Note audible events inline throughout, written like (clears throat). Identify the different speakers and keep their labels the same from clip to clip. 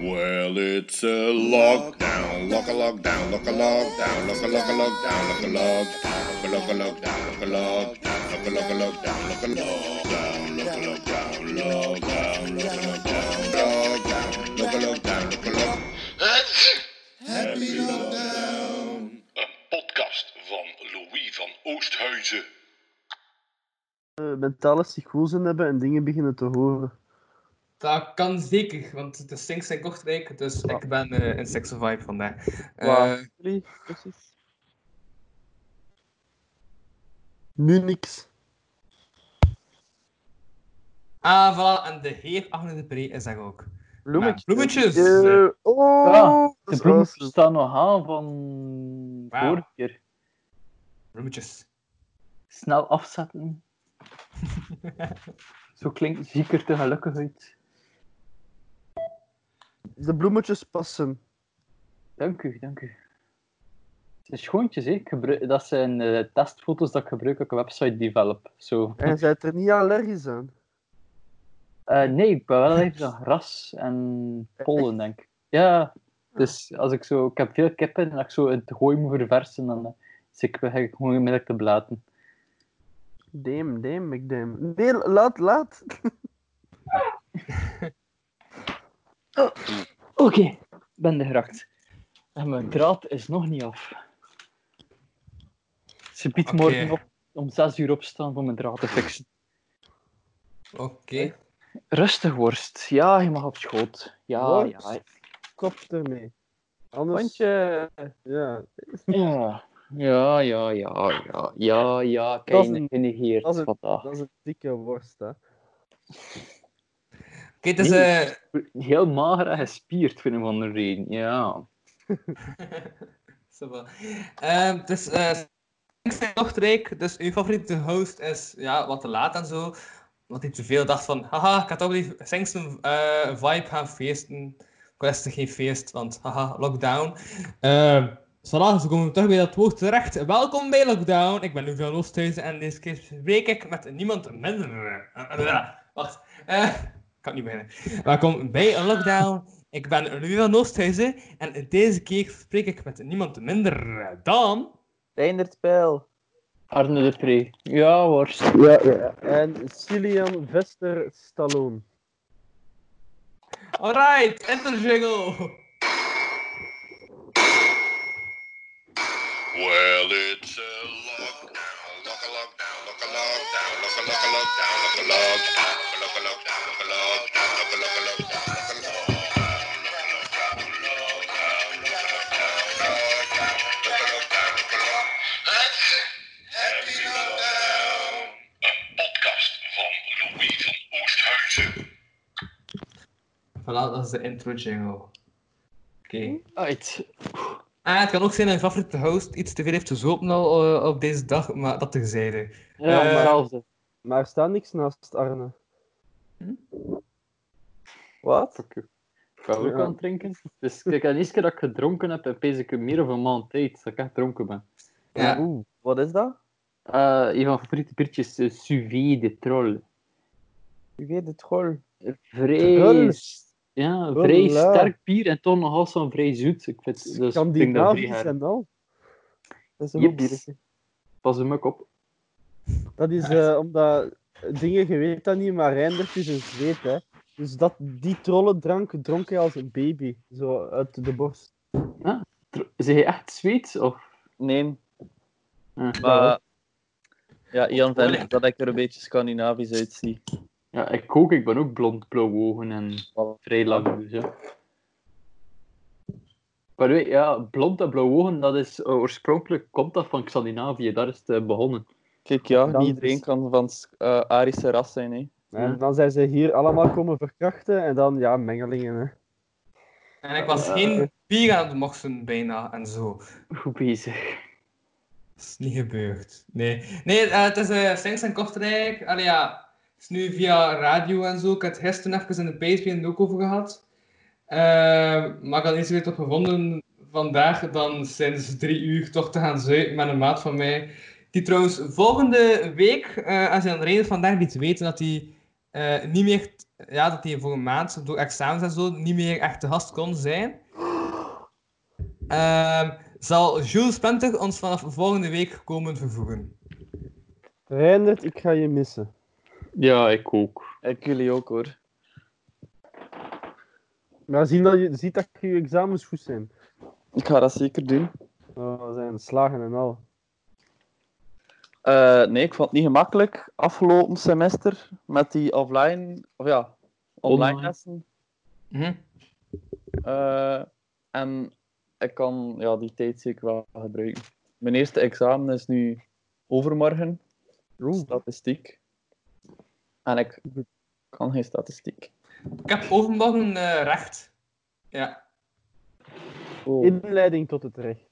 Speaker 1: Well, it's a lockdown, lock a lockdown, lock a lockdown, lock a lock a lockdown, lock a lockdown, lock a lock a lockdown, lock a lock a lockdown, lock a lockdown, lock a lockdown, lockdown, lockdown, lockdown, lock a lockdown, lock a lock. Happy lockdown.
Speaker 2: Een podcast van Louis van Oosthuizen.
Speaker 3: eh, mentale psychose hebben en dingen beginnen te horen.
Speaker 4: Dat kan zeker, want de Stinks zijn kortrijk, dus
Speaker 3: Ja.
Speaker 4: ik ben eh in Sex of Vibe vandaag. Eh,
Speaker 3: Waar? Jullie, precies. Nu niks.
Speaker 4: ah, voilà, en de heer Agne de Pre is daar ook.
Speaker 3: Bloemetjes.
Speaker 4: Bloemetjes!
Speaker 3: Eh, oh,
Speaker 5: Ja,
Speaker 3: dat
Speaker 5: De
Speaker 3: is
Speaker 5: bloemen
Speaker 3: awesome.
Speaker 5: staan nog aan van
Speaker 4: Wauw.
Speaker 5: vorige keer.
Speaker 4: Bloemetjes.
Speaker 5: Snel afzetten. Zo klinkt zieker te gelukkig uit.
Speaker 3: De bloemetjes passen.
Speaker 5: Dank u, dank u. Het is schoontjes, hè. Ik gebruik- Dat zijn eh, testfoto's dat ik gebruik als ik een website develop. Zo.
Speaker 3: En je bent er niet allergisch aan.
Speaker 5: Eh, nee, ik ben wel even aan gras en pollen, denk ik. Ja, dus als ik zo... Ik heb veel kippen en als ik zo het gooi moet verversen, dan eh, zit ik begin ik gewoon onmiddellijk te blaten.
Speaker 3: Damn, damn, ik damn. Nee, laat, laat.
Speaker 5: Oké, ben er geraakt. En mijn draad is nog niet af. Ze biedt
Speaker 4: Oké.
Speaker 5: morgen op om 6 uur opstaan om mijn draad te fixen.
Speaker 4: Oké.
Speaker 5: Rustig worst. Ja, je mag op schoot. Ja,
Speaker 3: Worst.
Speaker 5: ja.
Speaker 3: Kop ermee. Anders...
Speaker 5: Hondje.
Speaker 3: Ja.
Speaker 5: Ja. Ja, ja, ja, ja, ja, ja,
Speaker 3: Dat is
Speaker 5: kijk,
Speaker 3: een- dat is
Speaker 5: genegeerd
Speaker 3: een-
Speaker 5: vandaag.
Speaker 3: Dat is een dikke worst, hè.
Speaker 4: Oké, het is...
Speaker 5: Nee.
Speaker 4: eh,
Speaker 5: Heel mager en gespierd, vind ik van de reden, ja.
Speaker 4: (laughs) Zo wel. Ehm, het is eh, Stinks zijn kortrijk, dus uw favoriete host is ja, wat te laat en zo. Omdat hij te veel dacht van, haha, ik ga toch die Stinks een eh, vibe gaan feesten. Ik was er geen feest, want haha, lockdown. Ehm Zolang, we komen terug bij dat woord terecht. Welkom bij Lockdown. Ik ben Louis van Oosthuizen en deze keer spreek ik met niemand minder. (laughs) Eh, eh, eh, Wacht. Eh, ik kan niet beginnen. Welkom bij Lockdown. Ik ben Louis van Oosthuizen en deze keer spreek ik met niemand minder dan...
Speaker 6: Reindert Pijl.
Speaker 5: Arne de Pre. Ja, worst.
Speaker 3: Ja, ja. En Cillian Vester Stallone.
Speaker 4: Alright, enter jingle!
Speaker 1: Well, it's a lockdown, lock a lockdown, lock a lockdown, lock a lock a lockdown, lock a lockdown, lock a lockdown, lock a lockdown, lock a lock a lockdown, lock a
Speaker 2: Podcast van Louis van Oosthuizen.
Speaker 4: Voilà, dat is de intro jingle. Oké.
Speaker 5: Uit.
Speaker 4: Ah, het kan ook zijn dat je favoriete host iets te veel heeft gezopen al eh, op deze dag, maar dat terzijde.
Speaker 5: Ja,
Speaker 4: Eh,
Speaker 5: maar halve.
Speaker 3: Maar er staat niks naast Arne. Hm?
Speaker 6: Wat?
Speaker 5: Fuck you. Ik ga ook
Speaker 3: Ja.
Speaker 5: aan het drinken. Dus kijk, de eerste keer dat ik gedronken heb, pees ik meer van een maand tijd dat ik echt dronken ben.
Speaker 4: Ja.
Speaker 6: Oeh, wat is dat?
Speaker 5: Eh, een van mijn favoriete biertjes is Suvie de Troll.
Speaker 6: U weet het gewoon.
Speaker 3: Troll?
Speaker 5: Vrij, ja, vrij
Speaker 3: Troll, ja.
Speaker 5: sterk bier en toch nogal zo'n vrij zoet. Ik vind, dus, ik vind dat vrij
Speaker 3: Scandinavisch
Speaker 5: hard.
Speaker 3: en al.
Speaker 6: Dat is een
Speaker 5: Jeps.
Speaker 6: goed biertje.
Speaker 5: Pas hem ook op.
Speaker 3: Dat is eh, omdat dingen, je weet dat niet, maar Reindert is een zweet, hè. Dus dat, die trollendrank dronk hij als een baby, zo uit de borst.
Speaker 5: Tro- Zeg je echt zweet? Of...
Speaker 6: Nee,
Speaker 5: Ja.
Speaker 6: maar... Ja, Ian vindt dat ik er een beetje Scandinavisch uitzie.
Speaker 5: ja, ik ook. Ik ben ook blond, blauw ogen en vrij lang. Dus, ja. Maar weet, je, ja, blond en blauw ogen, dat is eh, oorspronkelijk komt dat van Scandinavië. Daar is het eh, begonnen.
Speaker 6: Kijk, ja,
Speaker 3: Dan
Speaker 6: niet iedereen
Speaker 3: is-
Speaker 6: kan van eh, Arische ras zijn, hè.
Speaker 3: En dan zijn ze hier allemaal komen verkrachten en dan, ja, mengelingen, hè.
Speaker 4: En ik was
Speaker 5: Eh,
Speaker 4: geen bier aan het mochten bijna en zo.
Speaker 5: Goed bezig.
Speaker 4: Dat is niet gebeurd. Nee, nee eh, het is eh Stinks en Kortrijk. Allee, ja, het is nu via radio en zo. Ik had het gisteren even in de PSPN ook over gehad. Ehm, maar ik had niet zoveel op gevonden vandaag dan sinds drie uur toch te gaan zuipen met een maat van mij. Die trouwens volgende week, eh, als je aan Reden vandaag niet weten, dat hij eh, niet meer, ja, dat die voor een maand door examens en zo niet meer echt te gast kon zijn, ehm, zal Jules Penter ons vanaf volgende week komen vervoegen.
Speaker 3: Reindert, ik ga je missen.
Speaker 5: Ja, ik ook.
Speaker 6: Ik jullie ook hoor.
Speaker 3: Maar zien dat je ziet dat je examens goed zijn.
Speaker 6: Ik ga dat zeker doen.
Speaker 3: Oh, we zijn slagen en al.
Speaker 6: Eh, nee, ik vond het niet gemakkelijk afgelopen semester met die offline, of ja, online
Speaker 5: Online.
Speaker 6: lessen.
Speaker 4: Mhm.
Speaker 6: Eh, en ik kan ja, die tijd zeker wel gebruiken. Mijn eerste examen is nu overmorgen, statistiek. En ik kan geen statistiek.
Speaker 4: Ik heb overmorgen eh recht. Ja.
Speaker 3: Oh. Inleiding tot het recht.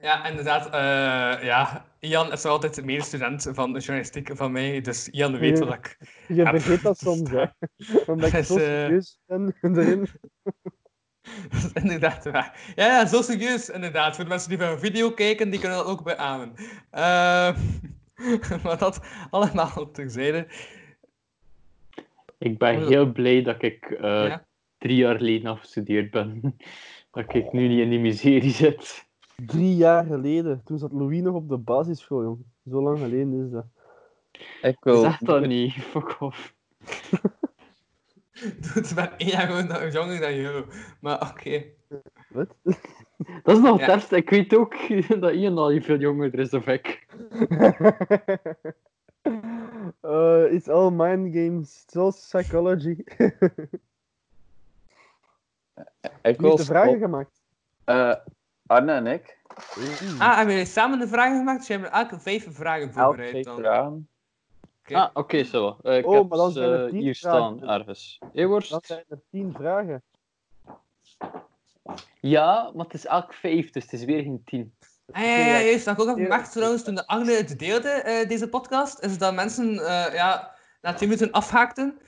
Speaker 4: Ja, inderdaad. eh, ja, Ian is nog altijd de medestudent van journalistiek van mij, dus Ian weet wat ik... (laughs)
Speaker 3: Je
Speaker 4: Ja,
Speaker 3: vergeet
Speaker 4: (laughs)
Speaker 3: dat soms, hè. Omdat ik
Speaker 4: Dus,
Speaker 3: zo
Speaker 4: eh,
Speaker 3: serieus ben (laughs) erin.
Speaker 4: Dat is inderdaad waar. Ja, ja, zo serieus, inderdaad. Voor de mensen die van een video kijken, die kunnen dat ook beamen. Eh, (laughs) maar dat allemaal terzijde.
Speaker 5: Ik ben
Speaker 4: Oh, ja.
Speaker 5: heel blij dat ik eh,
Speaker 4: Ja.
Speaker 5: drie jaar geleden afgestudeerd ben. (laughs) dat ik nu niet in die miserie zit.
Speaker 3: Drie jaar geleden, toen zat Louis nog op de basisschool, jong. Zo lang geleden is dat.
Speaker 6: Ik wil...
Speaker 5: Zeg dat niet, fuck off.
Speaker 4: Het ben één jaar gewoon jonger dan jou. Maar oké.
Speaker 3: Wat? (laughs)
Speaker 5: Dat is nog
Speaker 4: Ja.
Speaker 5: het ergste. Ik weet ook (laughs) dat Ian al veel jonger is dan ik.
Speaker 3: Eh, it's all mind games, it's all psychology.
Speaker 6: Ik
Speaker 3: Wie
Speaker 6: wil
Speaker 3: heeft de vragen gemaakt?
Speaker 6: Eh, Arne en ik.
Speaker 4: Ah, hebben jullie samen de vragen gemaakt? Ze hebben elke vijf vragen
Speaker 6: Elk
Speaker 4: voorbereid
Speaker 6: twee
Speaker 4: dan.
Speaker 6: vragen.
Speaker 4: Oké.
Speaker 5: Ah, oké, zo. Eh, ik
Speaker 3: Oh,
Speaker 5: heb
Speaker 3: maar dan
Speaker 5: ze,
Speaker 3: zijn er
Speaker 5: eh,
Speaker 3: tien
Speaker 5: hier
Speaker 3: vragen.
Speaker 5: staan, ergens. Eeuwers?
Speaker 3: Dat zijn er tien vragen.
Speaker 5: Ja, maar het is elk vijf, dus het is weer geen tien.
Speaker 4: Ah, ja, ja, ja, juist. Dat ik ook heb
Speaker 3: Ja.
Speaker 4: gemerkt trouwens toen de Agne het deelde, eh, deze podcast, is dat mensen eh, ja, na 10 minuten afhaakten.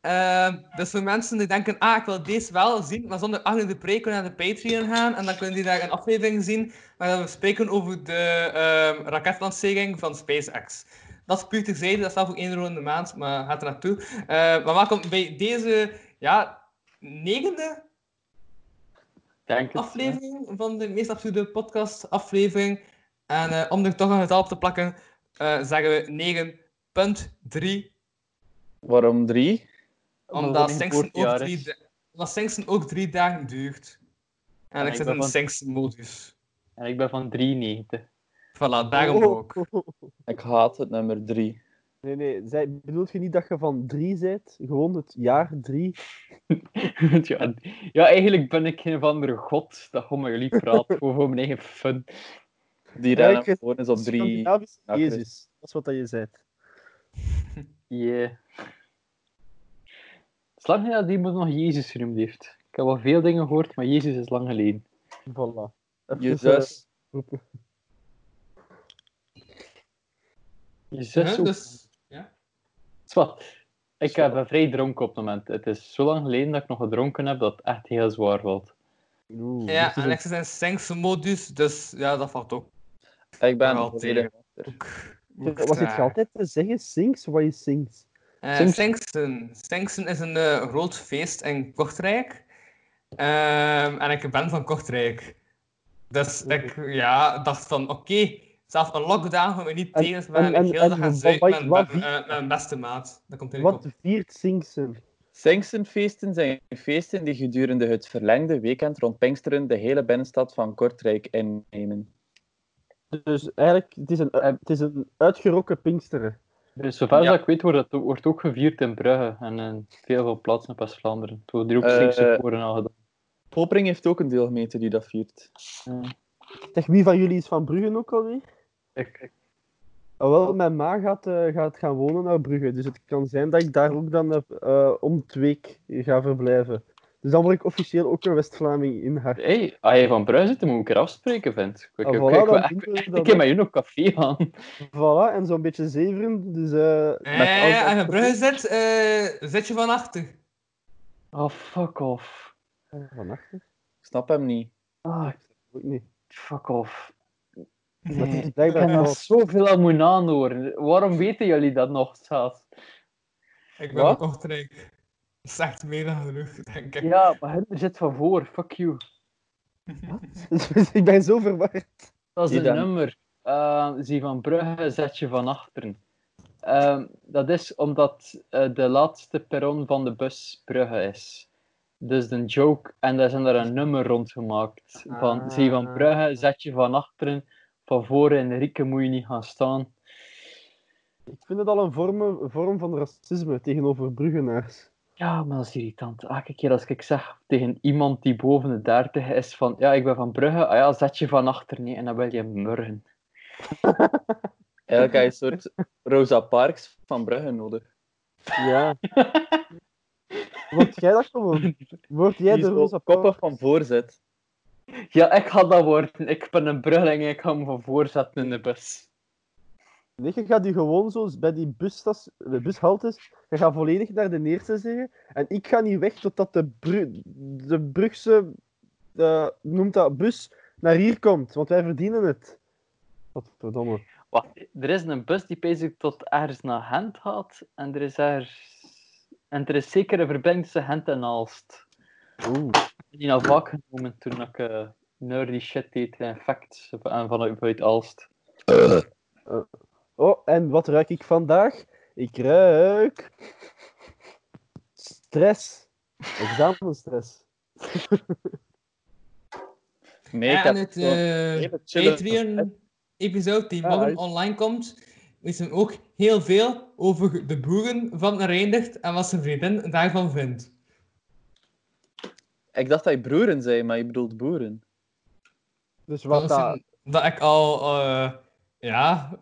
Speaker 4: Eh, dus voor mensen die denken, ah, ik wil deze wel zien, maar zonder Agne de Pre kunnen naar de Patreon gaan en dan kunnen die daar een aflevering zien waar we spreken over de ehm, raketlancering van SpaceX. Dat is puur terzijde, dat is zelf ook 1 euro in de maand, maar gaat er naartoe. Eh, maar welkom bij deze, ja, negende
Speaker 5: Denk het.
Speaker 4: aflevering van de meest absurde podcast aflevering. En eh, om er toch een getal op te plakken, eh, zeggen we 9.3.
Speaker 6: Waarom drie?
Speaker 4: Omdat
Speaker 5: mijn
Speaker 4: Sengsen ook,
Speaker 5: geboortejaar
Speaker 4: drie
Speaker 5: is.
Speaker 4: da- omdat Sengsen ook drie dagen duurt. En
Speaker 5: Ja,
Speaker 4: ik
Speaker 5: ik
Speaker 4: zit
Speaker 5: ben
Speaker 4: in
Speaker 5: van-
Speaker 4: Sengsen-modus.
Speaker 5: En ik ben van 93.
Speaker 4: Voilà, daarom
Speaker 3: Oh.
Speaker 4: ook.
Speaker 6: Ik haat het nummer drie.
Speaker 3: Nee, nee, zij, bedoelt je niet dat je van drie bent? Gewoon het jaar drie?
Speaker 5: (laughs) ja, ja, eigenlijk ben ik geen of andere god dat gewoon met jullie praat (laughs) over mijn eigen fun.
Speaker 6: Die
Speaker 3: Ja,
Speaker 6: rennen
Speaker 3: ik-
Speaker 6: gewoon eens op drie.
Speaker 3: Scandinavisch
Speaker 6: Ja, Chris.
Speaker 3: Jezus, dat is wat dat je zei.
Speaker 5: Yeah. Het is lang geleden dat iemand nog Jezus genoemd heeft. Ik heb al veel dingen gehoord, maar Jezus is lang geleden.
Speaker 3: Voilà.
Speaker 6: Je
Speaker 5: Dus,
Speaker 3: Even, eh,
Speaker 6: zus.
Speaker 5: Jezus
Speaker 4: Huh,
Speaker 5: ook.
Speaker 4: dus, ja.
Speaker 5: Zwat. Ik heb ben vrij dronken op het moment. Het is zo lang geleden dat ik nog gedronken heb dat het echt heel zwaar valt.
Speaker 3: Oeh,
Speaker 4: ja,
Speaker 3: dit is
Speaker 4: en ik zit in Sengsen-modus, dus ja, dat valt ook.
Speaker 6: Ik ben
Speaker 4: Wel
Speaker 6: volledig
Speaker 3: een- Wat zit je altijd te zeggen? Sings? Wat is Sings?
Speaker 4: Eh,
Speaker 5: Singsen.
Speaker 4: Singsen. Singsen is een eh, groot feest in Kortrijk. Ehm, en ik ben van Kortrijk. Dus ik ja, dacht van, oké, zelfs een lockdown gaan we niet
Speaker 3: En-
Speaker 4: tegen, maar
Speaker 3: en- en-
Speaker 4: ik heel
Speaker 3: en
Speaker 4: dag
Speaker 3: wat-
Speaker 4: gaan zuipen
Speaker 3: wat-
Speaker 4: met
Speaker 3: wat
Speaker 4: mijn-
Speaker 3: vier-
Speaker 4: eh, mijn beste maat. Dat komt eigenlijk
Speaker 3: Wat
Speaker 4: op.
Speaker 3: viert Singsen?
Speaker 6: Sengsenfeesten zijn feesten die gedurende het verlengde weekend rond Pinksteren de hele binnenstad van Kortrijk innemen.
Speaker 3: Dus eigenlijk, het is een, het is een uitgerokken Pinksteren.
Speaker 5: Dus zover als
Speaker 6: Ja.
Speaker 5: ik weet, wordt dat wordt ook gevierd in Brugge en in veel van plaatsen in West-Vlaanderen. Het wordt hier ook
Speaker 6: Eh,
Speaker 5: Singse koren al gedaan.
Speaker 6: Popering heeft ook een deelgemeente die dat viert.
Speaker 3: Zeg, wie van jullie is van Brugge ook alweer?
Speaker 5: Ik, ik-
Speaker 3: Ah, wel, mijn ma gaat, eh, gaat gaan wonen naar Brugge. Dus het kan zijn dat ik daar ook dan eh, eh, om twee week ga verblijven. Dus dan word ik officieel ook een West-Vlaming in haar.
Speaker 5: hey, als je van Brugge zit, dan moet ik er afspreken, vind ik. Ik,
Speaker 3: Ah,
Speaker 5: ik,
Speaker 3: voilà,
Speaker 5: ik,
Speaker 3: dan
Speaker 5: ik-
Speaker 3: doen we
Speaker 5: ik-
Speaker 3: dat
Speaker 5: ik heb
Speaker 3: ook.
Speaker 5: met jullie op café gaan.
Speaker 3: Voilà, en zo'n beetje zeveren. Dus, eh,
Speaker 4: Eh,
Speaker 3: met al dat-
Speaker 4: als je bruggen zit, eh, zit je van achter.
Speaker 5: Oh, fuck off.
Speaker 3: Vannacht
Speaker 6: Ik snap hem niet.
Speaker 5: Ah,
Speaker 3: ook niet.
Speaker 5: fuck off.
Speaker 3: Maar het is
Speaker 5: Ik heb
Speaker 3: blijkbaar
Speaker 5: nog
Speaker 3: fout.
Speaker 5: zoveel aan moeten aanhoren. Waarom weten jullie dat nog zelfs?
Speaker 4: Ik ben
Speaker 5: Wat?
Speaker 4: ook ochtendrijk. Dat is echt meer dan genoeg, denk ik.
Speaker 5: Ja, maar Hunter zit van voor. Fuck you.
Speaker 3: Dus (laughs) ik ben zo verward.
Speaker 5: Dat is
Speaker 6: Die
Speaker 5: een
Speaker 6: dan?
Speaker 5: nummer. Eh, zie van Brugge, zet je van achteren. Ehm, dat is omdat eh, de laatste perron van de bus Brugge is. Dus een joke. En daar zijn er een nummer rondgemaakt. Van zie van Brugge, zet je van achteren. Van voren in de rieken moet je niet gaan staan.
Speaker 3: Ik vind het al een vorm, een vorm van racisme tegenover Bruggenaars.
Speaker 5: Ja, maar dat is irritant. Elke keer als ik zeg tegen iemand die boven de 30 is van ja, ik ben van Brugge, ah ja, zet je van achteren nee, en dan wil je murgen. (laughs)
Speaker 6: Eigenlijk heb je een soort Rosa Parks van Brugge nodig. (laughs)
Speaker 3: Ja. Word jij dat gewoon? Word jij
Speaker 6: die
Speaker 3: de
Speaker 6: zo
Speaker 3: roze
Speaker 6: koppig van voorzet.
Speaker 5: Ja, ik ga dat worden. Ik ben een Bruggeling en ik ga me van voorzetten in de bus.
Speaker 3: Nee, je gaat die gewoon zo bij die busstas, de bushaltes, je gaat volledig naar de neerste zeggen. En ik ga niet weg totdat de, Bru- de Brugse, eh, noemt dat, bus naar hier komt. Want wij verdienen het. Wat verdomme.
Speaker 5: Wacht, er is een bus die bezig tot ergens naar Gent gaat en er is ergens... En er is zeker een verbinding tussen Gent en Aalst.
Speaker 3: Oeh.
Speaker 5: Die nou vaak genomen toen ik eh nerdy shit deed in fact en vanuit vanuit Aalst.
Speaker 3: Oh, en wat ruik ik vandaag? Ik ruik... Stress. Examenstress.
Speaker 6: Nee,
Speaker 4: Ja,
Speaker 6: ik
Speaker 4: en
Speaker 6: heb
Speaker 4: het
Speaker 6: zo'n
Speaker 4: eh,
Speaker 6: hele chille-
Speaker 4: Patreon-episode die
Speaker 3: Ja,
Speaker 4: morgen
Speaker 3: hij-
Speaker 4: online komt, is hem ook heel veel over de boeren van Reindigt en wat zijn vriendin daarvan vindt.
Speaker 6: Ik dacht dat je broeren zei, maar je bedoelt boeren.
Speaker 3: Dus
Speaker 4: Dat,
Speaker 3: wat
Speaker 4: is
Speaker 3: dat...
Speaker 4: een- dat ik al, eh, ja,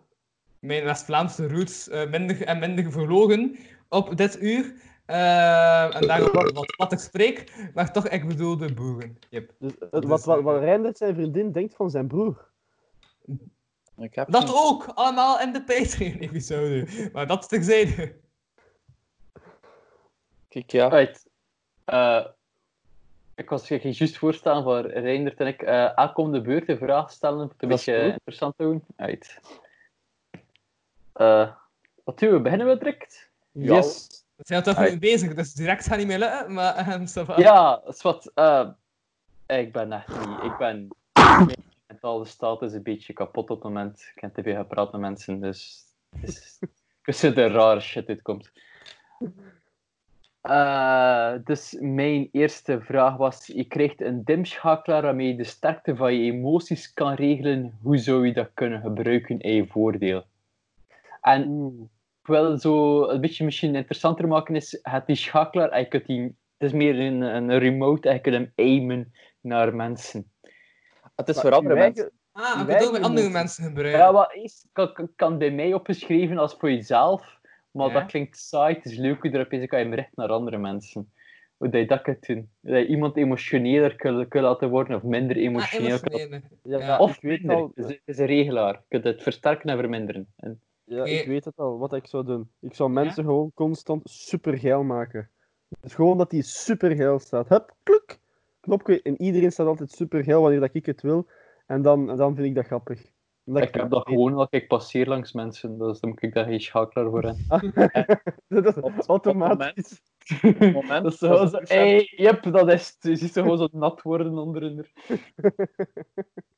Speaker 4: mijn West-Vlaamse roots eh, minder en minder verlogen op dit uur. Eh, en daarom wat, wat, ik spreek, maar toch, ik bedoel de boeren. Yep.
Speaker 3: Dus, eh, wat, wat, wat Reindert zijn vriendin denkt van zijn broer.
Speaker 6: Ik heb
Speaker 4: Dat
Speaker 6: geen-
Speaker 4: ook, allemaal in de Patreon-episode. Maar dat terzijde.
Speaker 6: Kijk, ja.
Speaker 5: Right. Eh, ik was je ging juist voorstaan voor Reindert en ik. eh aankomende beurt een vraag stellen, om het een
Speaker 6: Dat is
Speaker 5: beetje
Speaker 6: goed.
Speaker 5: interessant te doen. Right. Eh, wat doen we? Beginnen we direct?
Speaker 6: Ja.
Speaker 3: Yes.
Speaker 4: We zijn toch
Speaker 5: Ai.
Speaker 4: mee bezig, dus direct gaat niet meer lukken, maar ehm, ça va.
Speaker 5: Ja, is wat. eh, ik ben echt niet. Ik ben. Mijn mentale staat is een beetje kapot op het moment. Ik heb te veel gepraat met mensen, dus. het is- Ik vind het rare shit dit komt. Eh, dus mijn eerste vraag was: je krijgt een dimschakelaar waarmee je de sterkte van je emoties kan regelen. Hoe zou je dat kunnen gebruiken in je voordeel? En
Speaker 3: Oeh.
Speaker 5: ik wil zo een beetje misschien interessanter maken is, het die schakelaar, en je kunt die, het is meer een, een remote en je kunt hem aimen naar mensen.
Speaker 6: Het is
Speaker 3: Maar
Speaker 6: voor andere
Speaker 3: uw
Speaker 6: mensen.
Speaker 3: eigen-
Speaker 4: Ah, ik
Speaker 3: Wij
Speaker 4: wil ook met andere
Speaker 3: moeten-
Speaker 4: mensen gebruiken.
Speaker 5: Ja, wat is, kan, kan- kan bij mij opgeschreven als voor jezelf, maar
Speaker 4: Ja.
Speaker 5: dat klinkt saai, het is leuk hoe je erop is, dan kan je hem richten naar andere mensen. Hoe dat je dat kunt doen. Dat je iemand emotioneler kunt kunt laten worden of minder
Speaker 4: ah,
Speaker 5: emotioneel. kunt-
Speaker 4: emotionele.
Speaker 3: Ja,
Speaker 4: Ja.
Speaker 5: Of
Speaker 3: ik weet
Speaker 5: minder.
Speaker 3: al...
Speaker 5: Het is- het is een regelaar. Je kunt het versterken en verminderen. En,
Speaker 3: Ja,
Speaker 4: Nee.
Speaker 3: ik weet het al, wat ik zou doen. Ik zou mensen gewoon constant supergeil maken. Dus gewoon dat die supergeil staat. Hup, kluk, knopje. En iedereen staat altijd supergeil wanneer dat ik het wil. En dan, en dan vind ik dat grappig. Omdat
Speaker 5: ik
Speaker 3: (laughs)
Speaker 5: heb dat gewoon, want ik passeer langs mensen, dus dan moet ik daar geen schakelaar voor hebben.
Speaker 3: dat
Speaker 6: Op- op
Speaker 3: is automatisch.
Speaker 6: Op het moment
Speaker 5: Dat is
Speaker 6: dat
Speaker 5: gewoon zo,
Speaker 6: ze douchen hebben,
Speaker 5: hey, yep, dat is het. Je ziet ze gewoon zo nat worden onder hun.
Speaker 6: en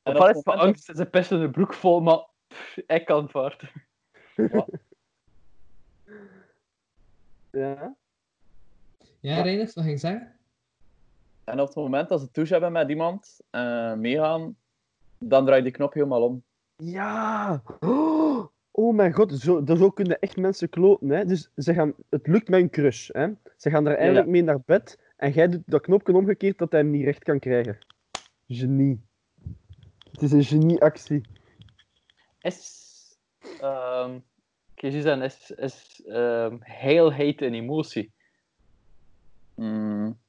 Speaker 5: En
Speaker 6: op
Speaker 5: van
Speaker 6: het
Speaker 5: is van
Speaker 6: moment
Speaker 5: angst en ze pissen hun broek vol, maar pff, ik kan het waard.
Speaker 3: (laughs) Ja.
Speaker 4: Ja, Reiners, wat ging ik zeggen?
Speaker 6: En op het moment dat ze douche hebben met iemand, eh, meegaan, dan draai je die knop helemaal om.
Speaker 3: Ja. Oh, oh mijn god, zo, zo kunnen echt mensen kloten. Hè? Dus ze gaan, het lukt mijn crush. Hè? Ze gaan daar eindelijk mee naar bed. En jij doet dat knopje omgekeerd dat hij hem niet recht kan krijgen. Genie. Het is een genieactie.
Speaker 5: Is, ehm kijk, Suzanne, is, is ehm heelheid een emotie?
Speaker 6: Mm,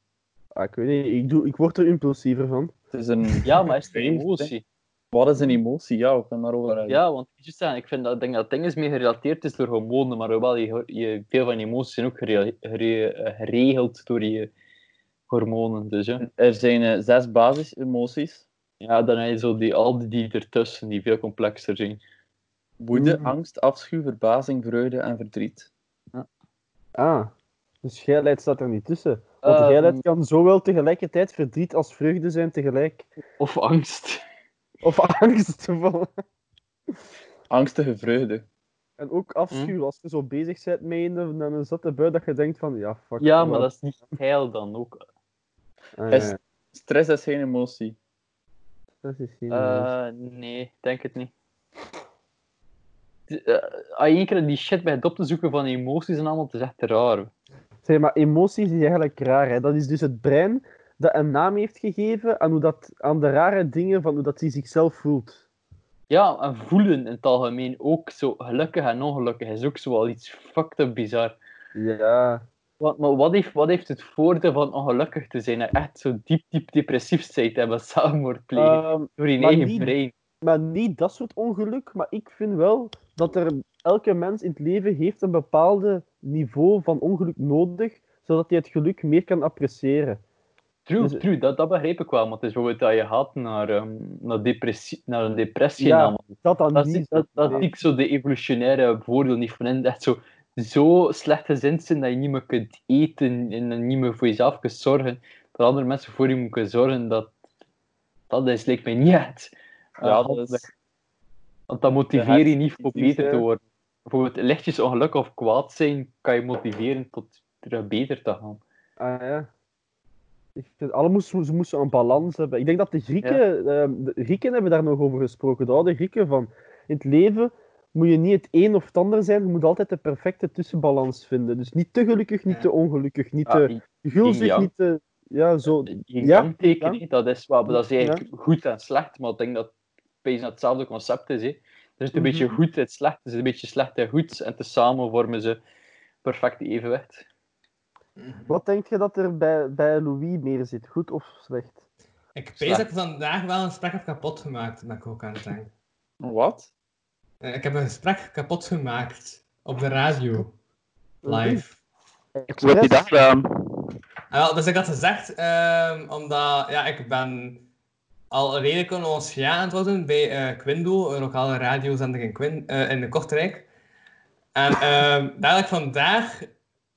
Speaker 3: Ah, ik weet niet, ik, doe, ik word er impulsiever van.
Speaker 6: het is
Speaker 5: (laughs)
Speaker 6: een...
Speaker 5: Ja, maar is het een
Speaker 6: Heelheid, hè?
Speaker 5: emotie?
Speaker 6: Wat is een emotie? Ja, we kunnen daarover hebben.
Speaker 5: Ja, want ik moet zeggen, ik vind dat, ik denk dat het ding is meer gerelateerd is door hormonen, maar hoewel je, je, veel van je emoties zijn ook gere- gere- eh, geregeld door je hormonen. Dus, ja.
Speaker 6: Er zijn eh, zes basisemoties.
Speaker 5: Ja, dan heb je zo die, al die ertussen die veel complexer zijn.
Speaker 6: Woede,
Speaker 5: Mm.
Speaker 3: Mhm.
Speaker 6: angst, afschuw, verbazing, vreugde en verdriet.
Speaker 3: Ah, dus geilheid staat er niet tussen. Want
Speaker 5: Ehm,
Speaker 3: geilheid kan zowel tegelijkertijd verdriet als vreugde zijn tegelijk.
Speaker 5: Of angst.
Speaker 3: Of (laughs) angst. vooral.
Speaker 6: Angstige vreugde.
Speaker 3: En ook afschuw,
Speaker 5: Hm.
Speaker 3: als je zo bezig bent met een, dan een zatte bui dat je denkt van, ja, fuck.
Speaker 5: Ja, maar dat is niet geil dan ook.
Speaker 3: Ah,
Speaker 6: Is-
Speaker 3: ja,
Speaker 6: Stress is geen emotie.
Speaker 3: dat is geen emotie.
Speaker 5: Eh, nee, ik denk het niet. D- eh, Als je één keer die shit bij het op te zoeken van emoties en allemaal, dat is echt raar.
Speaker 3: Zeg maar, emoties is eigenlijk raar. Hè? Dat is dus het brein dat een naam heeft gegeven aan, hoe dat, aan de rare dingen van hoe dat hij zichzelf voelt.
Speaker 5: Ja, en voelen in het algemeen ook zo gelukkig en ongelukkig is ook zo wel iets fucked up bizar.
Speaker 3: Ja.
Speaker 5: Wat, maar wat heeft, wat heeft het voordeel van ongelukkig te zijn en echt zo diep, diep depressief zijn te hebben, (laughs) zelfmoord plegen door je
Speaker 3: Eh, maar
Speaker 5: eigen
Speaker 3: niet-
Speaker 5: brein?
Speaker 3: Ehm, maar niet dat soort ongeluk. Maar ik vind wel dat er elke mens in het leven heeft een bepaalde niveau van ongeluk nodig, zodat hij het geluk meer kan appreciëren.
Speaker 5: True,
Speaker 3: Dus-
Speaker 5: true, dat, dat begrijp ik wel, want het is bijvoorbeeld dat je gaat naar, ehm, naar, depressie, naar een depressie
Speaker 3: Ja,
Speaker 5: en allemaal.
Speaker 3: Dat dan
Speaker 5: Dat, is-
Speaker 3: niet.
Speaker 5: dat, dat
Speaker 3: nee.
Speaker 5: ik zo de evolutionaire voordeel niet van in. Dat zo, zo slecht gezind zijn dat je niet meer kunt eten en dan niet meer voor jezelf kunt zorgen. Dat andere mensen voor je moeten zorgen, dat, dat is, lijkt mij niet het. eh,
Speaker 6: Ja, dat
Speaker 5: handig.
Speaker 6: is...
Speaker 5: Want dat motiveer je niet om
Speaker 6: Die ziekte.
Speaker 5: beter
Speaker 3: eh,
Speaker 5: te worden. Bijvoorbeeld lichtjes ongelukkig of kwaad zijn, kan je motiveren tot terug beter te gaan.
Speaker 3: Ah, ja. Ik vind, alle moesten, ze moesten een balans hebben. Ik denk dat de Grieken, ehm, de Grieken hebben daar nog over gesproken, de oude Grieken, van in het leven moet je niet het een of het ander zijn, je moet altijd de perfecte tussenbalans vinden. Dus niet te gelukkig, niet
Speaker 4: Ja.
Speaker 3: te ongelukkig, niet
Speaker 5: Ja,
Speaker 3: te gulzig,
Speaker 5: yin-yang.
Speaker 3: niet te... Ja, zo.
Speaker 5: Yin
Speaker 3: Ja,
Speaker 5: yang tekenen, dat is wel, dat is eigenlijk goed en slecht, maar ik denk dat het bijna hetzelfde concept is. Hè. Er zit een
Speaker 3: Mhm.
Speaker 5: beetje goed en slecht, er zit een beetje slecht en goed, en tezamen vormen ze perfect evenwicht.
Speaker 3: Wat denk je dat er bij, bij Louis meer zit? Goed of slecht?
Speaker 4: Ik weet
Speaker 5: Slecht.
Speaker 4: dat ik vandaag wel een gesprek heb kapot gemaakt, dat ik ook aan het denken.
Speaker 6: Wat?
Speaker 4: Eh, Ik heb een gesprek kapot gemaakt op de radio.
Speaker 5: Mm-hmm.
Speaker 3: Louis,
Speaker 4: Live.
Speaker 7: Wat heb je dat
Speaker 3: expres?
Speaker 7: gedaan?
Speaker 4: Ah, wel, dus ik had gezegd, ehm, omdat ja, ik ben al redelijk onschia aan het worden bij eh, Quindo, een lokale radiozender in, Quin, eh, in Kortrijk. En ehm daar had ik vandaag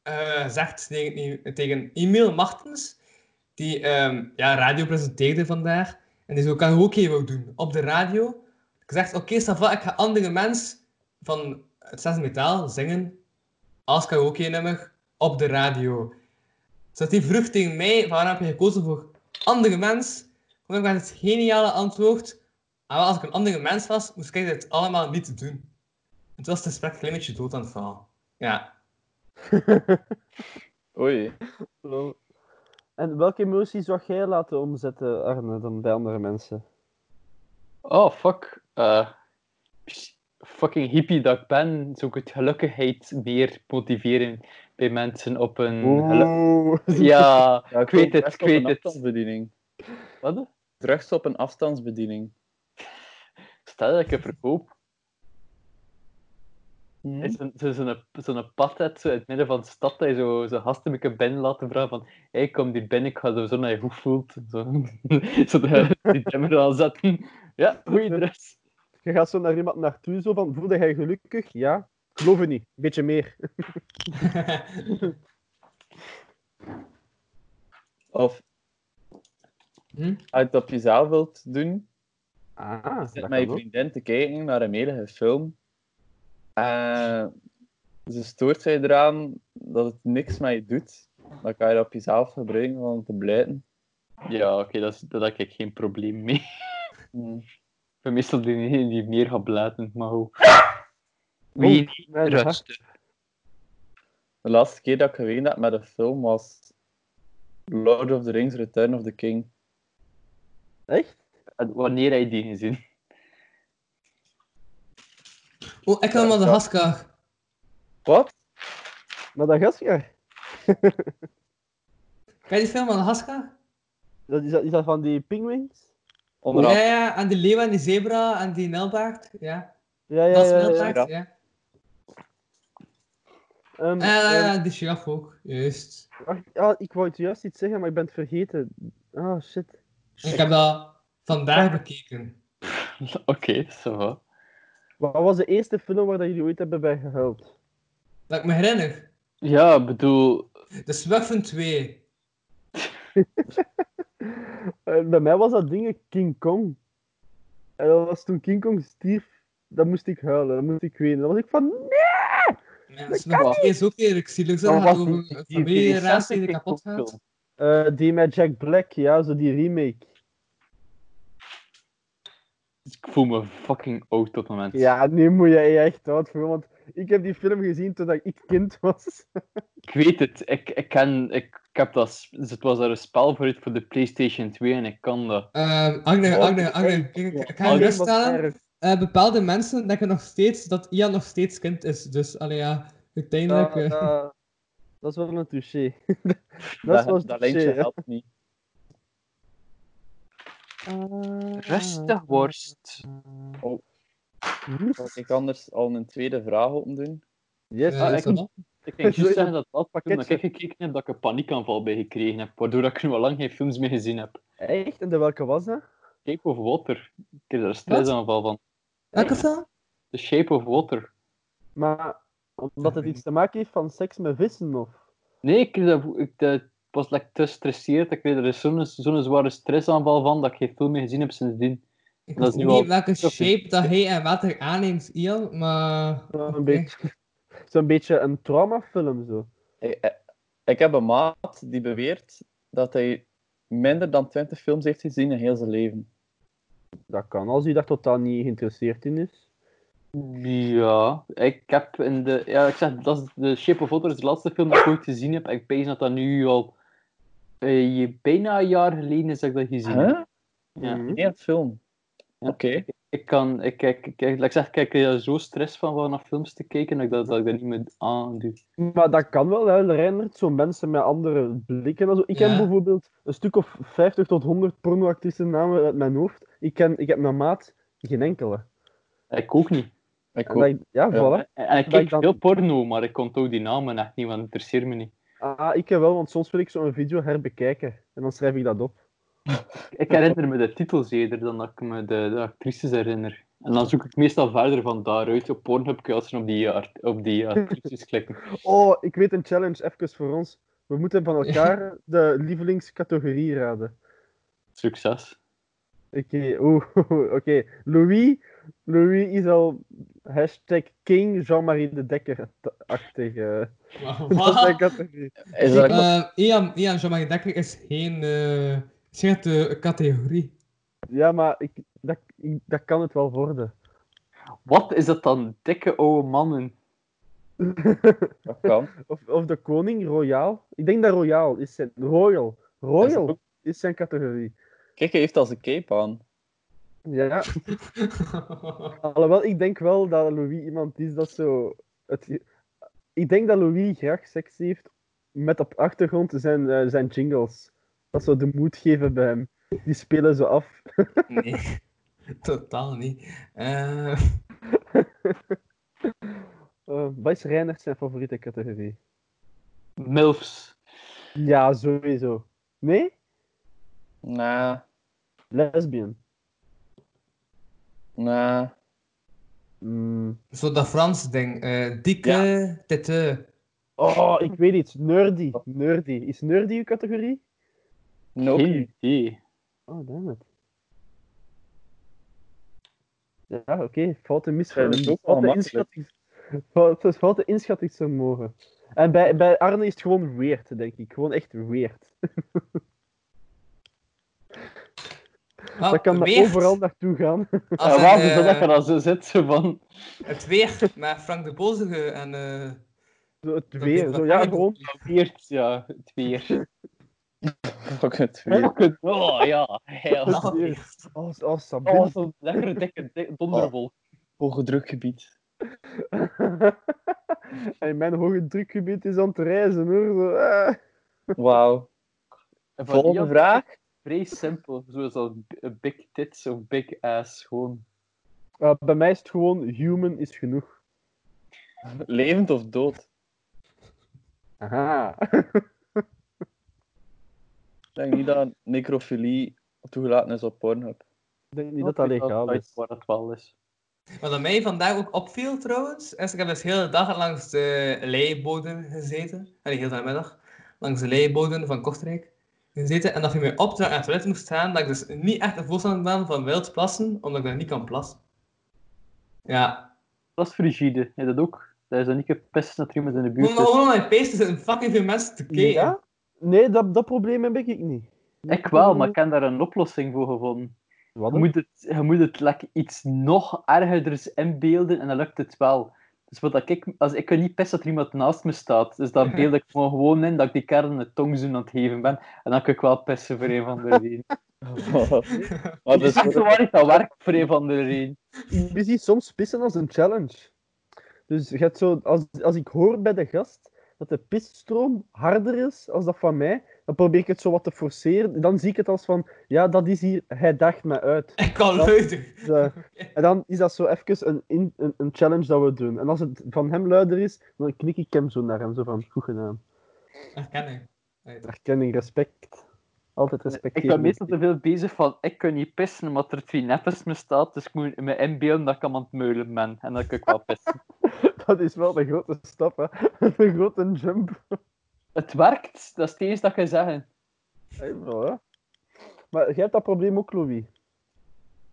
Speaker 4: eh, gezegd tegen, tegen Emil Martens, die ehm, ja, radio presenteerde vandaag, en die zo kan ik ook even doen op de radio. Ik zeg, oké, Sava, ik ga andere mens van het zesde metaal zingen als karaoke-nummer op de radio. Dus die vroeg tegen mij, van waarom heb je gekozen voor andere mens? Kom ik met het geniale antwoord, ah, wel, als ik een andere mens was, moest ik dit allemaal niet doen. Het was het gesprek een klein beetje dood aan het verhaal. Ja. (laughs)
Speaker 6: Oei.
Speaker 3: En welke emoties zou jij laten omzetten, Arne, dan bij andere mensen?
Speaker 5: Oh, fuck. eh, pss, fucking hippie dat ik ben, zou ik het gelukkigheid meer motiveren bij mensen op een... gelu-
Speaker 3: Oeh.
Speaker 5: Mm, Ja,
Speaker 6: Ja,
Speaker 3: (laughs)
Speaker 5: ik weet
Speaker 6: drugs
Speaker 5: het, ik
Speaker 6: op een
Speaker 5: weet het.
Speaker 6: afstandsbediening.
Speaker 5: Wat?
Speaker 6: Drugs op een
Speaker 5: (laughs)
Speaker 6: afstandsbediening.
Speaker 5: Stel dat ik het verkoop.
Speaker 6: Hm?
Speaker 5: Is zo'n- Zo'n zo'n- zo'n pad uit zo in het midden van de stad, dat je zo- zo'n gast een beetje binnen laten vragen van hey, kom hier binnen, ik ga zo zo naar je goed voelt. (laughs) Zo, zo de, die dimmer aanzetten. Ja, goeie dress.
Speaker 3: Je gaat zo naar iemand naartoe, zo van, voelde jij gelukkig? Ja. Geloof het niet. Een beetje meer.
Speaker 6: Of
Speaker 4: Hm?
Speaker 6: als je het op jezelf wilt doen,
Speaker 3: Ah,
Speaker 6: zit met je vriendin te kijken naar een melige film. Eh, ze stoort zich eraan dat het niks met je doet. Dan kan je dat op jezelf gebruiken om te blijten.
Speaker 5: Ja, oké, dat is- daar heb ik geen probleem
Speaker 6: (laughs)
Speaker 5: mee. Ik
Speaker 6: Hm.
Speaker 5: ben meestal degene die meer gaat blaten, maar hoe?
Speaker 3: Oeh,
Speaker 5: Wie niet
Speaker 3: mijn
Speaker 5: rustig.
Speaker 6: De laatste keer dat ik geween heb met een film was Lord of the Rings Return of the King.
Speaker 3: Echt?
Speaker 5: En Wanneer heb je die gezien?
Speaker 4: Oh, ik wil maar de haskar.
Speaker 6: Wat?
Speaker 3: Madagaskar?
Speaker 4: Ken je die film van de haskar?
Speaker 3: Dat is, dat, is dat van die pingwings?
Speaker 6: Onder
Speaker 4: Ja,
Speaker 6: andere.
Speaker 4: ja, en die leeuw en die zebra en die nelbaard. Ja,
Speaker 3: Ja, ja,
Speaker 4: dat is
Speaker 3: ja. ja,
Speaker 4: nelbaard, ja.
Speaker 6: ja.
Speaker 3: Ehm,
Speaker 4: Eh,
Speaker 3: ehm,
Speaker 4: die giraf ook, juist.
Speaker 3: wacht, ah, ik wou het juist iets zeggen, maar ik ben het vergeten. Ah, shit.
Speaker 4: Ik heb dat vandaag bekeken.
Speaker 5: Oké, ça va.
Speaker 3: Wat was de eerste film waar dat jullie ooit hebben bij gehuild?
Speaker 4: Dat ik me herinner.
Speaker 5: Ja, ik bedoel...
Speaker 4: De Smurfen 2.
Speaker 3: Eh, bij mij was dat ding King Kong. En dat was toen King Kong stierf, dan moest ik huilen, dan moest ik wenen. Dan was ik van, nee!
Speaker 4: Ja, de Smurfen 2 is ook redelijk zielig. Ze
Speaker 5: dat
Speaker 4: gaat
Speaker 5: was
Speaker 4: over
Speaker 5: die-
Speaker 4: een
Speaker 5: die recente
Speaker 4: familieraas die er
Speaker 5: King
Speaker 4: kapot
Speaker 5: Kong
Speaker 4: gaat.
Speaker 5: film.
Speaker 3: Eh, die met Jack Black, ja, zo die remake.
Speaker 5: Ik voel me fucking oud op het moment.
Speaker 3: Ja, nu moet je je echt oud voor, want ik heb die film gezien toen dat ik kind was.
Speaker 4: (laughs)
Speaker 5: Ik weet het. Ik, ik, ken, ik, ik heb dat... s- Het was daar een spel voor uit voor de PlayStation 2 en ik kan dat.
Speaker 4: Ehm, Agne, Agne,
Speaker 3: Wat?
Speaker 4: Agne, ik- ik ik ga je
Speaker 3: Alleen
Speaker 4: geruststellen.
Speaker 3: maar erg.
Speaker 4: Eh, bepaalde mensen denken nog steeds dat Ian nog steeds kind is. Dus allee, ja, uiteindelijk.
Speaker 3: Ja,
Speaker 4: eh,
Speaker 3: ja. Dat is wel een touché. (laughs) dat
Speaker 6: Dat,
Speaker 3: is wel een
Speaker 6: dat
Speaker 3: touché,
Speaker 6: lijntje
Speaker 3: hè.
Speaker 6: helpt niet.
Speaker 5: Rustig, worst.
Speaker 6: Zal ik anders al een tweede vraag opdoen?
Speaker 3: Yes,
Speaker 4: eh,
Speaker 5: ah,
Speaker 4: is
Speaker 5: ik-
Speaker 4: dat wel?
Speaker 5: Ik denk
Speaker 3: Zo in
Speaker 5: juist zeggen dat dat
Speaker 3: dat
Speaker 5: toen dat ik
Speaker 3: pakketje.
Speaker 5: gekeken heb, dat ik een paniekaanval bij gekregen heb. Waardoor dat ik nu al lang geen films meer gezien heb.
Speaker 3: echt? En de welke was dat?
Speaker 5: Shape of Water. Ik heb daar een stressaanval van.
Speaker 4: Welke film?
Speaker 5: The Shape of Water.
Speaker 3: Maar omdat het
Speaker 4: weet
Speaker 3: iets te maken heeft van seks met vissen, of?
Speaker 5: Nee, ik, kreeg dat, ik dat- ik was like, te gestresseerd. Ik kreeg er zo'n zo'n zware stressaanval van dat ik geen film meer gezien heb sindsdien.
Speaker 4: Ik
Speaker 5: Dat is
Speaker 4: weet
Speaker 5: nu
Speaker 4: niet
Speaker 5: al-
Speaker 4: welke
Speaker 5: dat is nu-
Speaker 4: shape dat hij en wat hij aanneemt, Ian, maar...
Speaker 3: Zo'n
Speaker 4: Oké.
Speaker 3: beetje, zo'n beetje een traumafilm, zo.
Speaker 6: Ik, ik- Eh, ik heb een maat die beweert dat hij minder dan 20 films heeft gezien in heel zijn leven.
Speaker 3: Dat kan, als u daar totaal niet geïnteresseerd in is.
Speaker 5: Ja, ik heb in de... Ja, ik zeg, dat is The Shape of Water is de laatste film die ik ooit gezien heb. En ik pees dat dat nu al... eh, bijna een jaar geleden is dat ik dat gezien heb.
Speaker 6: Huh?
Speaker 5: Ja.
Speaker 3: Mhm.
Speaker 6: Eén film.
Speaker 5: Ja.
Speaker 6: Oké.
Speaker 5: Ik kan, ik kijk, ik kijk, laat ik zeg, ik kijk er zo stress van van naar films te kijken dat ik dat, dat, ik dat niet meer aandoe.
Speaker 3: Maar dat kan wel, hè, Reinert, zo mensen met andere blikken. en Zo. Ik
Speaker 4: Ja.
Speaker 3: ken bijvoorbeeld een stuk of 50 tot 100 pornoactrices namen uit mijn hoofd. Ik, ken, ik heb mijn maat geen enkele.
Speaker 5: Ik ook niet.
Speaker 6: Ik
Speaker 3: En
Speaker 6: hoop.
Speaker 3: dat ik- ja, voilà.
Speaker 5: En, en ik
Speaker 3: Dat
Speaker 5: kijk
Speaker 3: ik dan-
Speaker 5: veel porno, maar ik onthoud die namen echt niet, want het interesseert me niet.
Speaker 3: Ah, ik wel, want soms wil ik zo'n video herbekijken. En dan schrijf ik dat op.
Speaker 5: Ik herinner me de titels eerder dan dat ik me de, de actrices herinner. En dan zoek ik meestal verder van daaruit op Pornhub kun je als je op die, jaar- op die actrices klikken.
Speaker 3: Oh, ik weet een challenge, even voor ons. We moeten van elkaar de lievelingscategorie raden.
Speaker 5: Succes.
Speaker 3: Oké, oeh, (laughs) oké. Louis, Louis is al hashtag King Jean-Marie de Dekker-achtig. eh. (laughs) Dat
Speaker 4: Maar
Speaker 3: is
Speaker 4: (laughs) wat?
Speaker 3: mijn categorie.
Speaker 6: Is dat een
Speaker 4: Eh, Ian, Ian Jean-Marie Dekker is geen eh scherpe categorie.
Speaker 3: (laughs) Ja, maar ik, dat, ik- dat kan het wel worden.
Speaker 5: Wat is dat dan? Dikke oude mannen.
Speaker 6: dat kan?
Speaker 3: Of, of de koning, Royaal. Ik denk dat Royaal is zijn... Royal. Royal
Speaker 6: Is
Speaker 3: is, zijn categorie.
Speaker 6: Kijk, hij heeft als een cape aan.
Speaker 3: Ja, alhoewel ik denk wel dat Louis iemand is dat zo... Het, ik denk dat Louis graag seks heeft met op achtergrond zijn, eh, zijn jingles. Dat zou de moed geven bij hem. Die spelen zo af.
Speaker 4: nee, (laughs) totaal niet. Eh,
Speaker 3: Eh wat is Reinert zijn favoriete categorie?
Speaker 5: Milfs.
Speaker 3: Ja, sowieso. Nee?
Speaker 6: Nee,
Speaker 3: Lesbian.
Speaker 6: nee.
Speaker 3: Mm.
Speaker 4: zo dat Frans ding. eh, dikke tete.
Speaker 3: Oh, ik weet iets. Nerdy. Nerdy. Is nerdy uw categorie?
Speaker 6: Nope.
Speaker 5: Geen idee.
Speaker 3: Oh, damn it. Ja, oké. Foute misvatting.
Speaker 6: Ja, dat is ook wel
Speaker 3: Foute
Speaker 6: makkelijk.
Speaker 3: inschatting. Foute, foute inschattingsvermogen. En bij, bij Arne is het gewoon weird, denk ik. Gewoon echt weird.
Speaker 4: Ah,
Speaker 3: dat kan
Speaker 4: Weert.
Speaker 3: overal naartoe gaan. (laughs)
Speaker 4: Als
Speaker 5: En
Speaker 4: in,
Speaker 5: waarom is
Speaker 4: eh,
Speaker 5: dat dat je dan zo zit? zo van...
Speaker 4: Het weer met Frank de Bozige en... eh,
Speaker 3: Zo, het
Speaker 4: dat
Speaker 3: weer.
Speaker 4: weet
Speaker 3: Zo,
Speaker 4: ik
Speaker 3: ja,
Speaker 4: niet.
Speaker 3: gewoon.
Speaker 5: Weert, ja, het weer.
Speaker 6: (laughs) Fuck het weer.
Speaker 5: Fuck it, Oh ja, (laughs) hell.
Speaker 4: dat
Speaker 3: weer.
Speaker 4: Weert.
Speaker 3: Oh, oh Sabine.
Speaker 5: Oh, zo'n lekkere dikke di- donderwolk.
Speaker 6: Hoge drukgebied.
Speaker 3: (laughs) en mijn hoge drukgebied is aan het reizen, hoor. Zo, eh.
Speaker 6: Wauw.
Speaker 5: En van
Speaker 6: Volgende
Speaker 5: Ian-
Speaker 6: vraag.
Speaker 5: Vrij simpel, zoals al b- big tits of big ass, gewoon.
Speaker 3: Eh, bij mij is het gewoon human is genoeg.
Speaker 6: Levend of dood?
Speaker 3: Aha.
Speaker 5: (laughs)
Speaker 6: Ik denk niet dat necrofilie toegelaten is op Pornhub.
Speaker 3: Ik denk niet dat dat legaal is.
Speaker 5: Waar het wel is.
Speaker 4: Wat aan mij vandaag ook opviel trouwens, is ik heb dus de hele dag langs de leiboden gezeten. Allee, heel de middag. Langs de leiboden van Kortrijk gezeten. En dat je mij op dat ik naar het toilet moest gaan, dat ik dus niet echt een voorstander ben van wild plassen, omdat ik daar niet kan plassen. Ja.
Speaker 5: Dat is frigide. Heb je dat ook? Dat is dan niet gepest dat er iemand in de buurt
Speaker 4: Gewoon
Speaker 5: is.
Speaker 4: gewoon aan mijn pees zitten fucking veel mensen te kijken.
Speaker 3: Ja? Nee, dat, dat probleem heb ik niet.
Speaker 5: Ik wel, maar ik heb daar een oplossing voor gevonden.
Speaker 3: Wat
Speaker 5: Je
Speaker 3: dan?
Speaker 5: moet het, je moet het like, iets nog ergerders inbeelden en dan lukt het wel. Dus wat dat ik, als, ik kan niet best dat er iemand naast me staat. Dus dan beeld ik gewoon, gewoon in dat ik die kerel een tongzoen aan het geven ben. En dan kan ik wel pissen voor een van de reden. Oh.
Speaker 6: (laughs) maar
Speaker 5: Dat is
Speaker 6: dus,
Speaker 5: echt waar ik dat werk voor een van de reden.
Speaker 3: Je ziet soms pissen als een challenge. Dus je hebt zo, als, als ik hoor bij de gast dat de pisstroom harder is als dat van mij, dan probeer ik het zo wat te forceren. Dan zie ik het als van, ja, dat is hier, hij daagt me uit.
Speaker 4: Ik kan
Speaker 3: Dat-
Speaker 4: luiden.
Speaker 3: Dus,
Speaker 5: (laughs)
Speaker 3: eh, en dan is dat zo even een, in- een, een challenge dat we doen. En als het van hem luider is, dan knik ik hem zo naar hem, zo van, goed gedaan.
Speaker 4: Herken ik. Nee, dat-
Speaker 3: Erkenning, respect. Altijd respect.
Speaker 5: Ik ben meestal te veel bezig van, ik kan niet pissen omdat er twee neppers me staat. Dus ik moet me inbeelden dat ik hem aan het meulen ben. En dan kan ik wel pissen.
Speaker 3: (laughs) Dat is wel een grote stap, hè. (laughs) Een grote jump.
Speaker 5: het werkt, dat is het enige dat je zeggen.
Speaker 3: Hey, voilà. Maar jij hebt dat probleem ook, Louis.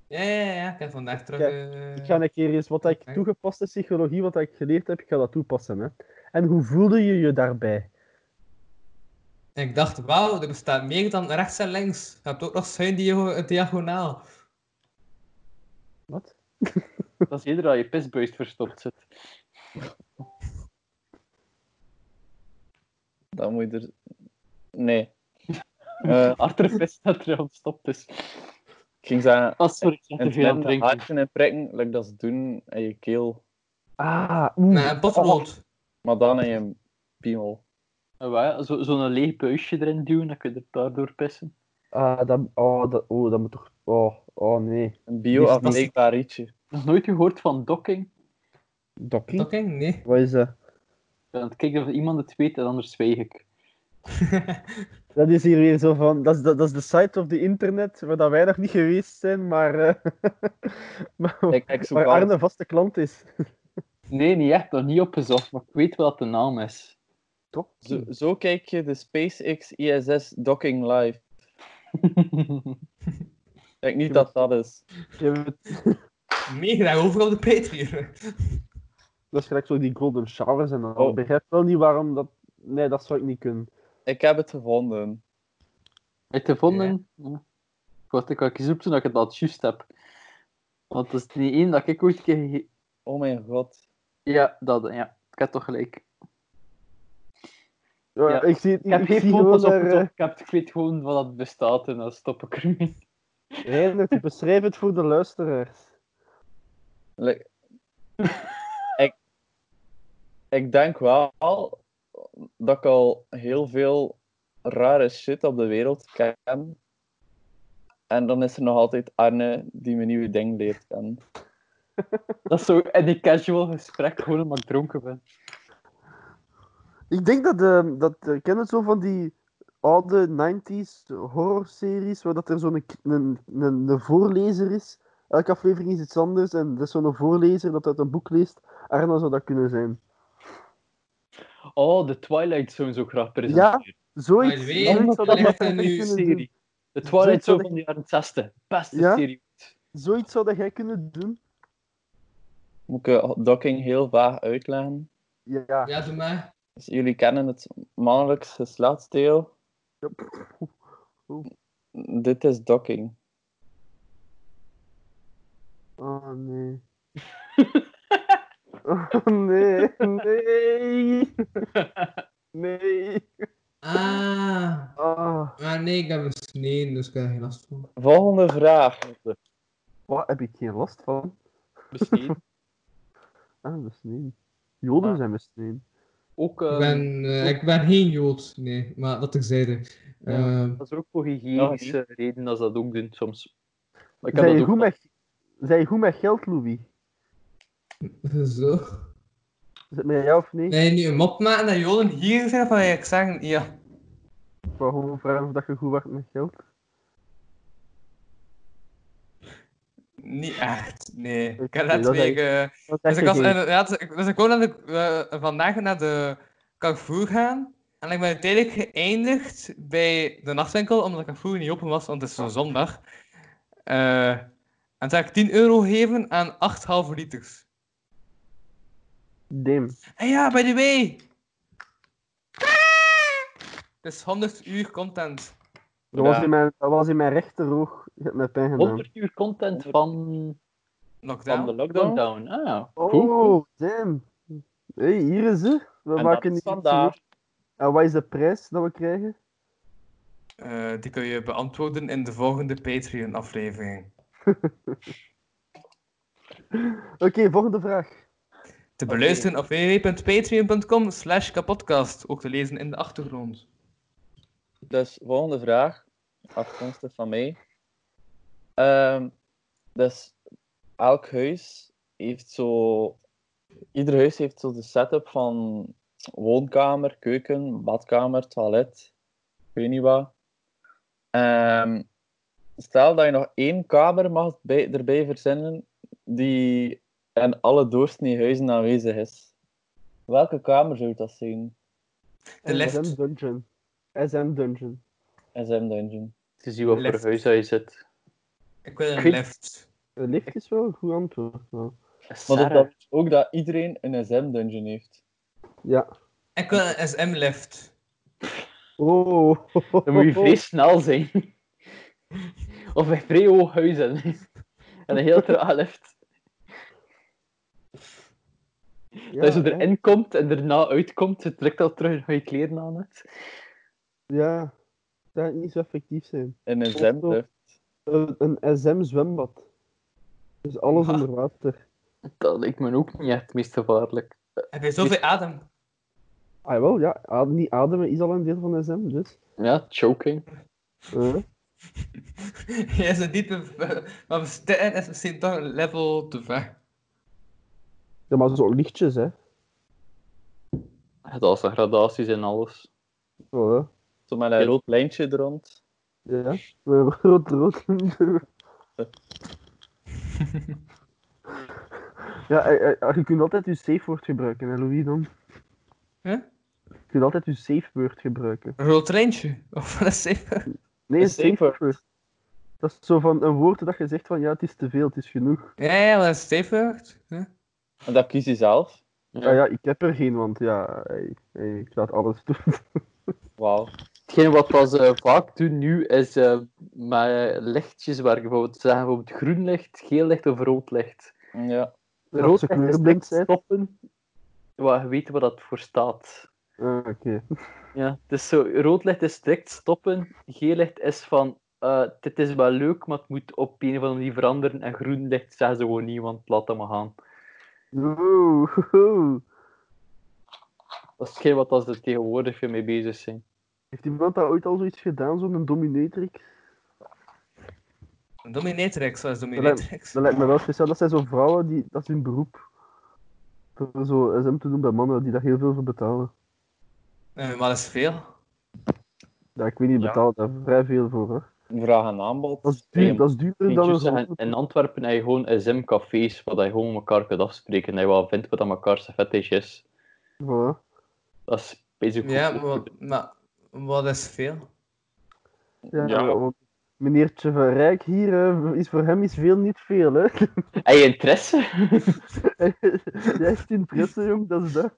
Speaker 4: Ja, ja, ja. Ik heb vandaag terug...
Speaker 3: Ja,
Speaker 4: eh,
Speaker 3: Ik ga een keer eens wat ik
Speaker 4: Oké.
Speaker 3: toegepaste psychologie, wat ik geleerd heb, ik ga dat toepassen. Hè. En hoe voelde je je daarbij?
Speaker 4: Ik dacht, wauw, er bestaat meer dan rechts en links. Je hebt ook nog schuin dia- diagonaal.
Speaker 3: Wat?
Speaker 5: Dat is eerder dat je pisbuis verstopt zit.
Speaker 6: dan moet je er... Nee. Eh,
Speaker 5: Uh, Achterpis dat er ontstopt is.
Speaker 6: ik ging zeggen,
Speaker 5: Oh, sorry, ik zat te
Speaker 6: en
Speaker 5: veel aan het
Speaker 6: met
Speaker 5: drinken.
Speaker 6: haartje en prikken, like dat ze doen in je keel,
Speaker 3: Ah, oeh.
Speaker 4: Nee, een potlood.
Speaker 6: maar dan in je piemel.
Speaker 5: Ah, wel, zo- Zo'n leeg buisje erin duwen, dan kun je er daardoor pissen.
Speaker 3: Ah, dat, oh, dat, oh, dat moet toch... Oh, oh nee.
Speaker 6: Een
Speaker 3: Die is
Speaker 6: bio-afleekbaar ietsje.
Speaker 5: Nog nooit gehoord van docking?
Speaker 3: Dokkie?
Speaker 4: Dokking? Nee.
Speaker 3: Wat is dat?
Speaker 5: Ik aan het kijken of iemand het weet, en anders zwijg ik.
Speaker 3: Dat is hier weer zo van... Dat is, dat, dat is de site op de internet waar dat wij nog niet geweest zijn, maar... eh, (laughs) maar
Speaker 6: Ik, ik zoek
Speaker 3: waar
Speaker 6: wel-
Speaker 3: Arne vaste klant is.
Speaker 5: Nee, niet echt, nog niet opgezocht, maar ik weet wel wat de naam is.
Speaker 6: Zo,
Speaker 5: Hmm.
Speaker 6: zo kijk je de SpaceX ISS docking live. Ik denk niet dat dat is.
Speaker 3: Je hebt-
Speaker 4: Mega overal de Patreon.
Speaker 3: Dat is gelijk zo die golden showers en al.
Speaker 6: Oh.
Speaker 3: Ik begrijp wel niet waarom dat... Nee, dat zou ik niet kunnen.
Speaker 6: Ik heb het gevonden.
Speaker 5: Heb je gevonden? Ja. Wacht, ik ga eens opzoeken dat ik het al juist heb. Want dat is niet één dat ik ooit een keer... gege-
Speaker 6: Oh mijn god.
Speaker 5: Ja, dat, ja. Ik heb toch gelijk.
Speaker 3: Ja,
Speaker 5: Ja.
Speaker 3: Ik zie het
Speaker 5: Ik heb
Speaker 3: ik
Speaker 5: geen
Speaker 3: zie
Speaker 5: foto's
Speaker 3: gewoon daar,
Speaker 5: opgezocht, ik, heb- ik weet gewoon wat dat bestaat en dan stop ik ermee.
Speaker 3: eh, Reinert, beschrijf het voor de luisteraars.
Speaker 6: Like- ik, ik denk wel dat ik al heel veel rare shit op de wereld ken. En dan is er nog altijd Arne die mijn nieuwe ding leert kennen.
Speaker 5: (laughs) Dat is zo in een casual gesprek, gewoon omdat ik dronken ben.
Speaker 3: Ik denk dat, eh dat eh, ken het zo van die oude 90s horrorseries, waar dat er zo'n k- een, een, een voorlezer is. Elke aflevering is iets anders en er is zo'n voorlezer dat uit een boek leest. Arna zou dat kunnen zijn.
Speaker 5: Oh, de Twilight Zone zo graag
Speaker 3: Ja,
Speaker 5: presenteren.
Speaker 4: Maar
Speaker 3: zoiets.
Speaker 4: je weet,
Speaker 3: zoiets zou dat
Speaker 4: ligt
Speaker 3: jij perfect
Speaker 4: er nu
Speaker 3: kunnen doen.
Speaker 5: serie. De
Speaker 3: Zoiets dat
Speaker 5: Twilight Zone
Speaker 3: ik-
Speaker 5: van de jaren 60. Beste
Speaker 3: Ja?
Speaker 5: serie.
Speaker 3: Zoiets zou dat jij kunnen doen.
Speaker 6: Moet ik eh, docking heel vaag uitleggen?
Speaker 3: Ja.
Speaker 4: Ja, doe maar.
Speaker 6: Dus jullie kennen het mannelijks geslachtsdeel. Dit is docking.
Speaker 3: Oh
Speaker 5: (laughs)
Speaker 3: nee. Oh nee, nee. Nee.
Speaker 4: Ah.
Speaker 3: Ah,
Speaker 4: Ah nee, ik heb een snee, dus ik heb er geen last van.
Speaker 6: Volgende vraag.
Speaker 3: waar heb ik geen last van?
Speaker 5: Misschien.
Speaker 3: (laughs) Ah, besneden. Joden
Speaker 5: Ah.
Speaker 3: zijn besneden.
Speaker 5: Ook,
Speaker 4: Ik
Speaker 5: eh,
Speaker 4: ben, eh, ik ben geen Jood, nee, maar dat terzijde.
Speaker 5: Ja.
Speaker 4: Ehm,
Speaker 5: dat is ook voor hygiënische redenen eh, dat ze dat ook doen soms. Maar ik heb
Speaker 3: Zijn
Speaker 5: dat
Speaker 3: je,
Speaker 5: ook
Speaker 3: goed
Speaker 5: wel-
Speaker 3: met, zijn je goed met geld, Louis?
Speaker 4: Ehm, (laughs) zo.
Speaker 3: Is het met jou of niet?
Speaker 4: Nee, nu een mop maken dat Joden hier zijn, van ik zeg, ja.
Speaker 3: Ik wou gewoon vragen of dat je goed werd met geld.
Speaker 4: Niet echt, nee. Ik heb
Speaker 5: Nee,
Speaker 4: net
Speaker 5: dat is-
Speaker 4: wegen...
Speaker 5: Dat
Speaker 4: Dus
Speaker 5: is echt
Speaker 4: ik, was,
Speaker 5: geen-
Speaker 4: en, ja, dus, ik- dus ik wou naar de, eh, vandaag naar de Carrefour gaan. En ik ben uiteindelijk geëindigd bij de nachtwinkel, omdat de Carrefour niet open was, want het is een zondag. Eh, en toen heb ik 10 euro gegeven aan 8 halve liters.
Speaker 3: Damn.
Speaker 4: En ja, by the way! Het is 100 uur content.
Speaker 3: Dat, was in mijn, dat was in mijn rechteroog. Je hebt mij pijn gedaan.
Speaker 5: 100 uur content van
Speaker 6: Van de
Speaker 4: Lockdown.
Speaker 6: lockdown.
Speaker 5: Lockdown. Ah, cool. cool.
Speaker 3: Oh, damn. hey, hier is ze. We
Speaker 6: En dat
Speaker 3: maken
Speaker 6: is
Speaker 3: niet iets
Speaker 6: vandaag.
Speaker 3: En wat is de prijs dat we krijgen?
Speaker 4: Eh, die kun je beantwoorden in de volgende Patreon-aflevering.
Speaker 3: Oké, volgende vraag.
Speaker 4: Te beluisteren op www.patreon.com slash kapodcast. Ook te lezen in de achtergrond.
Speaker 6: Dus, volgende vraag. Afkomstig van mij. Ehm, dus, elk huis heeft zo... Ieder huis heeft zo de setup van woonkamer, keuken, badkamer, toilet. Ik weet niet wat. Ehm, stel dat je nog één kamer mag bij, erbij verzinnen die in alle doorsnee huizen aanwezig is. Welke kamer zou dat zijn?
Speaker 4: De lift.
Speaker 3: SM Dungeon. SM Dungeon.
Speaker 6: SM Dungeon.
Speaker 5: Het is hier wat voor
Speaker 4: Left.
Speaker 5: huis dat je zit.
Speaker 4: Ik wil een
Speaker 5: Ik weet-
Speaker 4: lift.
Speaker 3: De lift is wel een goed antwoord. wel.
Speaker 6: Maar dat
Speaker 5: Sarah.
Speaker 6: betekent ook dat iedereen een SM-dungeon heeft.
Speaker 3: Ja.
Speaker 4: Ik wil een SM-lift.
Speaker 3: Oh.
Speaker 5: Dan moet je vrij snel zijn. (laughs) of bij vrij hoog huizen. (laughs) en een heel traag lift.
Speaker 3: (laughs) Ja,
Speaker 5: dat je zo
Speaker 3: hè.
Speaker 5: erin komt en daarna uitkomt, je trekt al terug en ga je kleren aan het.
Speaker 3: Ja. Dat zou niet zo effectief zijn.
Speaker 6: Een
Speaker 3: zo.
Speaker 6: SM-lift.
Speaker 3: Een, een SM zwembad. Dus alles
Speaker 4: Ja.
Speaker 3: onder water.
Speaker 5: Dat lijkt me ook niet echt het meest gevaarlijk.
Speaker 4: Heb je zoveel adem? (laughs)
Speaker 3: Ah wel, ja. Ad- niet ademen is al een deel van SM, dus.
Speaker 5: Ja, choking.
Speaker 3: eh.
Speaker 4: Jij is een diepe... Maar bestaan is misschien toch een level te ver.
Speaker 3: Ja, maar zo lichtjes, hè.
Speaker 5: Het als de gradaties en alles.
Speaker 3: Voilà.
Speaker 6: Zo met een rood lijntje er rond.
Speaker 3: Ja. We hebben groot rood.
Speaker 6: (laughs)
Speaker 3: ja, eh, eh, je kunt altijd je safe word gebruiken, hè, Louis dan.
Speaker 4: Huh?
Speaker 3: Je kunt altijd je safe word gebruiken.
Speaker 4: Een rood lijntje. (laughs) Of een safe.
Speaker 3: Nee,
Speaker 6: Een
Speaker 3: safe,
Speaker 6: safe
Speaker 3: word.
Speaker 6: word.
Speaker 3: Dat is zo van een woord dat je zegt van ja, het is te veel, het is genoeg.
Speaker 4: Ja, ja, wel een safe. Huh?
Speaker 6: En dat kies je zelf.
Speaker 5: Ja.
Speaker 3: Ja, Ah ja ik heb er geen, want ja, hey, hey, ik laat alles (laughs) doen.
Speaker 6: Wauw.
Speaker 5: Hetgeen wat we als, eh, vaak doen nu is eh, met eh, lichtjes waar je bijvoorbeeld zeggen bijvoorbeeld groen licht, geel licht of rood licht.
Speaker 6: Ja.
Speaker 3: Als ze
Speaker 5: Rood licht is
Speaker 3: kleurblind
Speaker 5: echt
Speaker 3: zijn.
Speaker 5: stoppen, waar je weet wat dat voor staat.
Speaker 3: Ah, Oké.
Speaker 5: Ja, dus zo, rood licht is strikt stoppen, geel licht is van eh, dit is wel leuk, maar het moet op een of andere manier veranderen en groen licht zeggen ze gewoon niet, want laat dat maar gaan.
Speaker 3: Oeh, (laughs) hoehoe.
Speaker 5: Dat is geen wat als ze tegenwoordig veel mee bezig zijn.
Speaker 3: Heeft iemand daar ooit al zoiets gedaan, zo'n dominatrix?
Speaker 4: Een dominatrix. Wat is dominatrix?
Speaker 3: Dat lijkt me wel speciaal. Dat zijn zo vrouwen die. Dat is hun beroep. Door zo SM te doen bij mannen die daar heel veel voor betalen.
Speaker 4: Eh, maar dat is veel.
Speaker 3: Ja, ik weet niet,
Speaker 6: Ja.
Speaker 3: betalen daar vrij veel voor. Hè.
Speaker 6: Vraag en aanbod.
Speaker 3: Dat, is duur,
Speaker 5: Nee,
Speaker 3: dat is duurder dan een
Speaker 5: Weet je,
Speaker 3: zon.
Speaker 5: in- in Antwerpen heb je gewoon SM-cafés waar je gewoon elkaar kunt afspreken en dat je wel vindt wat aan elkaar zijn fetish is.
Speaker 3: Voilà.
Speaker 5: Dat is bezig
Speaker 4: Ja, maar, maar wat is veel?
Speaker 3: Ja,
Speaker 6: Ja.
Speaker 3: want meneertje van Rijk hier hè, is voor hem is veel niet veel. Hè. (laughs)
Speaker 5: Heb je interesse? (laughs)
Speaker 3: Jij heeft interesse, jong, dat is dat.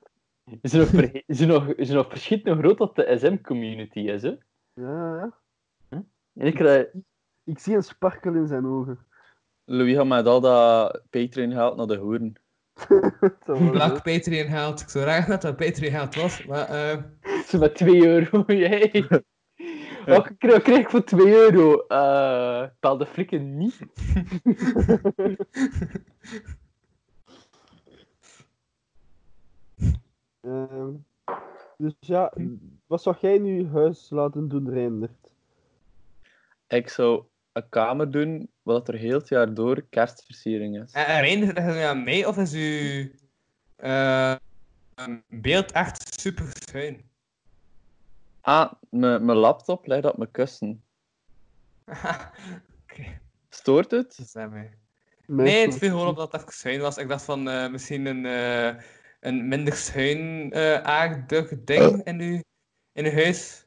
Speaker 5: Is er nog, ver- is er nog, is er nog verschillend groot dat de SM-community is, hè?
Speaker 3: Ja, ja.
Speaker 5: En ik krijg...
Speaker 3: Ik zie een sparkel in zijn ogen.
Speaker 6: Louis gaat met al dat Patreon geld naar de hoeren.
Speaker 3: Dat zou wel leuk.
Speaker 4: Black Patreon haalt. Ik zou graag dat dat Patreon haalt was. Maar eh,
Speaker 5: Ze met 2 euro. (laughs) Jee. Wat krijg, krijg ik voor 2 euro? Eh bel de frikken niet.
Speaker 3: Ehm, dus ja, wat zou jij nu huis laten doen, Reindert?
Speaker 6: Ik zou een kamer doen wat er heel het jaar door kerstversiering is.
Speaker 4: En Rijn, dat is aan mij of is uw eh, um, beeld echt super schuin?
Speaker 6: Ah, mijn mijn laptop ligt op mijn kussen.
Speaker 4: (laughs) Oké,
Speaker 6: Stoort het?
Speaker 4: dat is aan mij. Nee, het viel gewoon op dat het even schuin was. Ik dacht van eh, misschien een, eh, een minder schuin eh aardig ding in uw, in uw huis.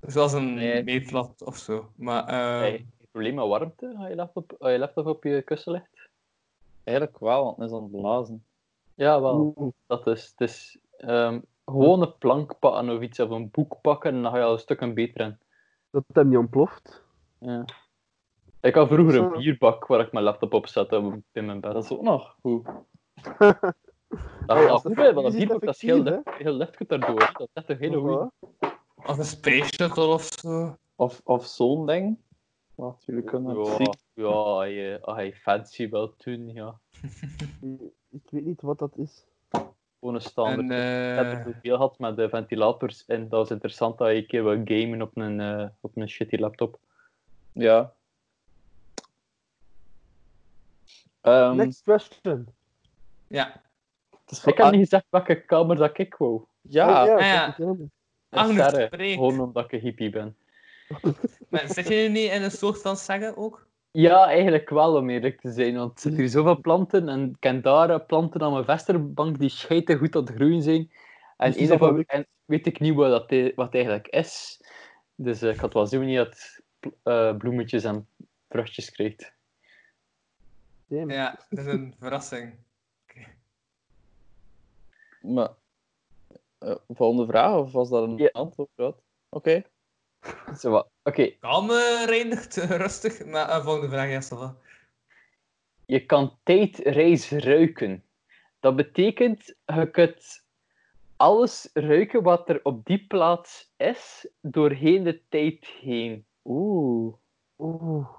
Speaker 4: Zoals een
Speaker 5: Nee.
Speaker 4: meetlat of zo. Maar eh,
Speaker 5: Hey, het probleem met warmte, als je laptop, als je, laptop op je kussen legt?
Speaker 6: Eigenlijk wel, want het is aan het blazen.
Speaker 5: Ja, wel. Dat is, het is ehm, gewoon een plank pakken of iets, of een boek pakken, en dan ga je al een stuk beter in.
Speaker 3: Dat hem niet ontploft.
Speaker 5: Ja. Ik had vroeger een
Speaker 3: Zo.
Speaker 5: bierbak waar ik mijn laptop op zette in mijn bed. oh,
Speaker 6: Dat is ook nog
Speaker 3: (laughs)
Speaker 6: goed.
Speaker 5: Dat
Speaker 3: Oh, als
Speaker 5: is al
Speaker 3: de
Speaker 5: goed, hè,
Speaker 3: familie
Speaker 5: want dat
Speaker 3: ziet
Speaker 5: bierbak dat is heel
Speaker 3: effectief,
Speaker 5: licht, heel licht kunt daardoor. hè. Dat is echt een hele goeie.
Speaker 3: Voilà.
Speaker 4: als een space shuttle of zo.
Speaker 6: Of, of zo'n ding. Wat jullie kunnen het
Speaker 5: Ja,
Speaker 6: zien.
Speaker 5: ja als, je, als je fancy wil doen, ja.
Speaker 3: Ik weet niet wat dat is.
Speaker 5: Gewoon een standaard.
Speaker 4: En,
Speaker 5: Ik
Speaker 4: eh,
Speaker 5: heb er zoveel gehad met de ventilators en dat is interessant dat je een keer wil gamen op een, eh, op een shitty laptop.
Speaker 6: Ja. Ehm,
Speaker 3: Next question.
Speaker 4: ja.
Speaker 6: het is
Speaker 5: Ik
Speaker 6: van-
Speaker 5: heb niet gezegd welke kamer dat ik wou.
Speaker 6: Ja,
Speaker 3: Oh,
Speaker 4: ah, ja.
Speaker 3: dat is jammer.
Speaker 5: Een
Speaker 4: Agnes
Speaker 5: serre,
Speaker 4: spreekt.
Speaker 5: gewoon omdat ik een hippie ben.
Speaker 4: Maar zit je nu niet in een soort van zeggen ook?
Speaker 5: Ja, eigenlijk wel, om eerlijk te zijn. Want er zitten hier zoveel planten. En ik ken daar eh, planten aan mijn vesterbank die scheiden goed aan het groeien zijn.
Speaker 3: Dus die
Speaker 5: En, één
Speaker 3: zijn
Speaker 5: daarvan-
Speaker 3: wel
Speaker 5: en weet ik niet wat, dat, e- wat het eigenlijk is. Dus eh, ik had wel zo niet dat pl- eh, bloemetjes en vruchtjes kreeg.
Speaker 3: Damn.
Speaker 4: Ja, dat is een verrassing.
Speaker 6: maar... eh, volgende vraag, of was dat een
Speaker 5: Ja.
Speaker 6: antwoord? Wat? Oké.
Speaker 5: Zo wat. Oké,
Speaker 4: Kalm eh, reinigt, eh, (laughs) rustig. Maar eh, volgende vraag, ja, ça va.
Speaker 5: je kan tijdreis ruiken. Dat betekent, je kunt alles ruiken wat er op die plaats is, doorheen de tijd heen.
Speaker 6: Oeh.
Speaker 3: Oeh.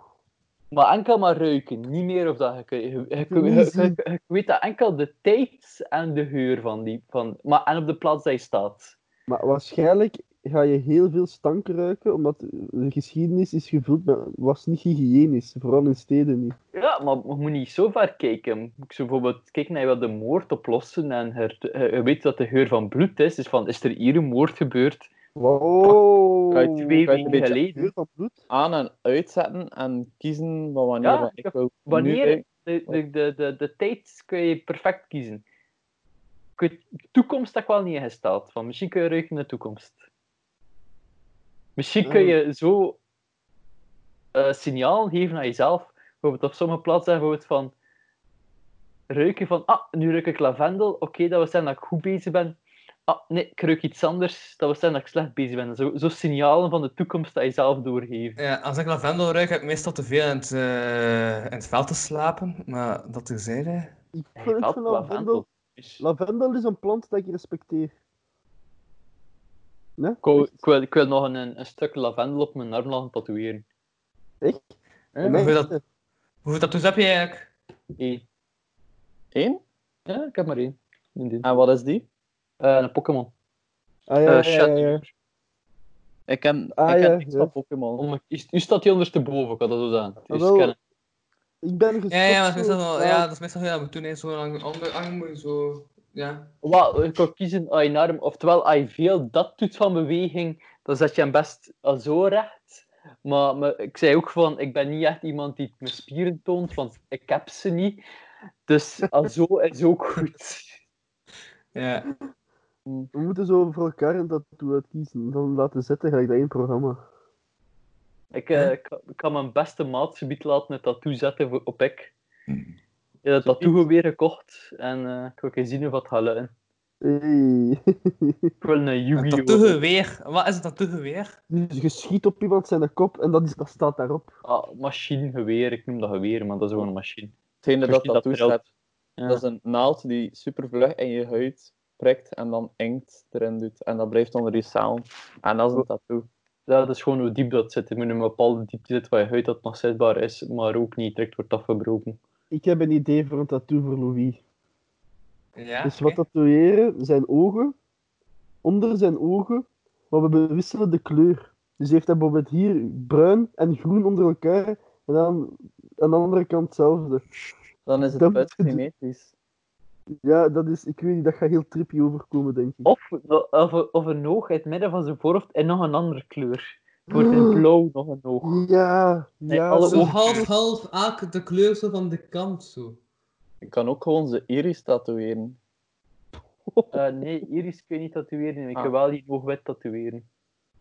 Speaker 5: Maar enkel maar ruiken, niet meer of dat. Je, kun- je, je, kun- je,
Speaker 3: Niet zien.
Speaker 5: je- je weet dat enkel de tijd en de geur van die. Van, maar, en op de plaats dat je staat.
Speaker 3: Maar waarschijnlijk ga je heel veel stank ruiken, omdat de geschiedenis is gevuld met... was niet hygiënisch, vooral in steden niet.
Speaker 5: Ja, maar je moet niet zo ver kijken. Je Moet zo bijvoorbeeld kijken naar je wil de moord oplossen en je, je- je weet dat de geur van bloed is. Dus van, is er hier een moord gebeurd?
Speaker 3: Wow!
Speaker 6: Kan je
Speaker 5: Twee
Speaker 6: kan je
Speaker 5: weken
Speaker 6: een beetje
Speaker 5: geleden.
Speaker 3: Geur van bloed?
Speaker 6: Aan- en uitzetten en kiezen van wanneer
Speaker 5: Ja,
Speaker 6: want ik
Speaker 5: ik-
Speaker 6: wil nu
Speaker 5: Wanneer?
Speaker 6: uit-
Speaker 5: De, de, de, de, de tijd kun je perfect kiezen. Ik weet- de toekomst heb ik wel niet ingesteld. Van, misschien kun je ruiken naar de toekomst. Misschien kun
Speaker 3: Ehm.
Speaker 5: je zo eh signaal geven aan jezelf. Bijvoorbeeld op sommige plaatsen bijvoorbeeld van ruiken van ah, nu ruik ik lavendel. Oké, dat we zijn dat ik goed bezig ben. Ah, nee, ik ruik iets anders. Dat we zijn dat ik slecht bezig ben. Zo, zo signalen van de toekomst dat je zelf doorgeeft.
Speaker 4: Ja, als ik lavendel ruik, heb ik meestal te veel in het, eh, in het veld te slapen. Maar dat terzijde.
Speaker 3: Ik
Speaker 5: Hey,
Speaker 3: vind
Speaker 5: wat?
Speaker 3: het van lavendel. Lavendel is een plant dat ik respecteer. Nee?
Speaker 5: Ik wil, ik wil, ik wil nog een, een stuk lavendel op mijn arm laten tatoeëren.
Speaker 3: Echt?
Speaker 6: Ja,
Speaker 3: Bij mij
Speaker 4: hoeveel
Speaker 3: is
Speaker 4: dat-
Speaker 3: het-
Speaker 4: Hoeveel tattoos heb je eigenlijk?
Speaker 5: Eén.
Speaker 6: Eén?
Speaker 5: Ja, ik heb maar één. Een, ding.
Speaker 6: En wat is die?
Speaker 5: Eh, een Pokémon.
Speaker 3: Ah,
Speaker 5: Eh,
Speaker 3: ja, ja, ja, ja.
Speaker 5: Shadowr.
Speaker 6: Ik ken,
Speaker 3: Ah,
Speaker 6: ik ken
Speaker 3: ja,
Speaker 6: niks
Speaker 3: ja.
Speaker 6: van Pokémon.
Speaker 5: Om- Oh is- U staat hier ondersteboven, ik had dat zo gedaan. Het is
Speaker 3: Jawel.
Speaker 5: kennen.
Speaker 3: Ik ben gestopt.
Speaker 4: Ja, ja, maar dat
Speaker 3: zo
Speaker 4: is meestal wel,
Speaker 3: vaak.
Speaker 4: ja, dat is meestal heel aan doen. Zo lang onder arm moet je zo. Ja.
Speaker 5: Wel, je kan kiezen aan je arm. Oftewel, als je veel dat doet van beweging, dan zet je hem best al zo recht. Maar, maar ik zei ook van, ik ben niet echt iemand die mijn spieren toont, want ik heb ze niet. Dus al zo is ook goed.
Speaker 4: ja.
Speaker 3: We moeten zo voor elkaar een tattoo uitkiezen. Dan laten zetten, ga ik dat in het programma.
Speaker 5: Ik, eh, ik, ik kan mijn beste maatgebied laten het tattoo zetten voor- op ik. Ik heb dat tattoo weer gekocht en eh, ik wil eens zien of dat gaat lukken.
Speaker 3: Hey. (laughs)
Speaker 5: Ik wil een
Speaker 4: Een
Speaker 5: Yu-Gi-Oh!
Speaker 4: tattoogeweer. Wat is een tattoogeweer?
Speaker 3: dus je schiet op iemand zijn kop en dat, is, dat staat daarop.
Speaker 5: Ah, machinegeweer, ik noem dat geweer, maar dat is gewoon een machine.
Speaker 6: Hetgene dat
Speaker 5: Misschien
Speaker 6: dat
Speaker 5: dat
Speaker 6: toestaat,
Speaker 5: Ja.
Speaker 6: dat is een naald die super vlug in je huid prikt en dan inkt erin doet. En dat blijft onder je saal. En dat is een tattoo.
Speaker 5: Ja, dat is gewoon hoe diep dat zit. Je moet in een bepaalde diepte zitten waar je huid dat nog zichtbaar is, maar ook niet direct wordt afgebroken.
Speaker 3: Ik heb een idee voor een tattoo voor Louis.
Speaker 5: Ah,
Speaker 4: Ja.
Speaker 3: dus
Speaker 4: oké.
Speaker 3: wat tatoeëren, zijn ogen. Onder zijn ogen. Maar we bewisselen de kleur. Dus hij heeft hij bijvoorbeeld hier bruin en groen onder elkaar. En dan aan de andere kant hetzelfde.
Speaker 6: Dan is het
Speaker 3: Dat-
Speaker 6: buiten symmetrisch.
Speaker 3: Ja, dat is, ik weet niet, dat gaat heel trippy overkomen, denk ik.
Speaker 5: Of, of, of een oog in het midden van zijn voorhoofd en nog een andere kleur. Wordt in blauw nog een oog.
Speaker 3: Ja,
Speaker 5: Oh. Nee,
Speaker 3: ja.
Speaker 5: alle
Speaker 3: zo-
Speaker 4: Zo
Speaker 5: ogen-
Speaker 4: half-half, elk de kleur zo van de kant zo.
Speaker 6: Ik kan ook gewoon zijn iris tatoeëren.
Speaker 5: Eh, nee, Iris kun je niet tatoeëren. Ik
Speaker 6: Ah.
Speaker 5: kan wel die oogwit tatoeëren.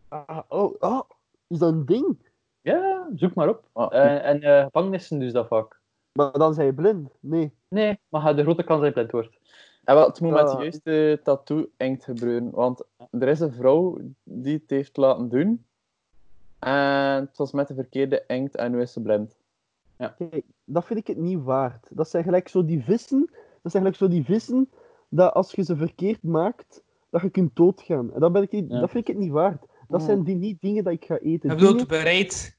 Speaker 3: Ah, oh, ah, is dat een ding?
Speaker 5: Ja, zoek maar op.
Speaker 6: Ah,
Speaker 5: Eh, en eh, gevangenissen dus dat vaak.
Speaker 3: Maar dan zijn je blind. Nee.
Speaker 5: Nee, maar je de grote kans dat je blind wordt.
Speaker 6: En wel, het moet met de
Speaker 3: Ah.
Speaker 6: juiste tattoo-inkt gebeuren. Want er is een vrouw die het heeft laten doen. En het was met de verkeerde inkt en nu is ze blind.
Speaker 3: Kijk, dat vind ik het niet waard. Dat zijn gelijk zo die vissen. Dat zijn gelijk zo die vissen dat als je ze verkeerd maakt, dat je kunt doodgaan. En dat, ben ik, niet-
Speaker 5: Ja.
Speaker 3: dat vind ik het niet waard. Dat
Speaker 6: Mm.
Speaker 3: zijn die niet dingen dat ik ga eten.
Speaker 4: Ik bedoel,
Speaker 3: Dingen-
Speaker 4: bereid.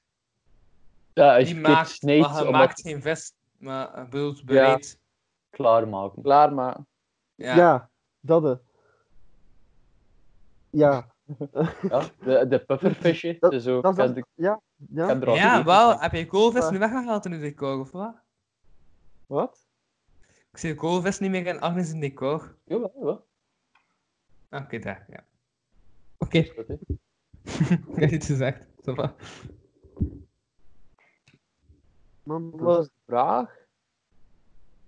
Speaker 5: Ja, als
Speaker 4: Die
Speaker 5: je
Speaker 4: maakt,
Speaker 5: het snijdt,
Speaker 4: maar je
Speaker 5: omdat
Speaker 4: maakt geen vest. Maar ik bedoel, bereid.
Speaker 5: klaarmaken.
Speaker 6: Klaarmaken.
Speaker 4: Ja.
Speaker 3: ja. dat eh. Ja,
Speaker 5: Ja, de, de puffervisje.
Speaker 3: Dat-
Speaker 5: dus ook,
Speaker 3: dat is
Speaker 5: ik heb
Speaker 3: dat. Ja, ja.
Speaker 5: de- ik heb er al
Speaker 4: Ja,
Speaker 5: gegeten.
Speaker 4: wel. Heb je koolvis
Speaker 3: Maar-
Speaker 4: nu weggehaald in uw decor, of wat?
Speaker 3: Wat?
Speaker 4: Ik zie koolvis niet meer in Agnes in decor.
Speaker 5: Jawel, jawel.
Speaker 4: Ah, Oké, daar, ja. Oké, ik
Speaker 5: Goed, hè.
Speaker 4: (laughs) heb iets gezegd. Ça va.
Speaker 3: Man,
Speaker 6: Wat was de vraag?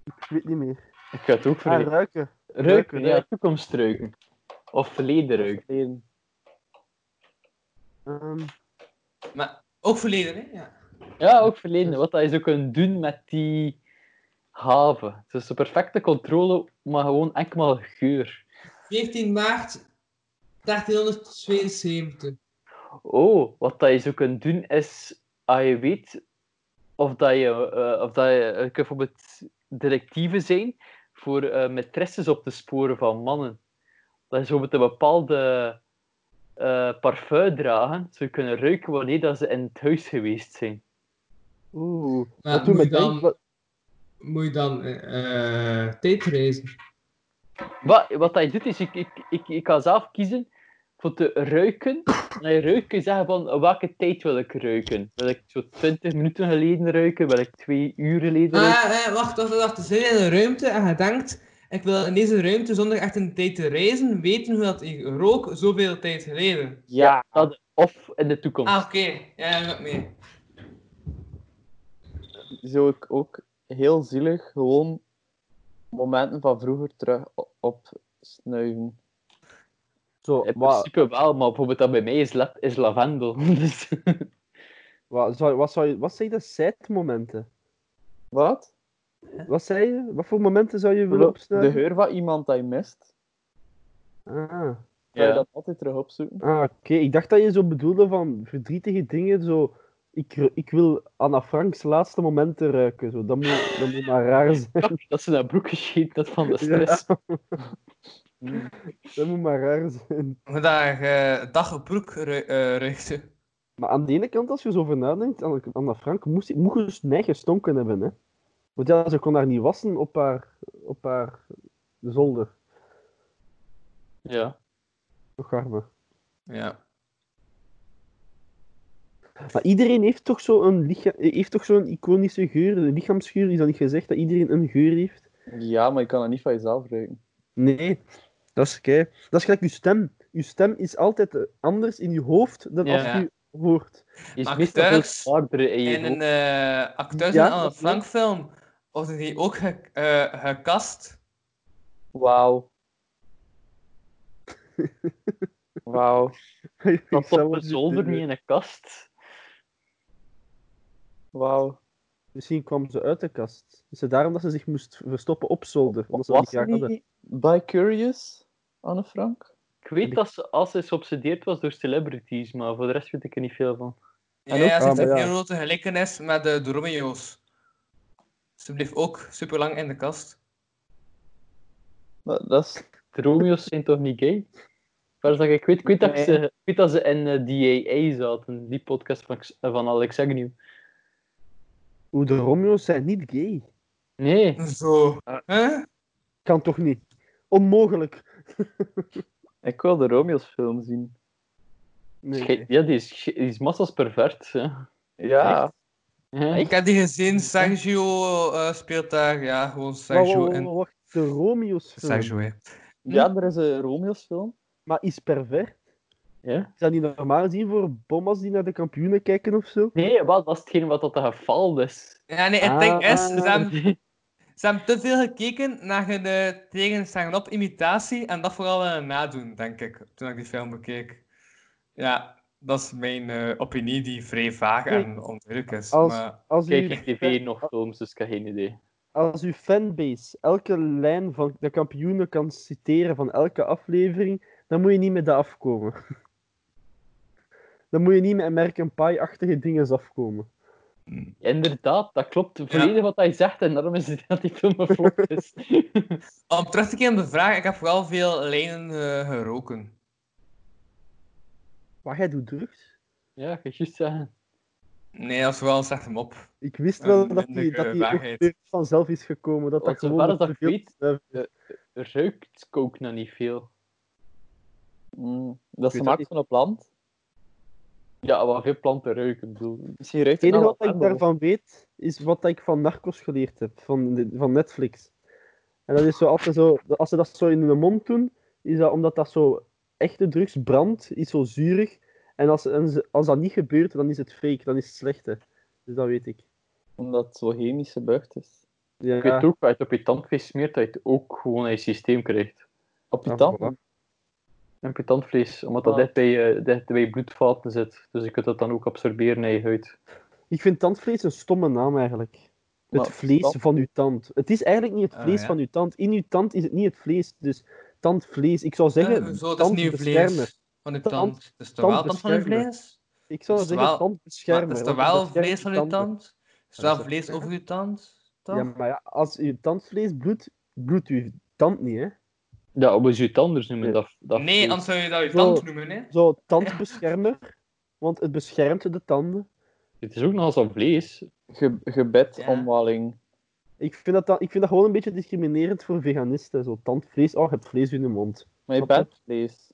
Speaker 3: ik weet niet meer.
Speaker 5: Ik ga het ook
Speaker 3: Ah,
Speaker 5: vergeten.
Speaker 3: ruiken.
Speaker 5: Ruiken, ja,
Speaker 3: ruiken.
Speaker 5: toekomst ruiken. Of verleden ruiken.
Speaker 6: Verleden.
Speaker 3: Ehm,
Speaker 4: Maar ook verleden, hè? Ja.
Speaker 5: Ja, ook verleden. Wat dat je zo kunt doen met die haven. Dus de perfecte controle, maar gewoon enkel maar geur.
Speaker 4: 14 maart 1372.
Speaker 5: Oh, wat dat je zo kunt doen is, als je weet of dat je, eh, of dat je, het kan bijvoorbeeld directieven zijn voor eh maîtresses op te sporen van mannen. Dat je zo met een bepaalde eh, parfum dragen, ze kunnen ruiken wanneer dat ze in het huis geweest zijn.
Speaker 3: Oeh.
Speaker 4: Maar
Speaker 3: dat doet
Speaker 4: moet
Speaker 3: me
Speaker 4: je dan-
Speaker 3: denken. wat-
Speaker 4: Moet je dan eh eh, tijdreizen?
Speaker 5: Wat, wat dat je doet, is ik, ik, ik, ik kan zelf kiezen voor te ruiken. En je ruikt kun je zeggen van welke tijd wil ik ruiken. Wil ik zo 20 minuten geleden ruiken? Wil ik twee uur geleden ruiken?
Speaker 4: Ah, eh, wacht, wacht, wacht. Er zit in een ruimte en je denkt, ik wil in deze ruimte zonder echt een tijd te reizen weten hoe dat ik rook zoveel tijd geleden.
Speaker 6: Ja.
Speaker 5: Dat, of in de toekomst.
Speaker 4: Ah, oké. Ja, dat mee.
Speaker 6: Zou ik ook heel zielig gewoon momenten van vroeger terug o- opsnuiven.
Speaker 3: Zo,
Speaker 5: In
Speaker 3: wat,
Speaker 5: principe wel, maar bijvoorbeeld dat bij mij is, la- is lavendel. (laughs) Dus,
Speaker 3: wat, zou- wat, zou je- wat zijn de setmomenten?
Speaker 6: Wat?
Speaker 3: Wat zei je? Wat voor momenten zou je willen
Speaker 6: De
Speaker 3: opsnuiven?
Speaker 6: geur van iemand dat je mist,
Speaker 3: Ah,
Speaker 6: ga je
Speaker 5: ja.
Speaker 6: dat altijd terug opzoeken.
Speaker 3: ah oké. Ik dacht dat je zo bedoelde van verdrietige dingen, zo... Ik, ru- ik wil Anna Franks laatste momenten ruiken. Zo. Dat, moet, dat moet maar raar (laughs) zijn.
Speaker 5: (laughs) dat ze naar broek gescheten dat van de stress.
Speaker 3: Dat moet maar raar zijn.
Speaker 4: Vandaag eh dag op broek ru- eh, ruikte.
Speaker 3: Maar aan de ene kant, als je zo over nadenkt, Anne- Anna Frank moest, moest dus neig gestonken hebben. Hè? Want ja, ze kon haar niet wassen op haar, op haar zolder.
Speaker 5: Ja.
Speaker 3: Toch arme.
Speaker 4: Ja.
Speaker 3: Maar iedereen heeft toch zo'n licha- heeft toch zo'n iconische geur, de lichaamsgeur. Is dat niet gezegd dat iedereen een geur heeft?
Speaker 6: Ja, maar je kan dat niet van jezelf ruiken.
Speaker 3: Nee, dat is kei. Dat is gelijk je stem. Je stem is altijd eh, anders in je hoofd dan als
Speaker 5: Ja.
Speaker 3: je hoort. (laughs)
Speaker 5: Je is
Speaker 4: Maar
Speaker 5: meestal veel
Speaker 4: thuis-
Speaker 5: zwaarder in je
Speaker 4: In
Speaker 5: hoofd.
Speaker 4: een eh acteurs
Speaker 3: Ja,
Speaker 4: en Anne
Speaker 3: dat
Speaker 4: Frank film worden die ook ge- eh, gekast.
Speaker 3: (laughs)
Speaker 6: Wauw. Wauw.
Speaker 5: Dat
Speaker 3: Ik zou
Speaker 5: op
Speaker 3: het
Speaker 5: een
Speaker 3: niet
Speaker 5: zolder,
Speaker 3: durven.
Speaker 5: niet in een kast.
Speaker 6: Wauw.
Speaker 3: Misschien kwam ze uit de kast. Dus daarom dat ze zich moest verstoppen op zolder. Omdat ze dat niet
Speaker 6: Was
Speaker 3: graag hadden.
Speaker 6: die by Curious, Anne Frank?
Speaker 5: Ik weet dat ze, als ze geobsedeerd was door celebrities, maar voor de rest weet ik er niet veel van.
Speaker 4: Ja,
Speaker 6: En ook-
Speaker 4: ja, ze
Speaker 3: Ah,
Speaker 4: heeft
Speaker 3: maar
Speaker 4: een
Speaker 3: ja.
Speaker 4: grote gelijkenis met de, de Romeo's. Ze bleef ook super lang in de kast.
Speaker 6: Dat, dat is...
Speaker 5: De Romeo's zijn toch niet gay? Waar dat ik, ik weet, ik weet dat
Speaker 3: Nee.
Speaker 5: ze, ik weet dat ze in eh, DAA zaten, die podcast van, X- van Alex Agnew.
Speaker 3: Oeh, de Romeo's zijn niet gay.
Speaker 5: Nee,
Speaker 4: Zo. Huh?
Speaker 3: Kan toch niet? Onmogelijk.
Speaker 6: Ik wil de Romeo's film zien.
Speaker 3: Nee.
Speaker 5: Schei- ja, die is, die is massas pervert. Hè.
Speaker 6: Ja.
Speaker 5: Ja.
Speaker 4: Ik heb die gezien, Sergio eh, speelt daar. Ja, gewoon
Speaker 3: Wacht,
Speaker 4: Sergio.
Speaker 3: wacht,
Speaker 4: en...
Speaker 3: wacht, wacht. De Romeo's film.
Speaker 4: Sergio, hè.
Speaker 6: Ja, er is een Romeo's film.
Speaker 3: Maar is pervert?
Speaker 5: Ja?
Speaker 3: Is dat niet normaal zien voor bommers die naar de kampioenen kijken of zo?
Speaker 5: Nee, wat, dat is hetgeen wat dat het geval is.
Speaker 4: Ja, nee, het ding is, ze
Speaker 5: (laughs)
Speaker 4: hebben,
Speaker 5: Ah.
Speaker 4: ze hebben te veel gekeken naar hun eh, tegenstander op imitatie en dat vooral eh, nadoen, denk ik, toen ik die film bekeek. Ja, dat is mijn eh, opinie die vrij vaag en onduidelijk is.
Speaker 3: Als-
Speaker 4: Maar...
Speaker 3: Als
Speaker 5: Kijk
Speaker 3: u,
Speaker 5: ik tv nog films, dus ik heb geen idee.
Speaker 3: als uw fanbase elke lijn van de kampioenen kan citeren van elke aflevering, dan moet je niet met dat afkomen. (laughs) Dan moet je niet met American Pie-achtige dingen afkomen.
Speaker 5: Inderdaad, dat klopt volledig wat hij zegt en daarom is het (laughs) dat die film een flop
Speaker 3: (laughs)
Speaker 5: is.
Speaker 4: Om terug te keren op de vraag, ik heb vooral veel lijnen eh, geroken.
Speaker 3: Maar jij doet drugs?
Speaker 5: ja, ik ga juist zeggen.
Speaker 4: Nee, dat is vooral een slechte mop.
Speaker 3: Ik wist
Speaker 4: Een
Speaker 3: wel dat die,
Speaker 4: minderlijke
Speaker 3: dat die
Speaker 4: waarheid.
Speaker 3: auteur vanzelf is gekomen. Dat dat
Speaker 5: Want
Speaker 3: gewoon
Speaker 5: zover
Speaker 3: nog
Speaker 5: als dat
Speaker 3: te
Speaker 5: ik
Speaker 3: veel
Speaker 5: weet-
Speaker 3: te zuiver is. eh,
Speaker 5: Ruikt kook nog niet veel?
Speaker 6: Mm,
Speaker 3: weet
Speaker 6: dat is de
Speaker 3: dat
Speaker 6: maak
Speaker 3: niet.
Speaker 6: van een plant.
Speaker 5: Ja, wat veel planten ruiken, ik bedoel.
Speaker 6: Misschien ruikt
Speaker 3: Het
Speaker 6: het
Speaker 3: enige
Speaker 6: nou
Speaker 3: wat ik daarvan weet, is wat ik van Narcos geleerd heb, van, de- van Netflix. En dat is zo altijd zo, als ze dat zo in hun mond doen, is dat omdat dat zo echte drugs brandt, is zo zuurig. En als, en ze- als dat niet gebeurt, dan is het fake, dan is het slechte. Dus dat weet ik.
Speaker 6: Omdat het zo chemische bucht is.
Speaker 3: Ja,
Speaker 5: Ik weet ook, als je het op je tandvlees smeert, dat je het ook gewoon in je systeem krijgt.
Speaker 6: Op je
Speaker 3: Ah,
Speaker 6: tanden.
Speaker 5: En Op je tandvlees, omdat dat
Speaker 6: Ah.
Speaker 5: dicht bij je, dicht bij je bloedvaten zit. Dus je kunt dat dan ook absorberen in je huid.
Speaker 3: Ik vind tandvlees een stomme naam eigenlijk. Het
Speaker 6: Maar
Speaker 3: vlees
Speaker 6: tand-
Speaker 3: van uw tand. Het is eigenlijk niet het
Speaker 4: Ah,
Speaker 3: vlees
Speaker 4: ja.
Speaker 3: van uw tand. In uw tand is het niet het vlees, dus tandvlees. Ik zou zeggen,
Speaker 4: Eh, zo, dat is nieuw
Speaker 3: tandbeschermer.
Speaker 4: vlees van uw
Speaker 3: Tand-
Speaker 4: tand. Dat is toch wel tand van uw
Speaker 3: tandbeschermer.
Speaker 4: vlees?
Speaker 3: Ik zou
Speaker 4: Is er
Speaker 3: zeggen
Speaker 4: wel-
Speaker 3: tandbeschermer.
Speaker 4: Maar is er
Speaker 3: want
Speaker 4: wel
Speaker 3: beschermt
Speaker 4: vlees van
Speaker 3: je
Speaker 4: uw
Speaker 3: tanden.
Speaker 4: tand? Is
Speaker 3: Dat
Speaker 4: er wel
Speaker 3: is toch-
Speaker 4: vlees over uw tand? Toch?
Speaker 3: Ja, maar ja, als je tandvlees bloedt, bloedt je tand niet, hè.
Speaker 5: Ja, op je tanders noemen
Speaker 3: Ja.
Speaker 5: dat, dat
Speaker 4: nee,
Speaker 5: vlees.
Speaker 4: anders zou je dat je
Speaker 3: Zo.
Speaker 4: tand noemen, hè?
Speaker 3: Zo, tandbeschermer, want het beschermt de tanden.
Speaker 5: Het is ook nogal zo'n vlees.
Speaker 6: Ge gebed,
Speaker 4: Ja.
Speaker 6: omwaling.
Speaker 3: Ik vind dat, dan, ik vind dat gewoon een beetje discriminerend voor veganisten. Zo, tandvlees, oh, je hebt vlees in je mond.
Speaker 6: Maar je
Speaker 3: Snap je?
Speaker 6: bent vlees.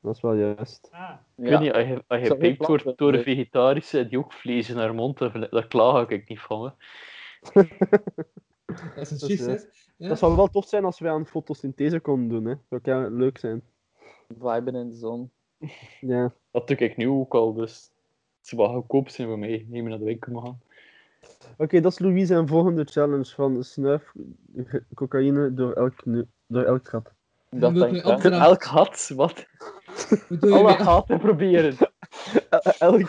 Speaker 3: Dat is wel juist.
Speaker 5: Ik
Speaker 6: Ja.
Speaker 5: weet niet, als je, als je
Speaker 6: Zou geen
Speaker 5: beet wordt
Speaker 6: plant-
Speaker 5: door een vegetarische die ook vlees in haar mond heeft, daar klaag ik niet van. Hè.
Speaker 4: Dat is
Speaker 3: Dat
Speaker 4: een
Speaker 3: is,
Speaker 4: juist, hè? Ja.
Speaker 3: Dat zou wel tof zijn als wij aan fotosynthese konden doen, hè. Dat zou leuk zijn.
Speaker 6: Viben in de zon.
Speaker 3: Ja.
Speaker 5: Dat doe ik nu ook al, dus ze mag goedkoop zijn voor mij. Neem me naar de winkel maar gaan.
Speaker 3: Oké, dat is Louis zijn volgende challenge van snuif ge- cocaïne door elk, nu- door elk gat.
Speaker 6: Dat
Speaker 4: Moet
Speaker 6: denk
Speaker 4: je
Speaker 6: ik. Oh, wel.
Speaker 4: opdra- Ja.
Speaker 5: Elk had, wat?
Speaker 4: Hoe doe
Speaker 5: Alle
Speaker 4: je mee-
Speaker 5: gaten proberen.
Speaker 3: Elk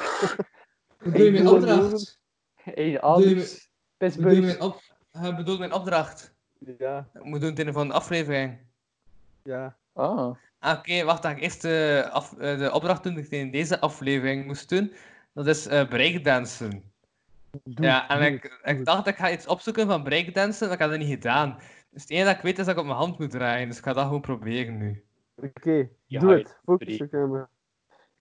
Speaker 4: hoe doe je
Speaker 3: doe
Speaker 4: mijn
Speaker 3: een
Speaker 4: opdracht?
Speaker 5: Hey,
Speaker 4: Doe-
Speaker 5: Alex,
Speaker 4: Hoe doe je
Speaker 5: Pittsburgh.
Speaker 4: mijn op... Hij bedoelt mijn opdracht.
Speaker 3: Ja,
Speaker 4: Ik moet doen het in de volgende aflevering.
Speaker 3: ja.
Speaker 6: Ah,
Speaker 4: Ah, Oké, wacht, dan ga ik eerst de, af, eh, de opdracht doen die ik in deze aflevering moest doen. Dat is eh breakdansen.
Speaker 3: Doe
Speaker 4: ja,
Speaker 3: het,
Speaker 4: en
Speaker 3: doe
Speaker 4: ik,
Speaker 3: het, doe
Speaker 4: ik
Speaker 3: het.
Speaker 4: dacht, ik ga iets opzoeken van breakdansen, dat ik had dat niet gedaan. Dus het enige dat ik weet is dat ik op mijn hand moet draaien, dus ik ga dat gewoon proberen nu.
Speaker 3: Oké,
Speaker 5: Ja,
Speaker 3: doe
Speaker 5: je
Speaker 3: het. Focus
Speaker 5: drie.
Speaker 3: je camera.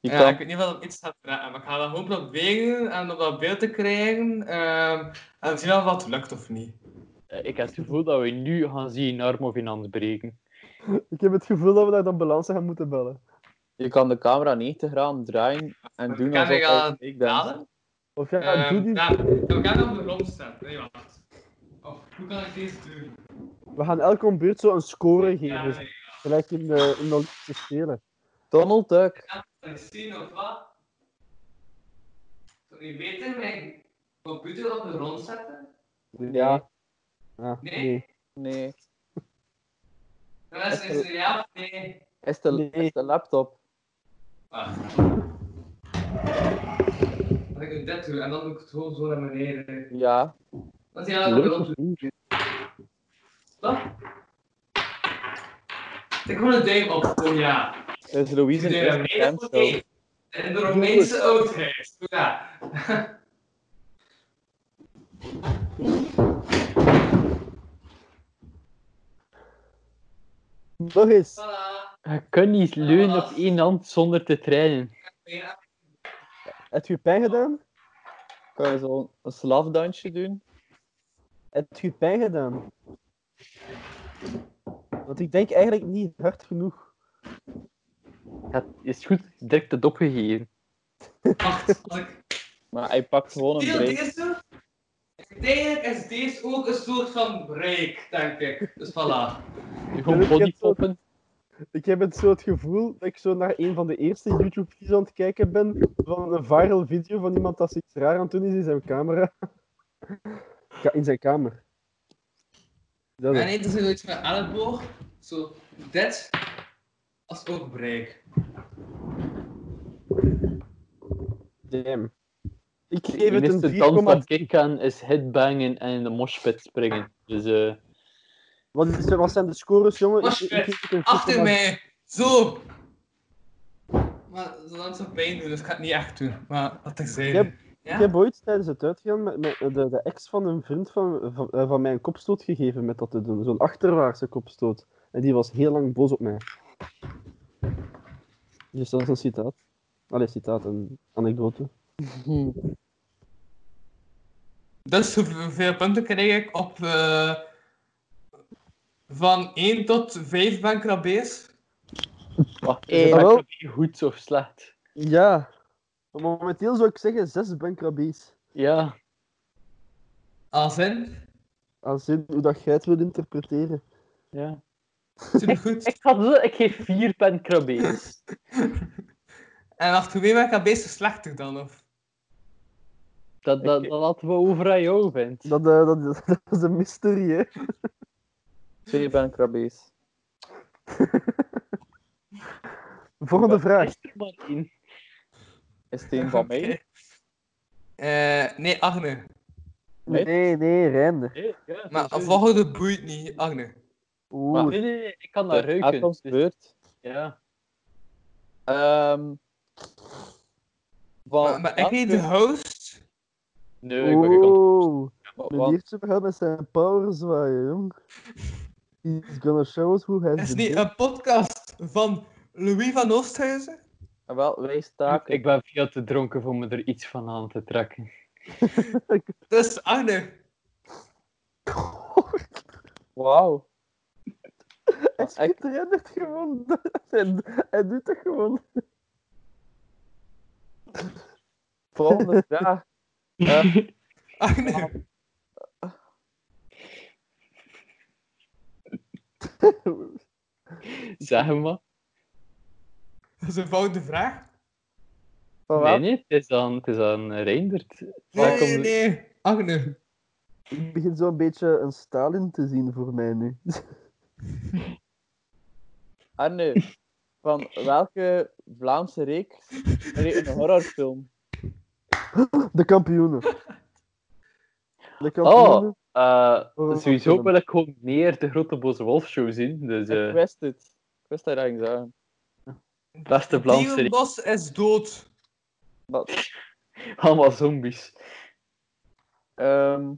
Speaker 6: je
Speaker 4: ja,
Speaker 6: kan...
Speaker 4: ik weet niet of ik iets ga draaien, maar ik ga dat gewoon proberen en op dat beeld te krijgen. ehm, en zien of dat lukt of niet.
Speaker 5: Eh, Ik heb het gevoel dat we nu gaan zien een arm of een hand breken.
Speaker 3: Ik heb het gevoel dat we naar de ambulance gaan moeten bellen.
Speaker 6: Je kan de camera 90 graden draaien en doen
Speaker 4: kan
Speaker 6: alsof
Speaker 4: ik aan
Speaker 6: ik denk.
Speaker 4: Dalen?
Speaker 3: Of ja,
Speaker 4: Ehm,
Speaker 3: doe die...
Speaker 4: ja, ik heb elkaar op de grond staan. Nee, wacht. Oh, hoe kan ik deze doen?
Speaker 3: We gaan elk om beurt zo een score
Speaker 4: Ja,
Speaker 3: geven.
Speaker 4: nee.
Speaker 3: Gelijk in de, in de Olympische Spelen.
Speaker 6: Donald Duck.
Speaker 4: Een scene of wat? Zou je beter mijn computer op de grond zetten?
Speaker 6: Ja.
Speaker 3: Ah,
Speaker 4: Nee.
Speaker 3: nee.
Speaker 6: Nee.
Speaker 4: Dan is het een ja of nee.
Speaker 6: Is de,
Speaker 3: Nee.
Speaker 6: is de laptop.
Speaker 4: Wacht. Als ik nu dit doe en dan doe ik het gewoon zo naar beneden.
Speaker 6: Ja.
Speaker 4: Dan zie je dat ik op de grond doe. Stop. Ik gewoon een duim op, kom ja.
Speaker 6: Is Louise
Speaker 4: De
Speaker 6: een eerste
Speaker 4: Romeinse
Speaker 6: dance
Speaker 4: en de Romeinse oudheid. Ja.
Speaker 3: Nog eens.
Speaker 4: Voilà.
Speaker 5: Je kunt niet leunen op één hand zonder te trainen.
Speaker 4: Ja.
Speaker 3: Heb je pijn gedaan?
Speaker 6: Kan je zo'n een slafdansje doen?
Speaker 3: Heb je pijn gedaan? Want ik denk eigenlijk niet hard genoeg.
Speaker 5: Het is goed, direct het opgegeven.
Speaker 6: (laughs)
Speaker 4: Wacht, als ik
Speaker 6: Maar hij pakt gewoon een
Speaker 4: deel
Speaker 6: break.
Speaker 4: deze. Uiteindelijk is deze
Speaker 6: (laughs)
Speaker 4: ook een soort van break, denk ik. Dus voilà.
Speaker 5: Gewoon bodypoppen.
Speaker 3: Ik heb het zo het gevoel dat ik zo naar een van de eerste YouTube-video's aan het kijken ben van een viral video van iemand dat iets raar aan het doen is in zijn camera. (laughs) Ka- In zijn kamer. Dat
Speaker 4: Ja,
Speaker 3: is-
Speaker 4: Ah, nee, er is zoiets met elleboog. Zo, dit. Als ook break.
Speaker 3: Damn. Ik
Speaker 5: De
Speaker 3: geef het
Speaker 5: eerste dans
Speaker 3: een 4,3.
Speaker 5: dat ik kan is headbangen en in de moshpit springen. Dus eh
Speaker 3: Wat, is- wat zijn de scores, jongen? Ik-
Speaker 4: Was
Speaker 3: ik- ik geef het een
Speaker 4: Achter
Speaker 3: 4,3.
Speaker 4: mij! Zo! Maar zodat ze pijn doen, dus ik ga het niet echt doen. Maar wat ik zei.
Speaker 3: Yep. Ik
Speaker 4: Ja?
Speaker 3: heb ooit tijdens het uitgaan met, met de, de ex van een vriend van, van, eh, van mij een kopstoot gegeven met dat te doen. Zo'n achterwaartse kopstoot. En die was heel lang boos op mij. Dus dat is een citaat. Allee, citaat, een anekdote.
Speaker 4: Dus hoeveel hoeveel punten krijg ik op eh, van 1 tot 5 bankkrabbees?
Speaker 5: wacht, is het
Speaker 3: Eh, wel.
Speaker 5: eigenlijk goed of slecht?
Speaker 3: Ja. Maar momenteel zou ik zeggen zes bankrabies.
Speaker 5: Ja,
Speaker 4: Als in?
Speaker 3: Aanzien hoe dat jij het wil interpreteren.
Speaker 5: ja.
Speaker 4: Supergoed.
Speaker 5: Ik,
Speaker 6: (laughs)
Speaker 5: ga zo, ik geef vier
Speaker 4: (laughs)
Speaker 5: pen krabbees.
Speaker 4: en achter wie ben ik aan bezig slechter dan? Of?
Speaker 5: Dat, dat, dat laten we over aan jou, vindt.
Speaker 3: Dat, eh, dat, (laughs) dat is een mysterie, hè.
Speaker 6: Twee bankrabbees.
Speaker 3: Volgende vraag.
Speaker 5: Is er maar één.
Speaker 6: Is het een van
Speaker 4: (laughs)
Speaker 6: mij?
Speaker 4: Oké. Eh, nee, Agne.
Speaker 6: Nee.
Speaker 3: Nee, nee, Reinder.
Speaker 5: Nee, Eh, ja, dus,
Speaker 4: Maar
Speaker 5: sowieso.
Speaker 4: volgende boeit niet, Agne.
Speaker 3: Oeh.
Speaker 5: Nee, nee, nee, ik kan dat
Speaker 6: De
Speaker 5: ruiken.
Speaker 6: Adams
Speaker 5: Dus,
Speaker 6: beurt.
Speaker 5: ja.
Speaker 6: Ehm,
Speaker 4: Maar,
Speaker 6: van
Speaker 4: maar ik niet de
Speaker 6: welke-
Speaker 4: host.
Speaker 5: Nee, eh, ik ben gekant.
Speaker 3: Oeh.
Speaker 6: van-
Speaker 3: Mijn eerste verhaal met zijn power zwaaien, jong. He's gonna show us who
Speaker 4: Het
Speaker 3: has
Speaker 4: is
Speaker 3: the
Speaker 4: niet
Speaker 3: dick.
Speaker 4: een podcast van Louis van Oosthuizen.
Speaker 6: Ah, Wel, wij staken.
Speaker 5: Ik ben veel te dronken om me er iets van aan te trekken. (laughs)
Speaker 4: Dus Agne. (laughs)
Speaker 6: Wauw.
Speaker 3: Hij schiet Rennet gewoon. (laughs) En hij doet dat gewoon.
Speaker 6: Volgende vraag.
Speaker 4: Agne.
Speaker 5: Zeg maar.
Speaker 4: Dat is een foute vraag.
Speaker 3: Van
Speaker 5: Nee,
Speaker 3: wat?
Speaker 5: nee, het is aan, het is aan Reindert. Waar
Speaker 4: Nee,
Speaker 5: komt-
Speaker 4: nee. Agne.
Speaker 3: Ik begin zo'n beetje een Stalin te zien voor mij nu. (laughs)
Speaker 6: Arne, van welke Vlaamse reeks reed een
Speaker 5: (laughs)
Speaker 6: horrorfilm?
Speaker 3: De kampioenen. De kampioenen.
Speaker 5: Oh, eh,
Speaker 3: Oh,
Speaker 5: sowieso
Speaker 3: film.
Speaker 5: wil ik gewoon meer de Grote Boze Wolf show zien. Dus
Speaker 6: Ik
Speaker 5: eh
Speaker 6: wist het. Ik wist dat je dat ging zeggen.
Speaker 5: beste Vlaamse reeks,
Speaker 4: Bos is dood.
Speaker 6: Dat,
Speaker 5: allemaal zombies.
Speaker 6: ehm,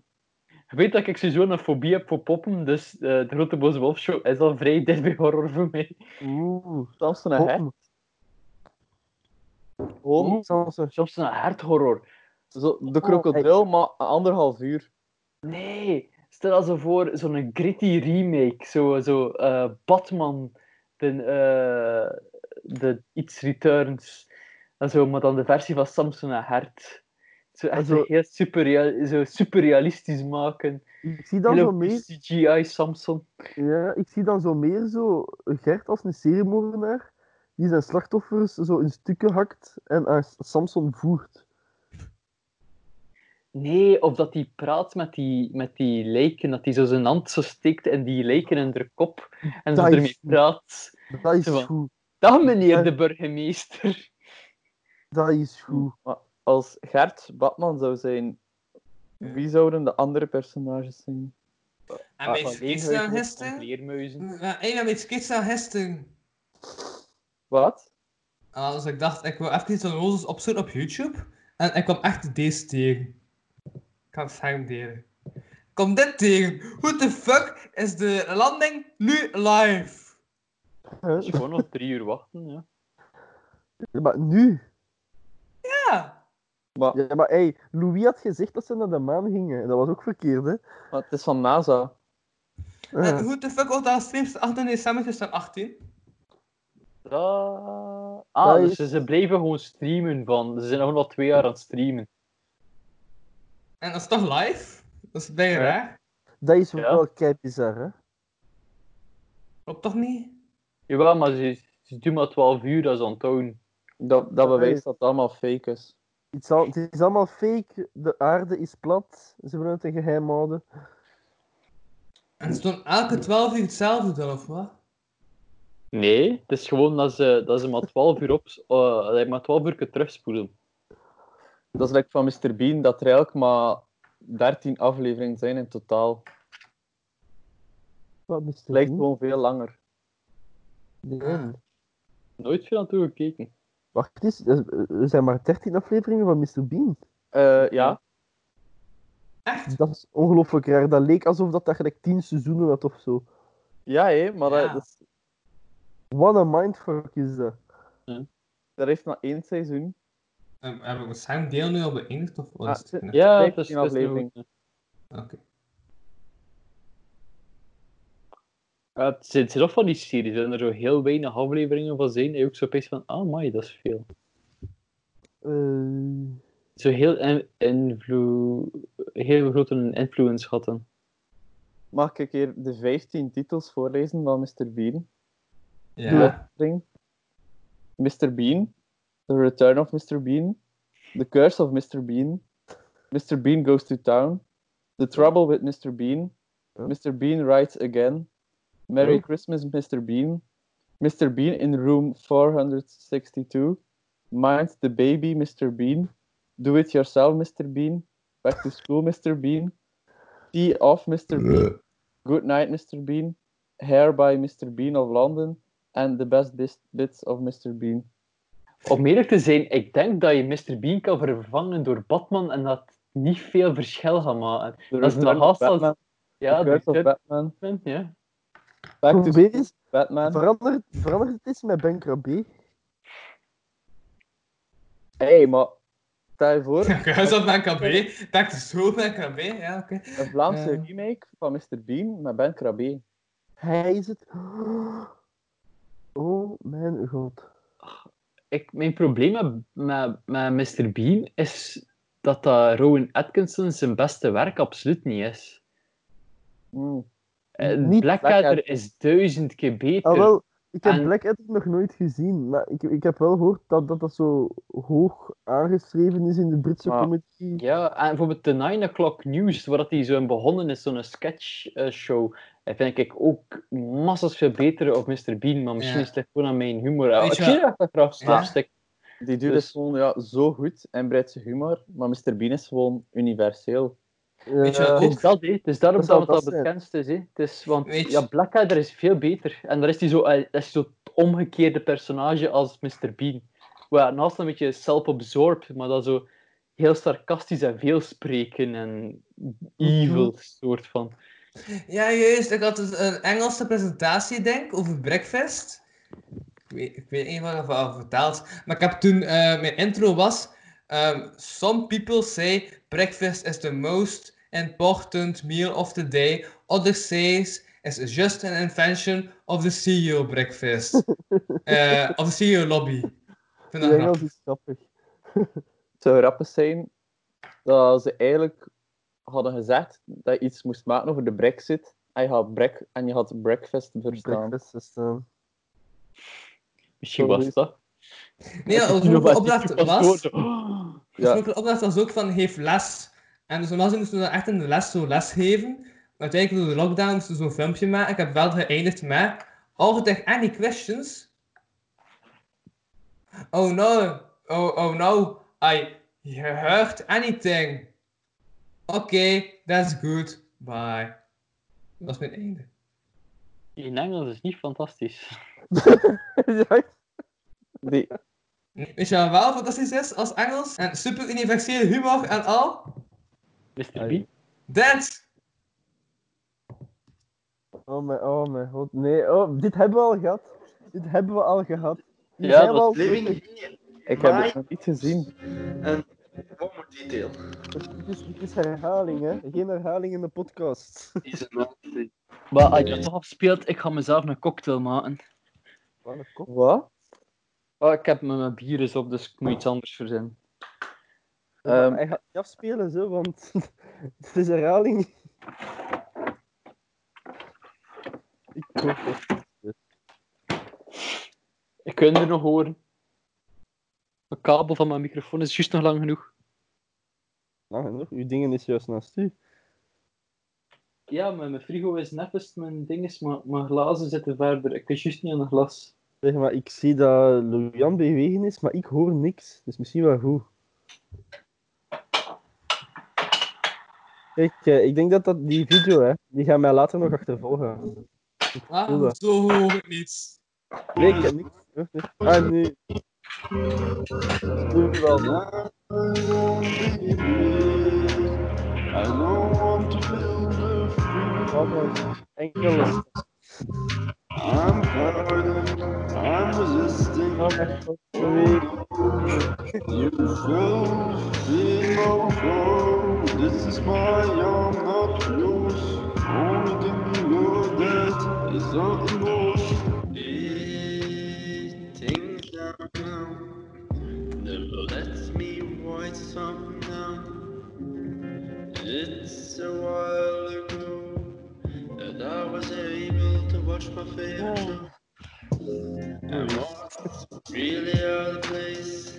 Speaker 5: Je weet dat ik sowieso een fobie heb voor poppen, dus eh, de Grote Boze Wolf show is al vrij (laughs) dicht bij horror voor mij.
Speaker 3: Oeh.
Speaker 6: Samson en Hert.
Speaker 3: Poppen.
Speaker 6: Gewoon
Speaker 3: Sansa.
Speaker 5: Soms een harthorror.
Speaker 6: zo,
Speaker 3: Oh,
Speaker 6: de krokodil, maar een anderhalf uur.
Speaker 5: Nee, stel ze voor zo'n gritty remake, zo, zo eh, Batman, de, eh, de iets Returns, en zo, maar dan de versie van Samson en Hert. Zo echt
Speaker 3: zo-
Speaker 5: zo... heel superreal, zo superrealistisch maken.
Speaker 3: Ik zie dan
Speaker 5: Hele
Speaker 3: zo meer.
Speaker 5: CGI Samson.
Speaker 3: Ja, ik zie dan zo meer zo Gert als een seriemoordenaar die zijn slachtoffers zo in stukken hakt en aan Samson voert.
Speaker 5: Nee, of dat hij praat met die, met die lijken, dat hij zo zijn hand zo steekt en die lijken in haar kop en zo
Speaker 3: Dat is
Speaker 5: ermee
Speaker 3: goed.
Speaker 5: praat.
Speaker 3: Dat is
Speaker 5: Zo van.
Speaker 3: goed.
Speaker 5: Dag meneer
Speaker 3: Ja.
Speaker 5: de burgemeester.
Speaker 3: Dat is goed.
Speaker 6: Maar als Gert Batman zou zijn, wie zouden de andere personages zijn? Ah,
Speaker 4: En met skitsen aan
Speaker 5: Van
Speaker 4: gisteren?
Speaker 5: vleermuizen.
Speaker 4: Eén met skitsen aan gisteren.
Speaker 6: Wat?
Speaker 4: Ah, dus ik dacht, ik wil even iets van Roses opzoeken op YouTube. En ik kwam echt deze tegen. Ik ga het scherm delen. Ik kwam dit tegen. Hoe the fuck is de landing nu live?
Speaker 5: Dat is gewoon nog drie uur wachten, ja.
Speaker 3: Ja, maar nu.
Speaker 4: Ja.
Speaker 6: Maar,
Speaker 3: Ja, maar hey, Louis had gezegd dat ze naar de maan gingen. Dat was ook verkeerd, hè? Eh,
Speaker 6: maar het is van NASA.
Speaker 3: Ja.
Speaker 4: En hoe the fuck wordt dat gestreamd 18 december 2018?
Speaker 5: Da- Ah,
Speaker 3: Dat
Speaker 5: dus ze- ze blijven gewoon streamen van. Ze zijn nog wel twee jaar aan het streamen.
Speaker 4: En dat is toch live? Dat is bijna
Speaker 5: Ja.
Speaker 4: raar.
Speaker 3: Dat is
Speaker 5: Ja.
Speaker 3: wel kei bizar, hè?
Speaker 4: Klopt toch niet?
Speaker 5: Jawel, maar ze, ze doen maar 12 uur, dat is onthouden.
Speaker 6: Dat, dat bewijst dat het allemaal fake is.
Speaker 3: Het is, al- het is allemaal fake. De aarde is plat. Ze willen het een geheim houden.
Speaker 4: En ze doen elke 12 uur hetzelfde dan, of wat?
Speaker 5: Nee, het is gewoon dat ze, dat ze maar 12 uur op, eh, dat je maar 12 uur kunt terugspoelen.
Speaker 6: Dat is like van Mr. Bean, dat er eigenlijk maar 13 afleveringen zijn in totaal.
Speaker 3: Wat is
Speaker 6: Het lijkt gewoon veel langer.
Speaker 3: Nee.
Speaker 5: Nooit veel aan toe gekeken.
Speaker 3: Wacht eens, eh, er zijn maar 13 afleveringen van Mr. Bean.
Speaker 6: Eh, ja,
Speaker 4: Echt?
Speaker 3: Dat is ongelooflijk raar. Dat leek alsof dat, dat gelijk 10 seizoenen had of zo.
Speaker 6: ja hé, maar
Speaker 4: Ja.
Speaker 6: dat, dat, is-
Speaker 3: What a mindfuck is dat.
Speaker 6: dat heeft maar één seizoen.
Speaker 4: Ehm, Heb heb ik mijn scherm deel nu al beëindigd? Of wat
Speaker 6: Ah,
Speaker 4: is het?
Speaker 5: Ja,
Speaker 6: Vijftien
Speaker 5: het is, het is
Speaker 6: afleveringen.
Speaker 5: nog-
Speaker 4: Oké.
Speaker 5: Ja, het zijn het zijn ook van die series, en er zo heel weinig afleveringen van zijn, en je ook zo opeens van, ah, my, dat is veel.
Speaker 3: Eh,
Speaker 5: Zo heel, in, invloe- heel grote influence gehad. dan.
Speaker 6: Mag ik een keer de 15 titels voorlezen van Mr. Bean?
Speaker 4: Ja.
Speaker 6: Ring. Mr. Bean, The Return of Mr. Bean, The Curse of Mr. Bean, Mr. Bean Goes to Town, The Trouble with Mr. Bean,
Speaker 3: Huh?
Speaker 6: Mr. Bean Rides Again, Merry
Speaker 3: Oh.
Speaker 6: Christmas, Mr. Bean, Mr. Bean in Room 462, Mind the Baby, Mr. Bean, Do It Yourself, Mr. Bean, Back to School, Mr. Bean, Tea Off, Mr. Bean, Good Night, Mr. Bean, Hair by Mr. Bean of London, en The Best bis- Bits of Mr. Bean.
Speaker 5: Om eerlijk te zijn, ik denk dat je Mr. Bean kan vervangen door Batman en dat niet veel verschil gaat maken.
Speaker 6: The
Speaker 5: Dat is
Speaker 6: Return
Speaker 5: nog
Speaker 6: of
Speaker 5: haast als-
Speaker 6: Batman,
Speaker 5: Ja,
Speaker 6: The Curse of
Speaker 5: dat
Speaker 6: Batman,
Speaker 5: ja.
Speaker 6: Back to
Speaker 3: Probeer eens,
Speaker 6: Batman.
Speaker 3: verander, verander het eens met Ben Krabbe.
Speaker 6: hey, maar stel
Speaker 5: (laughs)
Speaker 6: je voor,
Speaker 4: Ik huis op mijn KB. Back to school mijn KB. Ja, oké.
Speaker 6: een Vlaamse
Speaker 4: Ja.
Speaker 6: remake van Mr. Bean met Ben Krabbe.
Speaker 3: Hij is het. Oh mijn god.
Speaker 5: Ik, mijn probleem met, met, met Mr. Bean is dat dat Rowan Atkinson zijn beste werk absoluut niet is.
Speaker 6: Hmm.
Speaker 5: Eh,
Speaker 3: Niet
Speaker 5: Blackadder
Speaker 6: Blackadder.
Speaker 5: is duizend keer beter.
Speaker 3: Ah, wel, ik heb
Speaker 5: En-
Speaker 3: Black Adam nog nooit gezien, maar ik, ik heb wel gehoord dat, dat dat zo hoog aangeschreven is in de Britse
Speaker 6: Maar-
Speaker 3: comedy. (laughs)
Speaker 5: Ja, en bijvoorbeeld de 9 o'clock news, waar dat die zo in begonnen is, zo'n sketchshow, dat eh, vind ik ook massas veel beter op Mr. Bean, maar misschien
Speaker 4: Ja.
Speaker 5: is het gewoon aan mijn humor. Eh,
Speaker 4: Weet
Speaker 5: ik
Speaker 4: je
Speaker 5: zie dat dat graag
Speaker 4: Ja.
Speaker 5: slapstick.
Speaker 6: Die dude
Speaker 5: Dus-
Speaker 6: is gewoon ja, zo goed en breidt zijn humor, maar Mr. Bean is gewoon universeel.
Speaker 4: Weet je
Speaker 3: Ja,
Speaker 4: wat
Speaker 5: Het is
Speaker 4: ook?
Speaker 5: dat, hè. Het is daarom
Speaker 3: Dat
Speaker 5: dat,
Speaker 3: zou
Speaker 5: dat
Speaker 3: dat
Speaker 5: het dat
Speaker 3: zijn.
Speaker 5: bekendst is, hè. Het is, want
Speaker 4: Weet je-
Speaker 5: ja, Blackadder is veel beter. En daar is hij zo, eh, dat is zo het omgekeerde personage als Mr. Bean. Waar naast een beetje self-absorbed, maar dat zo heel sarcastisch en veel spreken en evil soort van.
Speaker 4: Ja, juist. Ik had dus een Engelse presentatie, denk ik, over breakfast. Ik weet, ik weet niet wat ik al verteld. Maar ik heb toen... eh, mijn intro was... ehm, Some people say breakfast is the most important meal of the day. Others say it's just an invention of the CEO breakfast. Eh, of the CEO lobby. Ik vind dat
Speaker 3: Die
Speaker 4: grappig.
Speaker 3: Engels is grappig.
Speaker 6: (laughs) Het zou grappig zijn dat ze eigenlijk hadden gezegd dat je iets moest maken over de brexit en je had, brek en je had breakfast verstaan.
Speaker 3: Breakfast is, eh,
Speaker 5: Misschien
Speaker 6: Zo
Speaker 5: was
Speaker 6: is-
Speaker 5: dat.
Speaker 4: Nee, ja,
Speaker 5: Ik
Speaker 4: de
Speaker 5: zie nog wat
Speaker 4: opdracht
Speaker 5: typische
Speaker 4: was...
Speaker 5: paswoorden.
Speaker 4: De oorspronkelijke opdracht was ook van geef les. En dus normaal gezien moesten we dan echt in de les zo les geven. Uiteindelijk door de lockdown moesten we zo'n filmpje maken. Ik heb wel geëindigd met Altijd any questions? Oh no, oh, oh no, I heard anything. Oké, that's good, bye. Dat was mijn einde.
Speaker 5: In Engels is niet fantastisch. (laughs)
Speaker 3: ja,
Speaker 6: Die,
Speaker 4: Weet je wat wel fantastisch is als Engels? En super universele humor en al?
Speaker 5: Mr.
Speaker 3: Ai.
Speaker 5: Bean.
Speaker 4: Dance!
Speaker 3: oh mijn, oh mijn god. Nee, oh, dit hebben we al gehad. Dit hebben we al gehad. Die
Speaker 5: Ja,
Speaker 3: zijn we
Speaker 5: dat
Speaker 3: al-
Speaker 7: Living in
Speaker 6: ik heb
Speaker 7: Maar-
Speaker 6: het nog niet gezien.
Speaker 7: one more detail
Speaker 3: Dit is, dit is herhaling, hè. Geen herhaling in de podcast.
Speaker 7: is another
Speaker 5: Maar als je dat nog afspeelt, ik ga mezelf een cocktail maken.
Speaker 3: Wat een kop.
Speaker 6: Wat?
Speaker 5: Oh, ik heb mijn bier is op, dus ik moet iets anders verzinnen.
Speaker 6: Ehm,
Speaker 3: Hij gaat niet afspelen, zo, want (laughs) het is herhaling. Ik hoop dat.
Speaker 5: Ik kan er nog horen. Mijn kabel van mijn microfoon is juist nog lang genoeg.
Speaker 3: Lang genoeg. Nou, Uw dingen is juist naast u.
Speaker 5: Ja, maar mijn frigo is nefest, mijn ding is, maar mijn glazen zitten verder. Ik kan juist niet aan een glas.
Speaker 3: Zeg maar, ik zie dat Louis bewegen is, maar ik hoor niks. Dus misschien wel goed. Kijk, eh, ik denk dat, dat die video, hè, die gaan mij later nog achtervolgen. Doe
Speaker 4: Ah,
Speaker 3: dat.
Speaker 4: zo hoor ik niets.
Speaker 3: Nee, ik heb niks. gehoord, hè. Ah, nu. Nu wel. Wat een Enkele.
Speaker 1: I'm burning, I'm resisting. You will feel no flow. This is why I'm not loose. Only thing you know that is not emotion.
Speaker 7: Eating down. Never let me write some down. It's a while ago that I was able to watch my favorite show. I'm not really out of place.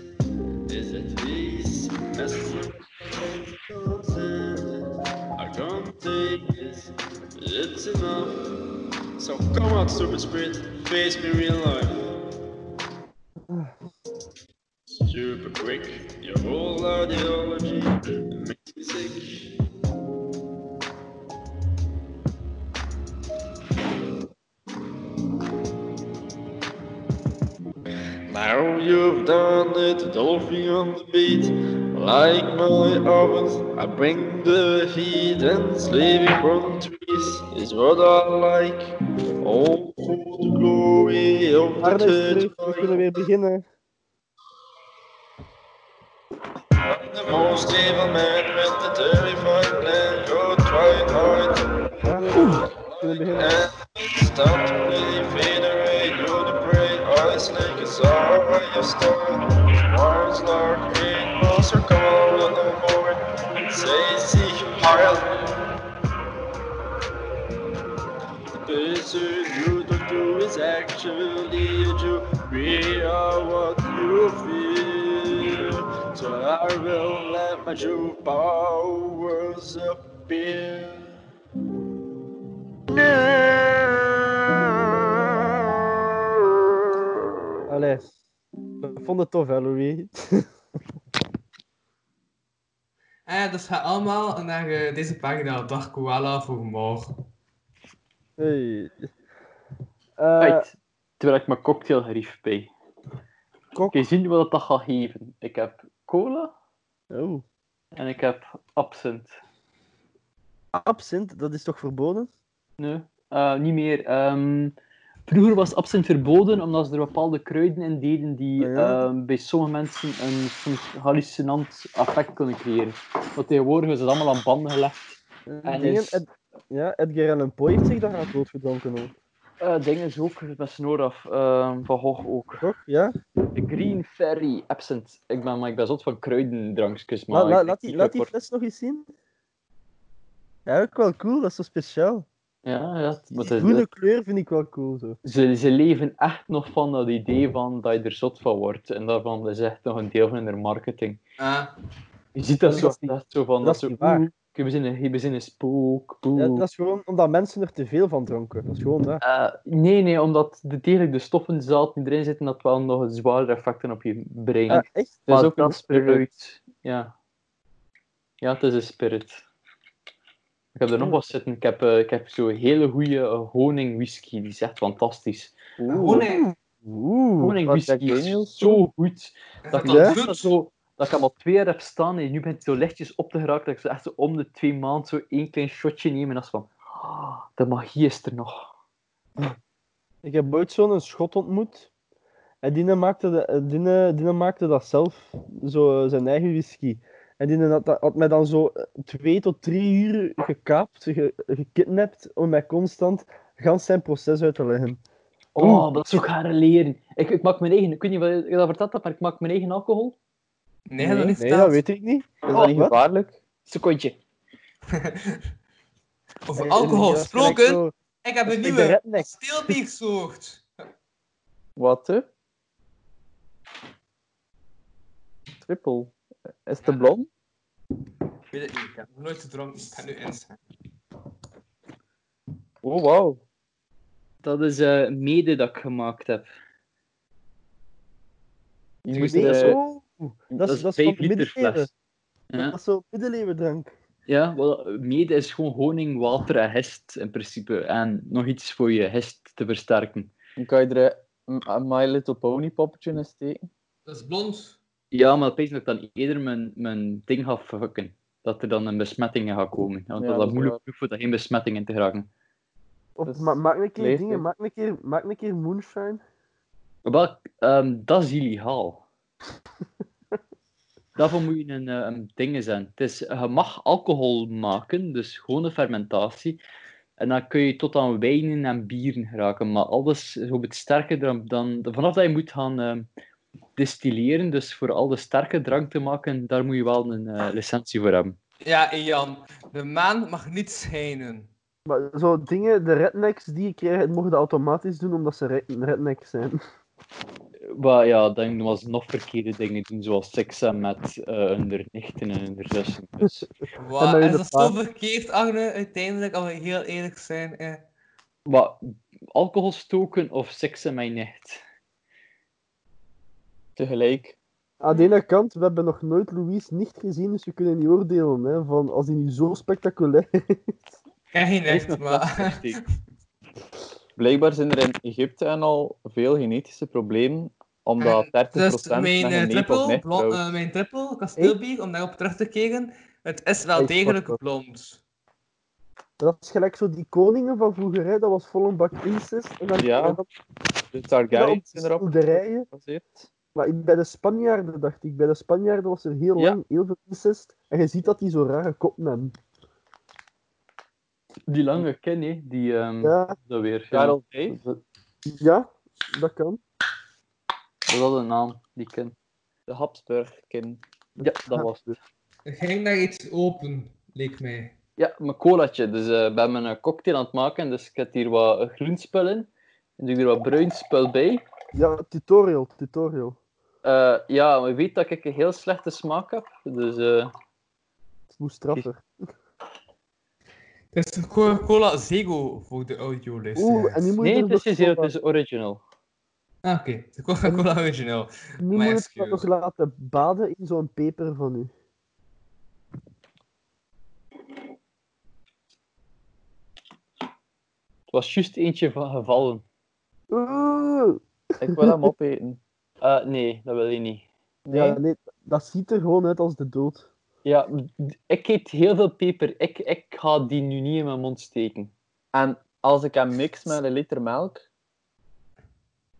Speaker 7: Is it these messages? I can't take this. It's enough. So come on, stupid spirit, face me real life. Super quick, your whole ideology makes me sick. Now you've done it, dolphin on the beat. Like my ovens, I bring the heat and slaving from trees is what I like. All for the glory of the
Speaker 3: Arne is
Speaker 7: third
Speaker 3: terug, we
Speaker 7: eye.
Speaker 3: kunnen weer beginnen.
Speaker 7: The most evil man with the terrifying plan, go try and hide
Speaker 3: We kunnen beginnen.
Speaker 7: and stop to really fade away. You the prey, eyes like a sorry star. Arms like a monster, come on the board. Say, see, Harald. Pursuit you don't do is actually a Jew. We are what you feel. So I will let my true powers appear.
Speaker 3: Allee. We vonden het tof, hè, Louis?
Speaker 4: Eh, dus ga allemaal naar eh, deze pagina, Dag Koala voor morgen.
Speaker 3: Hey.
Speaker 5: Uit.
Speaker 3: Eh
Speaker 5: terwijl Ah, ik mijn cocktail gerief bij.
Speaker 3: kok.
Speaker 5: Kun je zien wat dat gaat geven? Ik heb cola
Speaker 3: Oh.
Speaker 5: en ik heb absint.
Speaker 3: Absint, dat is toch verboden?
Speaker 5: Nee, eh, niet meer. Ehm, vroeger was absint verboden omdat ze er bepaalde kruiden in deden die
Speaker 3: Ah, ja?
Speaker 5: ehm, bij sommige mensen een soms hallucinant effect kunnen creëren. Want tegenwoordig is het allemaal aan banden gelegd. En
Speaker 3: Dingen,
Speaker 5: is-
Speaker 3: Ed- ja, Edgar Allan Poe heeft zich daar aan doodgedronken. hoor.
Speaker 5: Eh dingen is ook met Snoraf, ehm van Gogh ook.
Speaker 3: Toch? Ja?
Speaker 5: De Green Ferry absint. Ik ben, maar ik ben zot van kruidendrankjes, maar
Speaker 3: La- la-
Speaker 5: Nou, ik-
Speaker 3: laat,
Speaker 5: ik-
Speaker 3: die,
Speaker 5: ik
Speaker 3: laat die
Speaker 5: word-
Speaker 3: fles nog eens zien. Ja, ook wel cool, dat is zo speciaal.
Speaker 5: Ja, ja. het- maar
Speaker 3: Die
Speaker 5: het is-
Speaker 3: groene kleur vind ik wel cool. Zo.
Speaker 5: ze, ze leven echt nog van dat idee van dat je er zot van wordt. En daarvan is echt nog een deel van hun marketing.
Speaker 4: Ah,
Speaker 5: Je ziet dat,
Speaker 3: Dat
Speaker 5: zo,
Speaker 3: is niet-
Speaker 5: dat zo van,
Speaker 3: dat
Speaker 5: dat
Speaker 3: is
Speaker 5: zo,
Speaker 3: niet waar.
Speaker 5: oeh, Ik bezin een, ik bezin een spook,
Speaker 3: Ja,
Speaker 5: boe.
Speaker 3: dat is gewoon omdat mensen er te veel van dronken. Dat is gewoon dat.
Speaker 5: Eh, nee, nee, omdat de, degelijk de stoffen zout die erin zitten, dat wel nog een zwaardere effecten op je brein.
Speaker 3: Ja, echt?
Speaker 5: het is
Speaker 3: Maar
Speaker 5: ook een
Speaker 3: dat spirit.
Speaker 5: spirit. Ja. ja, het is een spirit. Ik heb er nog wat zitten. Ik heb, eh, ik heb zo'n hele goede honing whisky. Die is echt fantastisch.
Speaker 4: honing.
Speaker 3: Oeh.
Speaker 5: Honing
Speaker 6: wat Jack
Speaker 5: whisky is
Speaker 6: Daniels
Speaker 5: zo goed.
Speaker 4: Is
Speaker 5: Dat
Speaker 4: dat
Speaker 5: ik
Speaker 4: dan
Speaker 3: Ja?
Speaker 5: dat
Speaker 4: bloed?
Speaker 5: zo, dat ik hem al twee jaar heb staan en nu ben ik zo lichtjes op te geraakt dat ik zo echt zo om de twee maanden zo één klein shotje neem en dat is van, "Ah, de magie is er nog.
Speaker 3: Ik heb ooit zo'n schot ontmoet. En die maakte, de, eh, die, eh, die maakte dat zelf, zo, eh, zijn eigen whisky. En die had, dat- had mij dan zo eh, twee tot drie uur gekaapt, ge- gekidnapt, om mij constant gans zijn proces uit te leggen.
Speaker 5: Oh, maar dat is ook haar leren. Ik, ik maak mijn eigen, ik weet niet wat je dat verteld hebt, maar ik maak mijn eigen alcohol.
Speaker 4: Nee, dat
Speaker 3: nee,
Speaker 4: niet
Speaker 3: dat weet ik niet.
Speaker 6: Is dat
Speaker 5: Oh,
Speaker 6: niet
Speaker 3: wat?
Speaker 6: gevaarlijk?
Speaker 5: Secondje.
Speaker 4: (laughs) Over
Speaker 3: En-
Speaker 4: alcohol
Speaker 3: en- dat is gelijk
Speaker 4: gesproken,
Speaker 3: zo-
Speaker 4: ik heb
Speaker 3: dat
Speaker 4: een
Speaker 3: (laughs) is gelijk de
Speaker 4: nieuwe
Speaker 3: redneck.
Speaker 4: stilbiersoort.
Speaker 6: Wat, hè? Triple. Is het
Speaker 4: Ja.
Speaker 6: de blond?
Speaker 4: Ik weet het niet, ik heb nog nooit gedronken. Ik ga nu instaan.
Speaker 6: Oh, wauw.
Speaker 5: Dat is eh, mede dat ik gemaakt heb.
Speaker 6: Je
Speaker 5: Twee
Speaker 6: moest
Speaker 3: Nee,
Speaker 5: eh,
Speaker 3: dat is
Speaker 6: de,
Speaker 3: zo. Dat
Speaker 5: Dat
Speaker 3: is,
Speaker 5: is
Speaker 3: dat is van
Speaker 5: 5
Speaker 3: de
Speaker 5: liter
Speaker 3: middeleeuwen.
Speaker 5: fles. Ja,
Speaker 3: Dat is zo middeleeuwendrank.
Speaker 5: ja wel, mede is gewoon honing, water en hest in principe. En nog iets voor je hest te versterken.
Speaker 6: dan kan je er een een My Little Pony poppetje in steken.
Speaker 4: Dat is blond.
Speaker 5: Ja, maar dat betekent dat ik dan eerder mijn, mijn ding ga verhukken. Dat er dan een besmetting in gaat komen. Want
Speaker 6: Ja,
Speaker 5: dat is
Speaker 6: dat is
Speaker 5: moeilijk
Speaker 6: waar.
Speaker 5: genoeg voor dat geen besmetting in te geraken.
Speaker 3: Of,
Speaker 6: Dat is
Speaker 3: ma- maak een keer
Speaker 6: leeftijd.
Speaker 3: dingen, maak een keer, maak een keer moonshine.
Speaker 5: Wel, ehm, dat is illegaal. Daarvoor moet je een, eh, een ding zijn. Het is, je mag alcohol maken, dus gewone fermentatie. En dan kun je tot aan wijnen en bieren geraken. Maar alles is op het sterke drank dan... Vanaf dat je moet gaan ehm, distilleren, dus voor al de sterke drank te maken, daar moet je wel een eh, licentie voor hebben.
Speaker 4: Ja, Ian. De maan mag niet schijnen.
Speaker 3: Maar zo dingen, de rednecks die je krijgt, mogen dat automatisch doen omdat ze re- rednecks zijn.
Speaker 5: Maar ja, dan was nog verkeerde dingen doen, zoals seks hebben met eh hun nichten en hun zussen. Dus,
Speaker 4: Wat?
Speaker 3: maar
Speaker 4: Is dat
Speaker 3: inderdaad.
Speaker 4: zo verkeerd, Arne? Uiteindelijk, als we heel eerlijk zijn. Eh.
Speaker 5: maar alcohol stoken of seksen met je nicht?
Speaker 4: (laughs)
Speaker 6: Tegelijk.
Speaker 3: Aan de ene kant, we hebben nog nooit Louis niet gezien, dus we kunnen niet oordelen hè, van als hij nu zo spectaculair (laughs) is.
Speaker 4: Ik heb geen
Speaker 5: Heeft
Speaker 4: echt,
Speaker 5: nog
Speaker 3: (laughs)
Speaker 4: maar...
Speaker 6: Blijkbaar zijn er in Egypte en al veel genetische problemen, omdat 30%
Speaker 4: Dus
Speaker 6: met
Speaker 4: mijn eh,
Speaker 6: een neep of
Speaker 4: triple,
Speaker 6: nicht
Speaker 4: blond,
Speaker 6: trouwt.
Speaker 4: eh, mijn triple, kasteelbier, om daarop terug te keren. Het is wel
Speaker 3: Hey,
Speaker 4: degelijk
Speaker 3: fuck,
Speaker 4: blond.
Speaker 3: Dat is gelijk zo die koningen van vroeger, hè, dat was vol een bak incest. En dan
Speaker 6: Ja,
Speaker 3: en dan-
Speaker 6: De
Speaker 3: ja, op
Speaker 6: Targaryens zijn
Speaker 3: de
Speaker 6: erop
Speaker 3: schilderijen.
Speaker 6: gebaseerd.
Speaker 3: Maar ik- bij de Spanjaarden dacht ik, bij de Spanjaarden was er heel
Speaker 5: Ja.
Speaker 3: lang heel veel incest. En je ziet dat die zo rare kop hebben.
Speaker 5: Die lange ken, hè, die... ehm
Speaker 3: Ja,
Speaker 5: Dat weer. ja.
Speaker 6: Karel V.
Speaker 5: Dat
Speaker 3: ja, dat kan.
Speaker 5: dat had een naam, die ken.
Speaker 6: De Habsburgkin.
Speaker 5: Ja, dat was het.
Speaker 4: Er ging daar iets open, leek mij.
Speaker 5: Ja, mijn colaatje. Dus eh, ik ben mijn cocktail aan het maken, dus ik heb hier wat eh, groen spul in. En doe ik er wat bruin spul bij.
Speaker 3: Ja, tutorial, tutorial.
Speaker 5: Eh, ja, maar je weet dat ik een heel slechte smaak heb. Dus eh,
Speaker 3: Het moest straffer.
Speaker 4: Het is Coca-Cola Zego voor de audiolist.
Speaker 3: Oeh, en nu moet je
Speaker 5: nee,
Speaker 3: er
Speaker 5: het
Speaker 3: nog
Speaker 5: is geen zero, het
Speaker 3: wat-
Speaker 5: is original.
Speaker 4: Ah, oké. De Coca-Cola original.
Speaker 3: nu
Speaker 4: mijn
Speaker 3: moet je het nog
Speaker 4: excuses.
Speaker 3: laten baden in zo'n peper van u.
Speaker 5: Het was juist eentje van gevallen.
Speaker 3: Oeh!
Speaker 6: Ik wil hem opeten.
Speaker 5: Eh, nee, dat wil ik niet.
Speaker 6: Nee?
Speaker 3: Ja, nee, dat ziet er gewoon uit als de dood.
Speaker 5: Ja, d- ik eet heel veel peper. Ik, ik ga die nu niet in mijn mond steken.
Speaker 6: En als ik hem mix met een liter melk,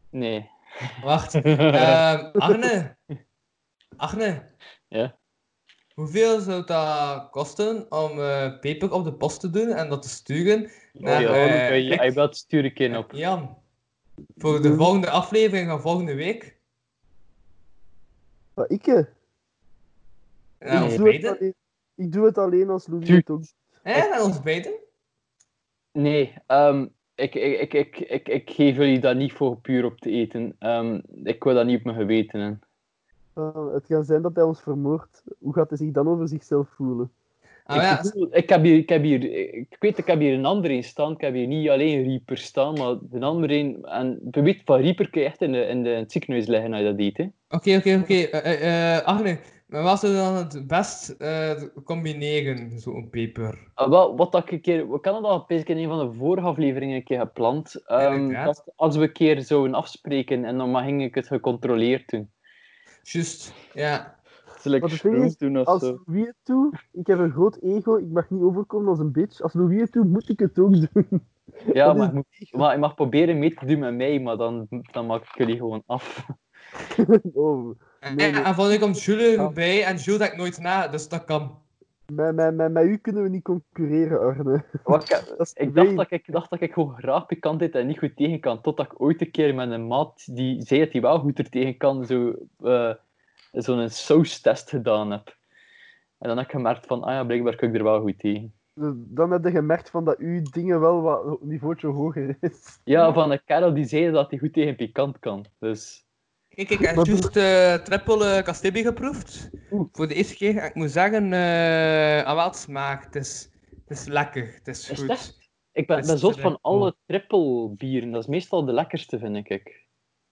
Speaker 5: Nee. Eh,
Speaker 4: Wacht. Ehm, Arne. Arne.
Speaker 5: Ja?
Speaker 4: Hoeveel zou dat kosten om eh, paper op de post te doen en dat te sturen
Speaker 5: Oh,
Speaker 4: naar
Speaker 5: ja,
Speaker 4: eh,
Speaker 5: dan kan je,
Speaker 4: Rick?
Speaker 5: hij belt stuur ik in op.
Speaker 4: Jan? Voor de volgende aflevering van volgende week?
Speaker 3: Maar ik, eh,
Speaker 4: Naar
Speaker 5: Nee.
Speaker 4: ons
Speaker 3: ik, doe het
Speaker 4: beiden?
Speaker 3: alleen, ik doe het alleen als Louis
Speaker 5: Tuur-
Speaker 3: het ook doet.
Speaker 4: Hè, naar ons beiden?
Speaker 5: Nee, ehm, ik, ik, ik, ik, ik, ik geef jullie dat niet voor puur op te eten. Ehm, ik wil dat niet op mijn geweten. Hè.
Speaker 3: Ah, het kan zijn dat hij ons vermoordt. Hoe gaat hij zich dan over zichzelf voelen?
Speaker 4: Ah,
Speaker 5: ik,
Speaker 4: ja.
Speaker 5: bedoel, ik, heb hier, ik, heb hier, ik weet, ik heb hier een andere in staan. Ik heb hier niet alleen Reaper staan, maar een andere in. En je weet, van Reaper kun je echt in, de, in, de, in het ziekenhuis liggen als je dat eet. Hè.
Speaker 4: Oké, oké, oké. Eh, eh, eh, Arne, maar wat zou je dan het best eh, combineren, zo'n paper?
Speaker 5: Ah, wel, wat dat ik een keer... Ik had dat al best in een van de vorige afleveringen een keer gepland. Ehm,
Speaker 4: Inderdaad.
Speaker 5: dat als we een keer zouden afspreken, en dan ging ik het gecontroleerd doen.
Speaker 4: Juist, ja.
Speaker 6: zal ik
Speaker 3: Maar de ding
Speaker 6: shrooms
Speaker 3: is,
Speaker 6: doen of
Speaker 3: Als
Speaker 6: zo.
Speaker 3: Louis het doet, ik heb een groot ego, ik mag niet overkomen als een bitch. Als Louis het doet, moet ik het ook doen. (laughs)
Speaker 5: Ja,
Speaker 3: Dat
Speaker 5: maar,
Speaker 3: is
Speaker 5: je moet- maar je mag proberen mee te doen met mij, maar dan, dan maak ik jullie gewoon af.
Speaker 3: Oh,
Speaker 4: En,
Speaker 3: Nee,
Speaker 4: en,
Speaker 3: nee.
Speaker 4: en volgende keer komt Jules
Speaker 5: Ja.
Speaker 4: erbij en Jules denkt nooit na, dus dat kan.
Speaker 3: met, met, met, met u kunnen we niet concurreren, Arne.
Speaker 5: Wat ik-
Speaker 3: Dat is
Speaker 5: Ik
Speaker 3: twee.
Speaker 5: dacht, dat ik dacht dat ik gewoon graag pikant deed en niet goed tegen kan, totdat ik ooit een keer met een maat die zei dat hij wel goed er tegen kan, zo, eh, zo'n saustest gedaan heb. En dan heb ik gemerkt van, ah ja, blijkbaar kan ik er wel goed tegen.
Speaker 3: Dus Dan heb je gemerkt van dat uw dingen wel wat een niveautje hoger is.
Speaker 5: Ja, van een kerel die zei dat hij goed tegen pikant kan. Dus
Speaker 4: Ik, ik heb
Speaker 3: Maar-
Speaker 4: juist eh triple eh, Castebi geproefd.
Speaker 3: Oeh.
Speaker 4: Voor de eerste keer. en Ik moet zeggen, eh aan wat smaak. Het is, het is lekker. Het is
Speaker 5: Is
Speaker 4: goed.
Speaker 5: het Ik ben,
Speaker 4: Is
Speaker 5: ben zot van
Speaker 4: triple.
Speaker 5: alle triple bieren. Dat is meestal de lekkerste, vind ik.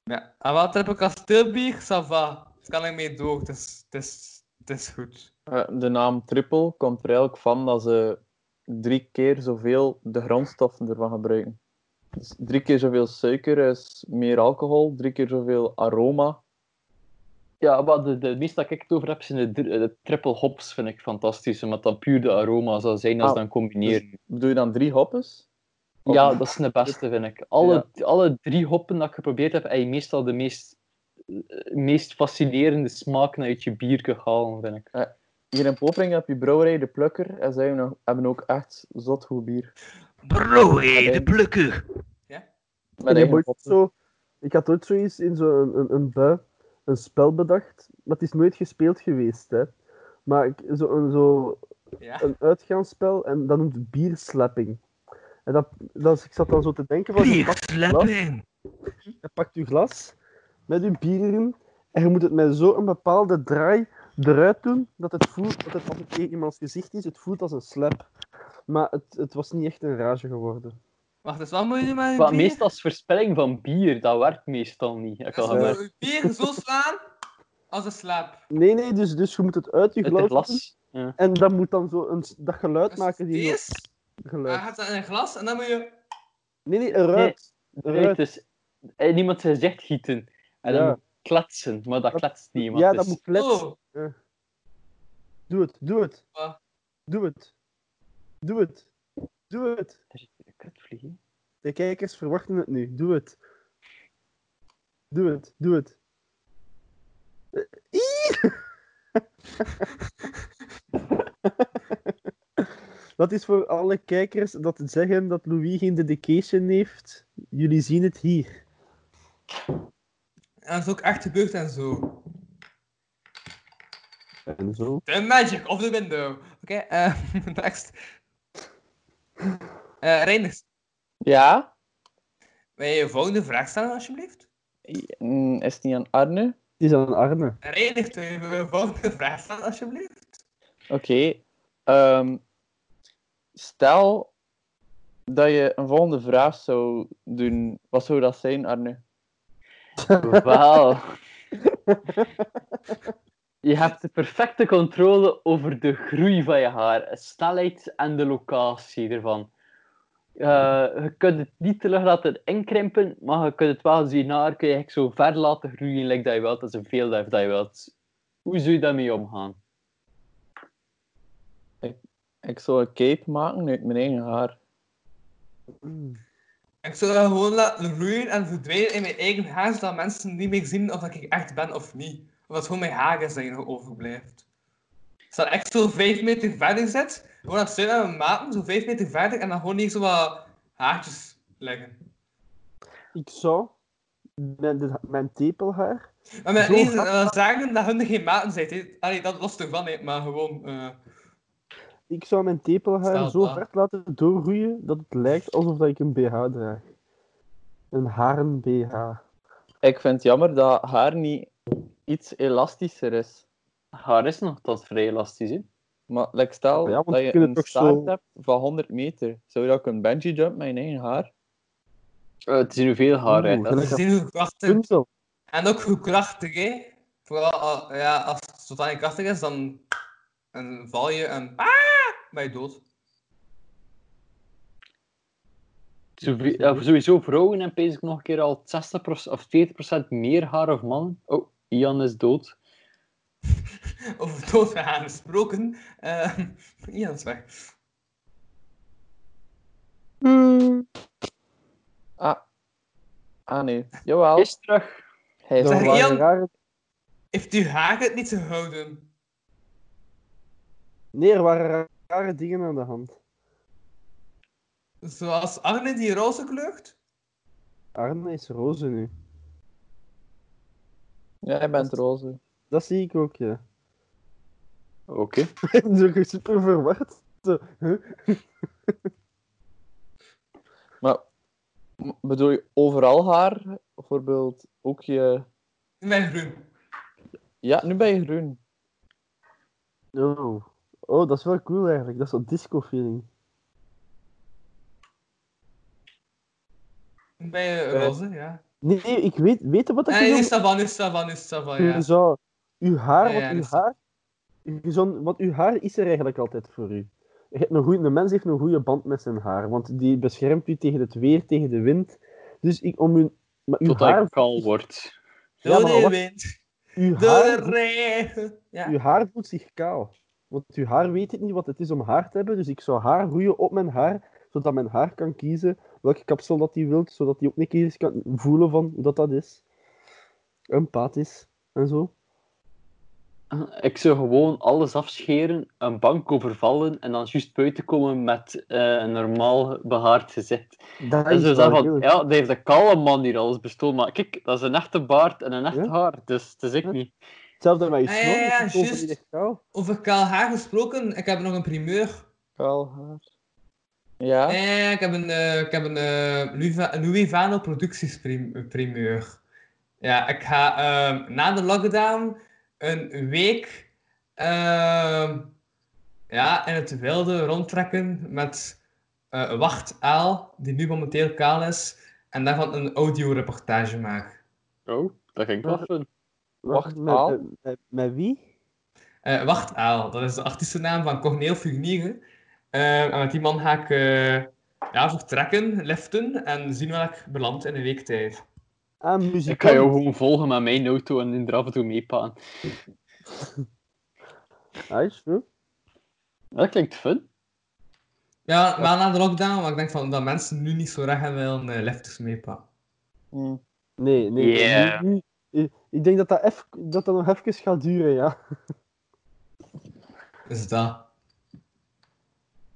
Speaker 4: Ja. Aan wat triple Castebi, ça va. Daar kan ik mee door. Het is, het is, het is goed.
Speaker 6: Eh, De naam triple komt er eigenlijk van dat ze drie keer zoveel de grondstoffen ervan gebruiken. Dus drie keer zoveel suiker is meer alcohol, drie keer zoveel aroma.
Speaker 5: Ja, maar de, de meeste dat ik het over heb, zijn de, dri- de triple hops, vind ik fantastisch. Omdat dan puur de aroma zou zijn als
Speaker 6: Ah,
Speaker 5: ze dan combineren.
Speaker 6: Bedoel je dan drie hoppes? Of-
Speaker 5: Ja, dat is de beste, vind ik. Alle, alle drie hoppen dat ik geprobeerd heb, heb je meestal de meest, eh, meest fascinerende smaak uit je bier kunnen halen, vind ik.
Speaker 6: Hier in Popering heb je brouwerij De Plukker en zij hebben- hebben ook echt zot goed bier.
Speaker 8: Broei, de plukker.
Speaker 6: Met
Speaker 3: ik, heb
Speaker 6: eigen
Speaker 3: ooit
Speaker 6: hoppen.
Speaker 3: zo, ik had ooit zoiets in zo'n een, een bui, een spel bedacht, maar het is nooit gespeeld geweest. Hè. Maar ik, zo, een, zo
Speaker 4: Ja.
Speaker 3: een uitgaansspel en dat noemt het bierslapping. En dat, dat, is- ik zat dan zo te denken van, je
Speaker 8: Hier,
Speaker 3: pakt,
Speaker 8: slap in.
Speaker 3: je pakt je glas met je bier erin en je moet het met zo'n bepaalde draai eruit doen dat het voelt, dat het als het tegen iemands gezicht is, het voelt als een slap. Maar het, het was niet echt een rage geworden.
Speaker 4: Wacht, dus wat moet je doen met je
Speaker 5: Maar
Speaker 4: bier?
Speaker 5: meestal als voorspelling van bier, dat werkt meestal niet. heb Ik
Speaker 4: Dus
Speaker 5: al
Speaker 4: je
Speaker 5: gemerkt.
Speaker 4: moet
Speaker 3: eh,
Speaker 4: je bier zo slaan als een slaap.
Speaker 3: Nee, nee, dus, dus je moet het uit je
Speaker 5: Uit het
Speaker 3: glas doen
Speaker 5: glas. Ja.
Speaker 3: en dan moet dan zo een, dat geluid
Speaker 4: Dus
Speaker 3: maken. Die
Speaker 4: deze,
Speaker 3: geluid.
Speaker 4: dan gaat dat in een glas en dan moet je...
Speaker 3: Nee, nee, eruit.
Speaker 5: Nee,
Speaker 3: Eruit.
Speaker 5: het is, eh, niemand zijn zegt gieten. En dan
Speaker 3: Ja.
Speaker 5: moet kletsen, maar dat
Speaker 3: Dat-
Speaker 5: kletst niet. want
Speaker 3: ja,
Speaker 5: het
Speaker 3: dat
Speaker 5: is-
Speaker 3: moet kletsen.
Speaker 4: Oh,
Speaker 3: Doe het, doe het.
Speaker 4: Wat?
Speaker 3: Doe het. Doe het. Doe het.
Speaker 5: Daar zit een kutvlieg in.
Speaker 3: De kijkers verwachten het nu. Doe het. Doe het, doe het. Eh, ii! (laughs) dat is voor alle kijkers dat zeggen dat Louis geen dedication heeft. Jullie zien het hier.
Speaker 4: En dat is ook echt gebeurd en zo.
Speaker 3: En zo.
Speaker 4: The magic of the window. Oké, eh, (laughs) next. Eh Reinders,
Speaker 6: Ja?
Speaker 4: wil je je volgende vraag stellen, alsjeblieft?
Speaker 6: Mm, Is het niet aan Arne?
Speaker 3: Het is aan Arne.
Speaker 4: Reinders, wil je je volgende vraag stellen, alsjeblieft?
Speaker 6: Oké. Ehm, stel dat je een volgende vraag zou doen. Wat zou dat zijn, Arne?
Speaker 5: (laughs)
Speaker 6: (laughs)
Speaker 5: Wel. Je hebt de perfecte controle over de groei van je haar, de snelheid en de locatie ervan. Eh, je kunt het niet terug laten inkrimpen, maar je kunt het wel zien haar kun je eigenlijk zo ver laten groeien like dat je wilt, als een veel dat je wilt. Hoe zou je daarmee omgaan?
Speaker 6: Ik zou een cape maken uit mijn eigen haar.
Speaker 5: Hmm.
Speaker 4: Ik zou dat gewoon laten groeien en verdwijnen in mijn eigen haar, zodat mensen niet meer zien of dat ik echt ben of niet. Of dat het gewoon mijn haar is dat je nog overblijft. Zodat ik zo vijf meter verder zit, gewoon dat steun aan mijn maten, zo vijf meter verder, en dan gewoon niet zo wat haartjes leggen.
Speaker 3: Ik zou mijn, de- mijn tepelhaar.
Speaker 4: Maar met
Speaker 3: Zo
Speaker 4: niet
Speaker 3: gaat
Speaker 4: dat zeggen dat hun er geen maten zijn. hè. Allee, dat lost ervan, hè. maar gewoon... eh,
Speaker 3: Ik zou mijn tepelhaar
Speaker 4: Stel
Speaker 3: zo
Speaker 4: dat.
Speaker 3: hard laten doorgroeien dat het lijkt alsof dat ik een BH draag. Een haren BH.
Speaker 6: Ik vind het jammer dat haar niet iets elastischer is.
Speaker 5: Haar is nog tot vrij elastisch, hè?
Speaker 6: Maar like, stel
Speaker 3: Ja, want
Speaker 6: dat
Speaker 3: je
Speaker 6: je
Speaker 3: kunt het
Speaker 6: een
Speaker 3: toch
Speaker 6: staart
Speaker 3: zo-
Speaker 6: hebt van 100 meter. Zou je dan kunnen bungee jump met je eigen haar?
Speaker 5: Eh, het is nu veel haar, hè.
Speaker 3: Oeh,
Speaker 5: Dat is-
Speaker 4: ze
Speaker 3: Ja.
Speaker 4: zien hoe krachtig...
Speaker 3: Puntel.
Speaker 4: En ook hoe krachtig, hè. Vooral al- ja, als het zodanig krachtig is, dan en val je en... Ah! Ben je dood.
Speaker 5: Zoveel- ja, sowieso vrouwen hebben ik nog een keer al 60% of 40% meer haar of mannen. Oh, Ian is dood.
Speaker 4: Over dood gaan gesproken. eh (laughs) ja, dat is weg.
Speaker 6: Ah. Ah nee. Jawel.
Speaker 5: Is terug.
Speaker 6: Hij is
Speaker 4: Zeg,
Speaker 3: Dat
Speaker 6: waar.
Speaker 4: Ian?
Speaker 3: waren rare...
Speaker 4: Heeft uw haar het niet gehouden?
Speaker 3: Nee, er waren ra- rare dingen aan de hand.
Speaker 4: Zoals Arne die roze kleurt?
Speaker 3: Arne is roze nu.
Speaker 6: Ja, hij bent roze.
Speaker 3: Dat zie ik ook, ja. (laughs)
Speaker 5: Oké.
Speaker 3: Zo super verward. Zo, huh?
Speaker 6: Maar m- bedoel je overal haar? Bijvoorbeeld ook je
Speaker 4: Ik ben groen.
Speaker 6: Ja, nu ben je groen.
Speaker 3: Oh. oh, dat is wel cool eigenlijk. Dat is zo'n disco-feeling.
Speaker 4: Nu ben je
Speaker 3: Eh,
Speaker 4: roze, ja.
Speaker 3: Nee, nee, ik weet, weet je wat dat
Speaker 4: Nee, nu
Speaker 3: je
Speaker 4: is dat wel, nu is dat wel, nu is dat wel,
Speaker 3: zo...
Speaker 4: Oh, ja.
Speaker 3: Je zou... Uw haar,
Speaker 4: Ja, ja,
Speaker 3: want uw
Speaker 4: dat is-
Speaker 3: haar... Je zou- want uw haar is er eigenlijk altijd voor u. Je hebt een, goeie, een mens heeft een goede band met zijn haar, want die beschermt u tegen het weer, tegen de wind. Dus ik, om uw... Maar uw
Speaker 5: Tot
Speaker 3: haar...
Speaker 5: ik kaal word.
Speaker 4: Door
Speaker 3: Ja, maar
Speaker 4: de
Speaker 3: wacht.
Speaker 4: wind,
Speaker 3: Uw
Speaker 4: door
Speaker 3: haar...
Speaker 4: de regen. Ja.
Speaker 3: Uw haar voelt zich kaal. Want uw haar weet het niet wat het is om haar te hebben. Dus ik zou haar roeien op mijn haar, zodat mijn haar kan kiezen welke kapsel dat hij wilt, zodat hij ook een keer eens kan voelen van hoe dat, dat is. Empathisch en zo.
Speaker 5: (laughs) Ik zou gewoon alles afscheren, een bank overvallen en dan juist buiten komen met eh, een normaal behaard gezicht.
Speaker 3: Dat
Speaker 5: En zo
Speaker 3: wel
Speaker 5: zeggen van,
Speaker 3: heel-
Speaker 5: ja, dat heeft de kale man hier alles bestolen. Maar kijk, dat is een echte baard en een echt
Speaker 3: Ja.
Speaker 5: haar, dus het is ik
Speaker 3: Ja.
Speaker 5: niet.
Speaker 3: Hetzelfde met je
Speaker 4: Ah,
Speaker 3: snor.
Speaker 4: ja, ja,
Speaker 3: dat is ook
Speaker 4: juist.
Speaker 3: niet echt kaal.
Speaker 4: Over kaal haar gesproken, ik heb nog een primeur.
Speaker 6: Kaal haar. Ja.
Speaker 4: Nee, ik heb een, eh, ik heb een eh, Louis Va- Louis Vano productiesprimeur. Ja, ik ga ehm, na de lockdown een week ehm, ja, in het wilde rondtrekken met eh Wacht Aal, die nu momenteel kaal is, en daarvan een audioreportage maak.
Speaker 5: Oh, dat ging ik wel doen.
Speaker 6: Wacht,
Speaker 3: met,
Speaker 6: Aal?
Speaker 3: met, met- met wie?
Speaker 4: Eh Wacht Aal, dat is de artiestennaam van Corneel Fugnieren. Eh, en met die man ga ik eh, ja, vertrekken, liften en zien waar ik beland in een week tijd.
Speaker 3: Ah,
Speaker 5: Ik kan jou
Speaker 3: muzikant.
Speaker 5: gewoon volgen met mijn auto en er af en toe meepaan.
Speaker 3: Ah, is goed.
Speaker 5: Dat klinkt fun.
Speaker 4: Ja, maar na de lockdown, maar ik denk van dat mensen nu niet zo graag gaan willen eh, lifters meepakken.
Speaker 6: Hm.
Speaker 3: Nee, nee.
Speaker 5: Yeah.
Speaker 3: nu- nu- ik- ik denk dat dat, eff- dat dat nog even gaat duren, ja.
Speaker 4: Is Dus dat?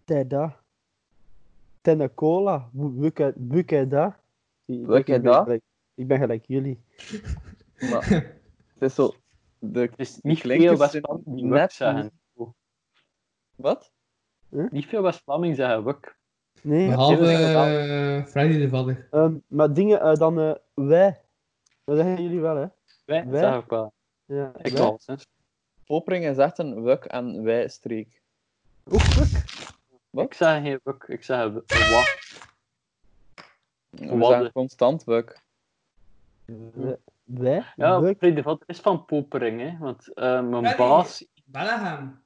Speaker 3: Teda. Tenacola. Bukeda.
Speaker 6: Wukeda?
Speaker 3: Ik ben gelijk jullie.
Speaker 6: Maar het is zo... De
Speaker 5: Het is niet
Speaker 6: klinkers
Speaker 5: veel
Speaker 6: zijn
Speaker 5: West-Vlaming die
Speaker 6: net
Speaker 5: wuk zeggen.
Speaker 6: Wat?
Speaker 5: Niet veel West-Vlaming zeggen wuk.
Speaker 3: Nee,
Speaker 4: Behalve
Speaker 3: eh,
Speaker 4: eh Freddy de Vadder.
Speaker 3: ehm, maar dingen, eh, dan eh, wij. Dat zeggen jullie wel, hè?
Speaker 5: Wij,
Speaker 3: Wij?
Speaker 5: zeg ik wel.
Speaker 3: Ja,
Speaker 5: Ik
Speaker 3: wij.
Speaker 5: wel. hè.
Speaker 6: Popering is echt een wuk- en wij-streek.
Speaker 3: Oeh, fuck.
Speaker 6: Wat?
Speaker 5: Ik zeg geen wuk, ik zeg w- wa.
Speaker 6: We
Speaker 5: Wat?
Speaker 6: zijn constant wuk.
Speaker 3: Wij. wij?
Speaker 5: Ja,
Speaker 3: Wij?
Speaker 5: Freddy de Vat is van popering, hè. Want eh, mijn
Speaker 4: Freddy.
Speaker 5: baas...
Speaker 4: Bellingham.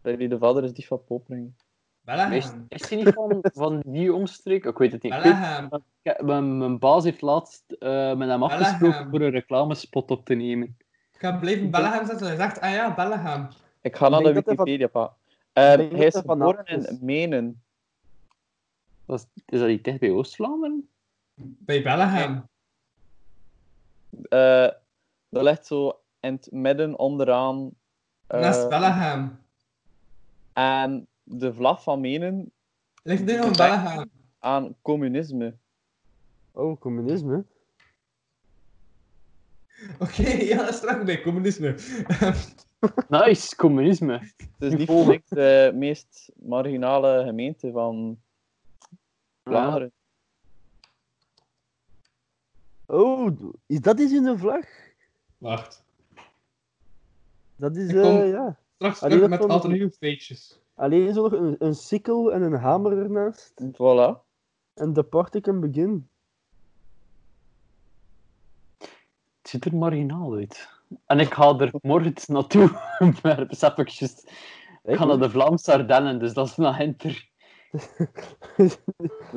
Speaker 6: Freddy de Vader is die van Popering.
Speaker 5: Is,
Speaker 4: Bellingham.
Speaker 5: is hij niet van, van die omstreek? Ik weet het niet. Ik weet,
Speaker 4: Bellingham.
Speaker 5: ik- mijn, mijn baas heeft laatst eh, met hem afgesproken voor een reclamespot op te nemen.
Speaker 4: Ik ga blijven Bellingham zetten. Hij zegt, ah ja, Bellingham.
Speaker 6: Ik ga naar
Speaker 3: denk
Speaker 6: de
Speaker 3: dat hij van-
Speaker 6: Wikipedia, pa.
Speaker 3: Ik
Speaker 6: Eh,
Speaker 3: denk
Speaker 6: hij
Speaker 3: dat
Speaker 6: is
Speaker 3: hij van
Speaker 6: geboren
Speaker 3: Assen
Speaker 6: in
Speaker 3: is.
Speaker 6: Menen.
Speaker 5: Dat is, is dat niet dicht bij Oost-Vlaanderen?
Speaker 4: Bij Bellingham.
Speaker 6: Eh, dat ligt zo in het midden onderaan. eh,
Speaker 4: Naast Bellingham.
Speaker 6: en de vlag van Menen
Speaker 4: Ligt nu nog Bellingham.
Speaker 6: aan communisme.
Speaker 3: Oh, communisme.
Speaker 4: Oké, (laughs) ja, dat is straks bij communisme. (laughs)
Speaker 5: Nice, communisme.
Speaker 6: Het is
Speaker 5: Die
Speaker 3: (laughs)
Speaker 6: niet
Speaker 5: volgen.
Speaker 6: voor niks de meest marginale gemeente van Vlaanderen.
Speaker 3: Oh, is dat is in de vlag?
Speaker 4: Wacht.
Speaker 3: Dat is,
Speaker 4: Ik kom-
Speaker 3: eh, ja.
Speaker 4: Straks
Speaker 3: Ah, die
Speaker 4: terug
Speaker 3: dat
Speaker 4: met
Speaker 3: kon-
Speaker 4: alternatieve feestjes.
Speaker 3: Alleen zo nog een, een sikkel en een hamer ernaast.
Speaker 6: Voilà.
Speaker 3: En de party can begin.
Speaker 5: Het ziet er marginaal uit. En ik ga er morgen naartoe, (laughs) maar besef ik juist. Ik ga naar de Vlaamse Ardennen, dus dat is naar Hinter.
Speaker 6: De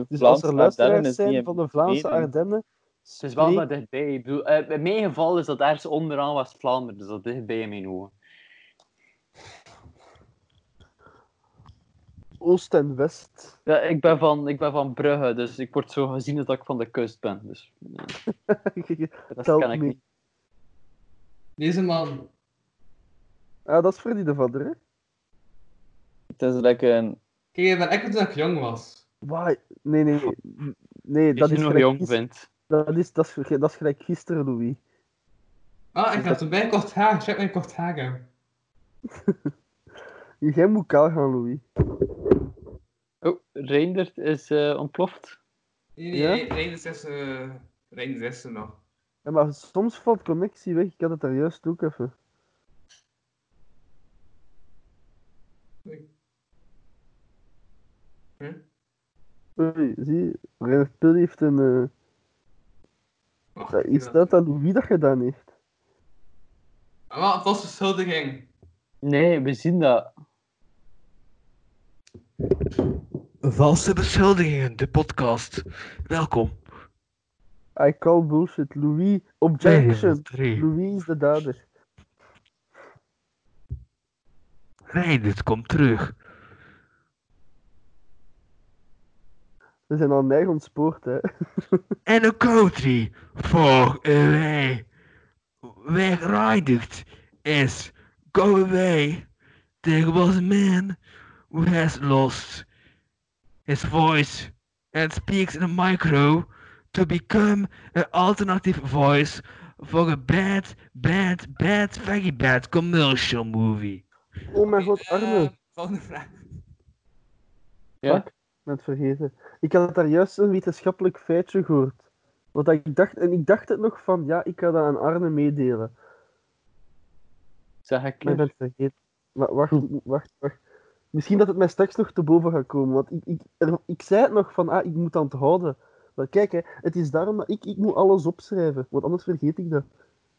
Speaker 3: Dus als
Speaker 6: Vlaamse
Speaker 3: er
Speaker 6: Ardennen
Speaker 3: luisteraars
Speaker 6: is niet
Speaker 3: zijn
Speaker 6: in
Speaker 3: van de Vlaamse
Speaker 6: Menen.
Speaker 3: Ardennen,
Speaker 5: Het is wel
Speaker 3: spreek-
Speaker 5: maar dichtbij. Ik bedoel, eh, in mijn geval is dat ergens onderaan West-Vlaanderen, dus dat is dichtbij in mijn ogen.
Speaker 3: Oost en West. (laughs)
Speaker 5: Ja, ik, ben van, ik ben van Brugge, dus ik word zo gezien dat ik van de kust ben. Dus, nee, dat
Speaker 3: Telt
Speaker 5: kan ik
Speaker 3: mee.
Speaker 5: niet.
Speaker 4: Deze man.
Speaker 3: ah, dat is Freddy de Vader, hè?
Speaker 6: Het is lekker een...
Speaker 4: Kijk, dat ik toen ik jong was.
Speaker 3: Waar? Nee, nee, nee. Nee,
Speaker 5: Dat
Speaker 3: dat
Speaker 5: je
Speaker 3: is,
Speaker 5: nog
Speaker 3: gelijk
Speaker 5: jong
Speaker 3: gister-
Speaker 5: bent.
Speaker 3: dat, is, dat, is, ge- dat is gelijk gisteren, Louis.
Speaker 4: Ah, ik had erbij kort haar. Check mijn kort haar. hè.
Speaker 3: Jij moet kaal gaan, Louis.
Speaker 5: Oh, Reindert is eh, ontploft.
Speaker 4: Nee, nee,
Speaker 3: Ja?
Speaker 4: Reinders is, eh, Reinders is er nog.
Speaker 3: Ja, maar soms valt connectie weg. Ik had het daar juist ook even.
Speaker 4: Hm?
Speaker 3: Oei, zie, Reinhard Pil heeft een... eh,
Speaker 4: Och,
Speaker 3: ja, hier
Speaker 4: ja.
Speaker 3: staat aan wie dat gedaan heeft.
Speaker 4: Maar Ah, het was beschuldiging.
Speaker 5: Nee, we zien dat.
Speaker 8: Valse beschuldigingen, de podcast. Welkom.
Speaker 3: I call bullshit. Louis, objection.
Speaker 8: Regel 3.
Speaker 3: Louis is de dader.
Speaker 8: Nee, dit komt terug.
Speaker 3: We zijn al neig ontspoord, hè.
Speaker 8: En een country voor wij wegrijdigd is go away. There was a man who has lost his voice and speaks in a micro to become an alternative voice for a bad, bad, bad, very bad commercial movie.
Speaker 3: Oh mijn god,
Speaker 4: Eh,
Speaker 3: Arno.
Speaker 4: volgende vraag.
Speaker 5: Ja?
Speaker 3: net vergeten. Ik had daar juist een wetenschappelijk feitje gehoord. Wat ik dacht, en ik dacht het nog van, ja, ik ga dat aan Arne meedelen.
Speaker 5: Zeg ik.
Speaker 3: Maar ik ben het vergeten. Maar wacht, wacht, wacht. Misschien dat het mij straks nog te boven gaat komen. Want ik, ik, er- ik zei het nog van, ah, ik moet aan het houden. Maar kijk, hè, het is daarom dat ik, ik moet alles opschrijven. Want anders vergeet ik dat.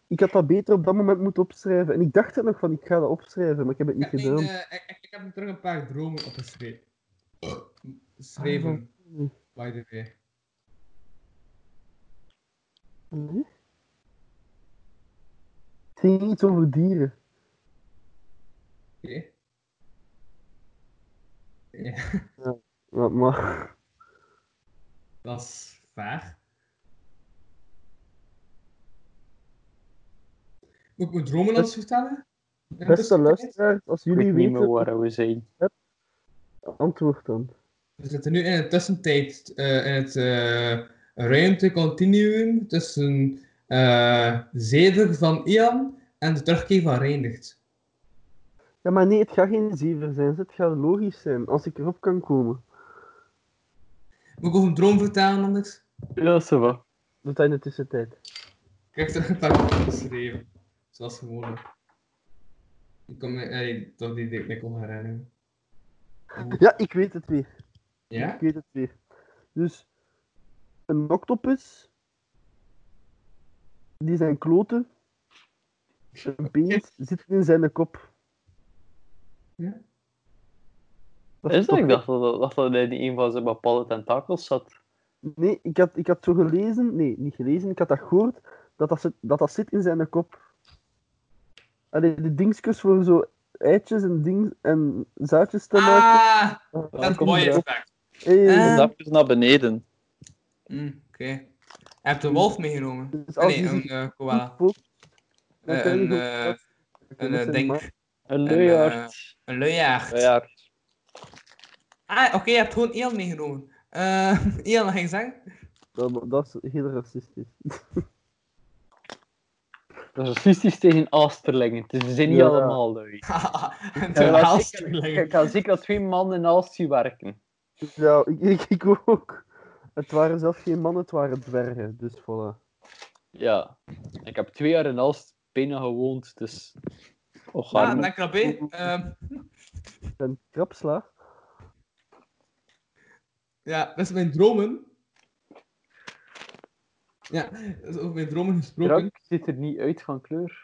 Speaker 3: Ik had dat beter op dat moment moeten opschrijven. En ik dacht het nog van, ik ga dat opschrijven. Maar ik heb het
Speaker 4: Ik
Speaker 3: niet
Speaker 4: heb,
Speaker 3: gedaan.
Speaker 4: mijn, eh, ik, ik- ik heb terug een paar dromen opgeschreven. Schreven.
Speaker 3: nee.
Speaker 4: By the way.
Speaker 3: Nee? Hm? Het ging iets over dieren.
Speaker 4: Oké. Ja,
Speaker 3: Maar, maar...
Speaker 4: dat is vaag. Moet ik mijn dromen
Speaker 3: Dat-
Speaker 4: anders vertellen? Ja,
Speaker 3: Beste
Speaker 4: dus-
Speaker 3: luisteraars, als
Speaker 5: Ik
Speaker 3: jullie
Speaker 5: weet niet meer
Speaker 3: weten,
Speaker 5: waar we zijn.
Speaker 3: antwoord dan.
Speaker 4: We zitten nu in een tussentijd, eh, in het eh, ruimtecontinuum tussen eh Zeder van Ian en de terugkeer van Reindigt.
Speaker 3: Ja, maar nee, het gaat geen zever zijn, het gaat logisch zijn, als ik erop kan komen.
Speaker 4: Moet ik over een droom vertellen anders?
Speaker 5: Ja, zo wel.
Speaker 3: Doe dat in de tussentijd.
Speaker 4: Ik heb er een paar geschreven, zoals gewoonlijk. Ik kom eh, toch die die ik me kon herinneren.
Speaker 3: Ja, ik weet het weer.
Speaker 4: Ja?
Speaker 3: Ik weet het weer. Dus, een octopus, die zijn kloten, een penis, zit in zijn kop.
Speaker 4: Ja.
Speaker 3: Dat
Speaker 5: Is dat?
Speaker 3: toch-
Speaker 5: Ik dacht dat dat, dacht dat hij in een van zijn bepaalde tentakels zat.
Speaker 3: Nee, ik had, ik had zo gelezen, nee, niet gelezen, ik had dat gehoord, dat dat, zit- dat, dat zit in zijn kop. Allee, de dingetjes voor zo eitjes en, ding, en zaadjes te maken.
Speaker 4: Ah,
Speaker 5: Ja,
Speaker 4: dat
Speaker 5: kom
Speaker 4: mooie
Speaker 5: erop.
Speaker 4: effect.
Speaker 3: Hey,
Speaker 4: Eh.
Speaker 6: Stapjes naar beneden.
Speaker 4: Mm, Oké. Hij heeft een wolf meegenomen.
Speaker 3: Dus
Speaker 4: Ah,
Speaker 3: als
Speaker 4: nee,
Speaker 3: je
Speaker 4: een
Speaker 3: zich
Speaker 4: eh, koala.
Speaker 3: goed focust, dan
Speaker 4: Eh,
Speaker 3: kan je
Speaker 4: een,
Speaker 3: goed
Speaker 4: eh,
Speaker 3: plaatsen.
Speaker 4: een
Speaker 3: Dat
Speaker 4: eh,
Speaker 3: zijn
Speaker 4: denk,
Speaker 3: ma-
Speaker 5: Een
Speaker 4: En,
Speaker 5: luiaard.
Speaker 4: een luiaard.
Speaker 6: Luiaard.
Speaker 4: Ah, oké, je hebt gewoon Ian meegenomen. Eh (laughs) Ian, wat ging je zeggen?
Speaker 3: dat, dat is heel racistisch.
Speaker 5: Dat is racistisch tegen Asterlingen. Het is- Ze zijn niet
Speaker 3: Ja.
Speaker 5: allemaal lui.
Speaker 4: en
Speaker 5: Ja,
Speaker 4: de
Speaker 5: maar
Speaker 4: haast
Speaker 5: zeker- Ik
Speaker 4: terugleggen.
Speaker 5: kan zeker twee mannen naast je werken.
Speaker 3: Ja, ik, ik, ik ook. Het waren zelfs geen mannen, het waren dwergen, dus voilà.
Speaker 5: Ja. Ik heb twee jaar in Aalst bijna gewoond, dus...
Speaker 6: Och,
Speaker 4: Ja,
Speaker 6: arme.
Speaker 4: Ah, dank Rabé. Ehm,
Speaker 3: Zijn krapsla.
Speaker 4: ja, dat is mijn dromen. Ja, dat is over mijn dromen gesproken.
Speaker 5: Drank ziet er niet uit van kleur.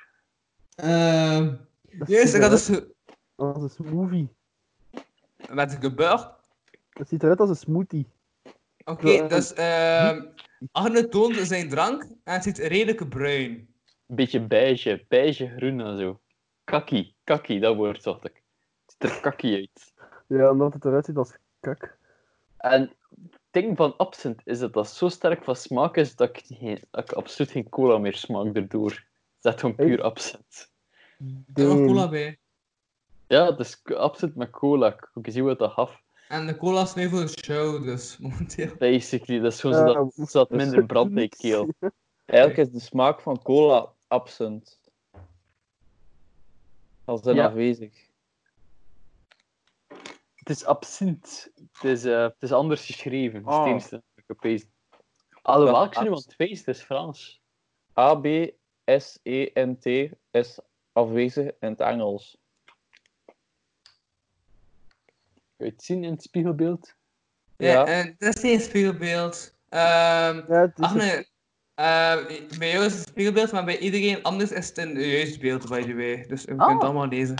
Speaker 4: Ehm juist, ik had dus ge-
Speaker 3: Als een smoothie.
Speaker 4: met een gebeurd.
Speaker 3: Dat ziet eruit als een smoothie.
Speaker 4: Oké, dus ehm Arne toonde zijn drank en het ziet redelijk bruin.
Speaker 5: Beetje beige, beige groen en zo. Kakkie, kakkie, dat woord zocht ik. Het ziet er kakkie uit.
Speaker 3: Ja, omdat het eruit ziet als kak.
Speaker 4: Ah,
Speaker 5: En het ding van absint is dat dat zo sterk van smaak is dat ik, geen, dat ik absoluut geen cola meer smaak erdoor. Het is echt gewoon puur
Speaker 3: Echt?
Speaker 5: absint.
Speaker 4: Er was
Speaker 3: Damn.
Speaker 4: cola bij.
Speaker 5: Ja, het is k- absint met cola. Ik ik zie wat dat gaf.
Speaker 4: En de cola is mee voor de show, dus (laughs) momenteel.
Speaker 5: Basically, dat is gewoon
Speaker 3: Ja,
Speaker 5: zodat
Speaker 3: maar-
Speaker 5: zodat minder brand in je keel.
Speaker 6: Eigenlijk is de smaak van cola absent. Als zijn
Speaker 5: Ja.
Speaker 6: afwezig.
Speaker 5: Het is absint. Het is, eh, het is anders geschreven. Het is het
Speaker 6: Ah.
Speaker 5: enige dat ik heb gelezen. Alhoewel,
Speaker 6: Dat
Speaker 5: ik zie nu
Speaker 6: abs-
Speaker 5: aan het feest, het is Frans.
Speaker 6: A, B, S, E en T is afwezig in het Engels.
Speaker 5: Kun je het zien in het spiegelbeeld?
Speaker 4: Ja,
Speaker 6: Ja.
Speaker 4: en dat is niet een spiegelbeeld. Ehm
Speaker 3: Ja, het is
Speaker 4: ach nee, eh, bij jou is het een spiegelbeeld, maar bij iedereen anders is het een juist beeld, by the way. Dus je kunt het
Speaker 5: Ah.
Speaker 4: allemaal lezen.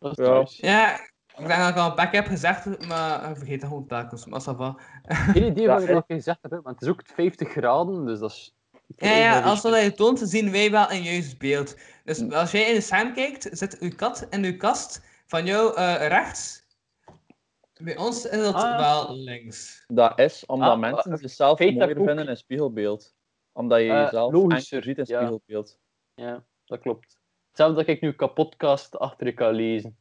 Speaker 5: Dat is
Speaker 6: Ja.
Speaker 5: thuis.
Speaker 4: Ja, ik denk dat ik al een pak heb gezegd, maar ik vergeet dat gewoon telkens. Maar ça va.
Speaker 5: Geen (laughs) idee wat
Speaker 6: Ja,
Speaker 5: ik nog gezegd heb, hè, want het is ook 50 graden, dus dat is...
Speaker 4: Ja, ja, als we dat je toont, zien wij wel een juist beeld. Dus als jij in de scherm kijkt, zit uw kat in uw kast van jou eh, rechts. Bij ons is dat
Speaker 5: Ah.
Speaker 4: wel links.
Speaker 6: Dat is omdat
Speaker 5: Ah,
Speaker 6: mensen
Speaker 5: eh,
Speaker 6: zichzelf
Speaker 5: feit dat
Speaker 6: mooier
Speaker 5: ik ook-
Speaker 6: vinden in spiegelbeeld. Omdat je
Speaker 5: Eh,
Speaker 6: jezelf
Speaker 5: logisch,
Speaker 6: enger ziet in
Speaker 5: ja.
Speaker 6: spiegelbeeld.
Speaker 5: Ja, dat klopt. Hetzelfde dat ik nu kapotcast achter je kan lezen.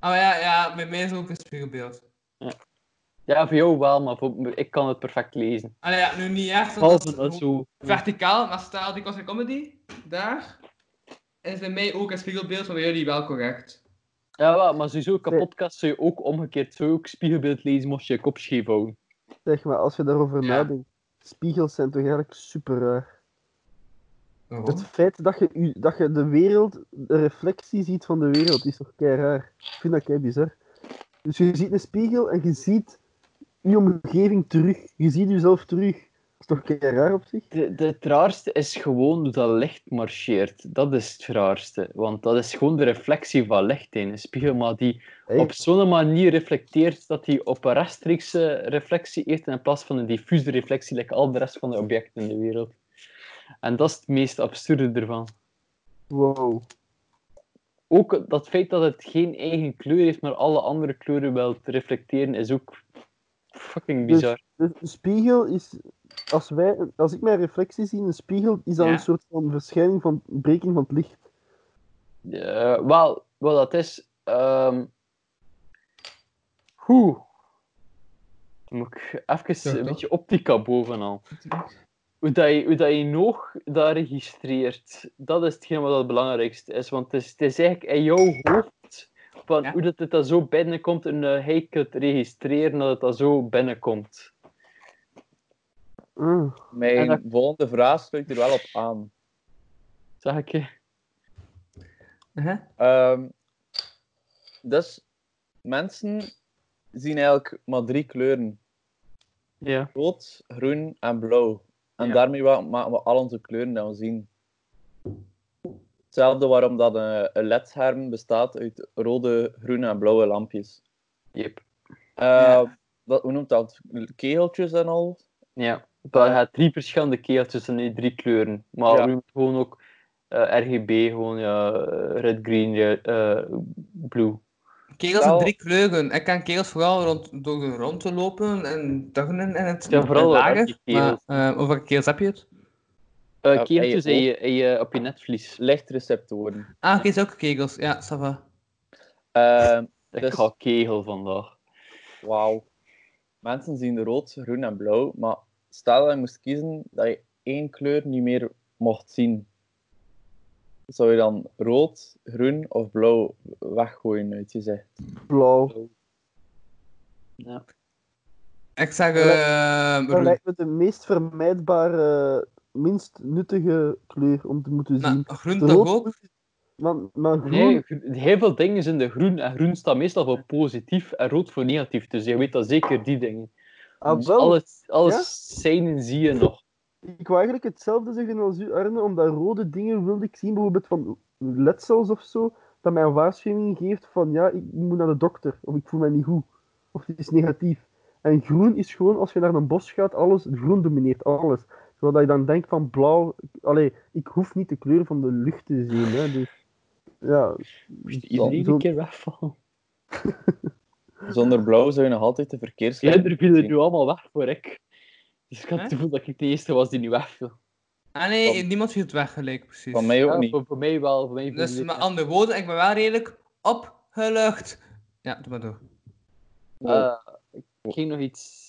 Speaker 4: Oh ja, ja, bij mij is het ook een spiegelbeeld.
Speaker 5: Ja, voor jou wel, maar voor- ik kan het perfect lezen.
Speaker 4: Allee, ja, nu niet echt, want dat
Speaker 5: Behalve
Speaker 4: is
Speaker 5: dat
Speaker 4: gewoon
Speaker 5: zo...
Speaker 4: verticaal, maar stel die Cosmic Comedy, daar, is bij mij ook een spiegelbeeld, maar bij jullie wel correct.
Speaker 5: Ja, wel, maar sowieso, kapotcast zou je ook omgekeerd, zou je ook spiegelbeeld lezen, mocht je je kop scheef houden.
Speaker 3: Zeg maar, als je daarover
Speaker 4: Ja.
Speaker 3: nadenkt, spiegels zijn toch eigenlijk super raar. Het feit dat je, u- dat je de wereld, de reflectie ziet van de wereld, is toch kei raar. Ik vind dat kei bizar. Dus je ziet een spiegel en je ziet je omgeving terug. Je ziet jezelf terug. Dat is toch kei raar op zich?
Speaker 5: De, de, het raarste is gewoon hoe dat licht marcheert. Dat is het raarste. Want dat is gewoon de reflectie van licht in een spiegel, maar die
Speaker 3: Hey,
Speaker 5: op zo'n manier reflecteert dat die op een rechtstreekse reflectie heeft in plaats van een diffuse reflectie, like al de rest van de objecten in de wereld. En dat is het meest absurde ervan.
Speaker 3: Wow.
Speaker 5: Ook dat feit dat het geen eigen kleur heeft, maar alle andere kleuren wel te reflecteren, is ook fucking
Speaker 3: Dus-
Speaker 5: bizar.
Speaker 3: Dus een spiegel is... Als, wij, als ik mijn reflectie zie in een spiegel, is dat
Speaker 4: Ja.
Speaker 3: een soort van verschijning van breking van het licht.
Speaker 5: Eh, wel, wat dat is. ehm Hoe? Dan moet ik even
Speaker 4: Ja,
Speaker 5: een
Speaker 4: toch?
Speaker 5: beetje optica bovenal. Hoe, dat je, hoe dat je nog dat registreert, dat is hetgeen wat het belangrijkste is. Want het is, het is eigenlijk in jouw hoofd, van
Speaker 4: Ja.
Speaker 5: hoe dat het dat zo binnenkomt en eh, hij kunt registreren dat het dat zo binnenkomt.
Speaker 3: Ah.
Speaker 6: Mijn
Speaker 5: En dat-
Speaker 6: volgende vraag sluit hier wel op aan.
Speaker 5: Zeg ik je?
Speaker 4: Uh-huh.
Speaker 6: Ehm, dus mensen zien eigenlijk maar drie kleuren.
Speaker 5: Ja.
Speaker 6: rood, groen en blauw. En
Speaker 5: Ja.
Speaker 6: daarmee wa- maken we al onze kleuren dat we zien. Hetzelfde waarom dat een, een LED-scherm bestaat uit rode, groene en blauwe lampjes.
Speaker 5: Yep.
Speaker 6: Eh, dat, hoe noemt dat? Kegeltjes en al?
Speaker 5: Ja, maar je hebt drie verschillende keeltjes en die drie kleuren. Maar
Speaker 6: Ja.
Speaker 5: we doen gewoon ook eh, RGB, gewoon ja, eh, red, green, re- eh, blue.
Speaker 4: Kegels
Speaker 6: Wel-
Speaker 4: in drie kleuren. Ik kan kegels vooral rond, door de rond te lopen en tuinen en het
Speaker 5: Ja, vooral
Speaker 4: en
Speaker 5: uit
Speaker 4: lager.
Speaker 5: die kegels.
Speaker 4: Maar, eh, over welke kegels heb je het?
Speaker 5: Eh
Speaker 6: en je
Speaker 5: keeltjes in je, in je- op je netvlies.
Speaker 6: Lichtreceptoren.
Speaker 4: Ah, oké, zulke kegels. Ja, ça va.
Speaker 6: Eh,
Speaker 5: Ik
Speaker 6: Dus-
Speaker 5: ga kegel vandaag.
Speaker 6: Wauw. Mensen zien rood, groen en blauw. Maar stel dat je moest kiezen dat je één kleur niet meer mocht zien. Zou je dan rood, groen of blauw weggooien uit je zicht?
Speaker 3: Blauw.
Speaker 4: Ik zeg
Speaker 3: Dat lijkt-
Speaker 4: eh
Speaker 3: Dat
Speaker 4: groen.
Speaker 3: lijkt me de meest vermijdbare, minst nuttige kleur om te moeten zien.
Speaker 4: Maar groen
Speaker 3: De
Speaker 4: toch
Speaker 3: rood
Speaker 4: ook?
Speaker 3: moet- Want, maar groen,
Speaker 5: Nee, gro- heel veel dingen zijn de groen. En groen staat meestal voor positief en rood voor negatief. Dus je weet dat zeker die dingen.
Speaker 3: ah,
Speaker 5: Dus
Speaker 3: wel,
Speaker 5: alles alles zijn en zie je nog.
Speaker 3: ik wou eigenlijk hetzelfde zeggen als u, Arne, omdat rode dingen wilde ik zien, bijvoorbeeld van letsels of zo, dat mij een waarschuwing geeft van ja, ik moet naar de dokter, of ik voel mij niet goed, of het is negatief. En groen is gewoon, als je naar een bos gaat, alles, groen domineert alles. Terwijl dat je dan denkt van blauw, allee, ik hoef niet de kleur van de lucht te zien, hè, dus... Ja,
Speaker 5: Moest
Speaker 3: zo-
Speaker 5: iedereen
Speaker 3: zo-
Speaker 5: een keer wegvallen.
Speaker 6: Zonder blauw zou je nog altijd de verkeerslicht
Speaker 5: Jij er vielen
Speaker 6: zien.
Speaker 5: nu allemaal weg voor ik. Dus ik had het
Speaker 4: Hè?
Speaker 5: gevoel dat ik de eerste was die nu wegviel.
Speaker 4: Ah nee,
Speaker 6: Van-
Speaker 4: niemand viel het weg gelijk, precies.
Speaker 6: Van mij ook
Speaker 5: Ja,
Speaker 6: niet.
Speaker 5: voor, voor mij wel. Voor mij
Speaker 4: Dus
Speaker 5: viel
Speaker 4: met
Speaker 5: het
Speaker 4: andere woorden, ik ben wel redelijk opgelucht. Ja, doe maar door.
Speaker 6: Oh,
Speaker 5: niet. Eh, ik ging nog iets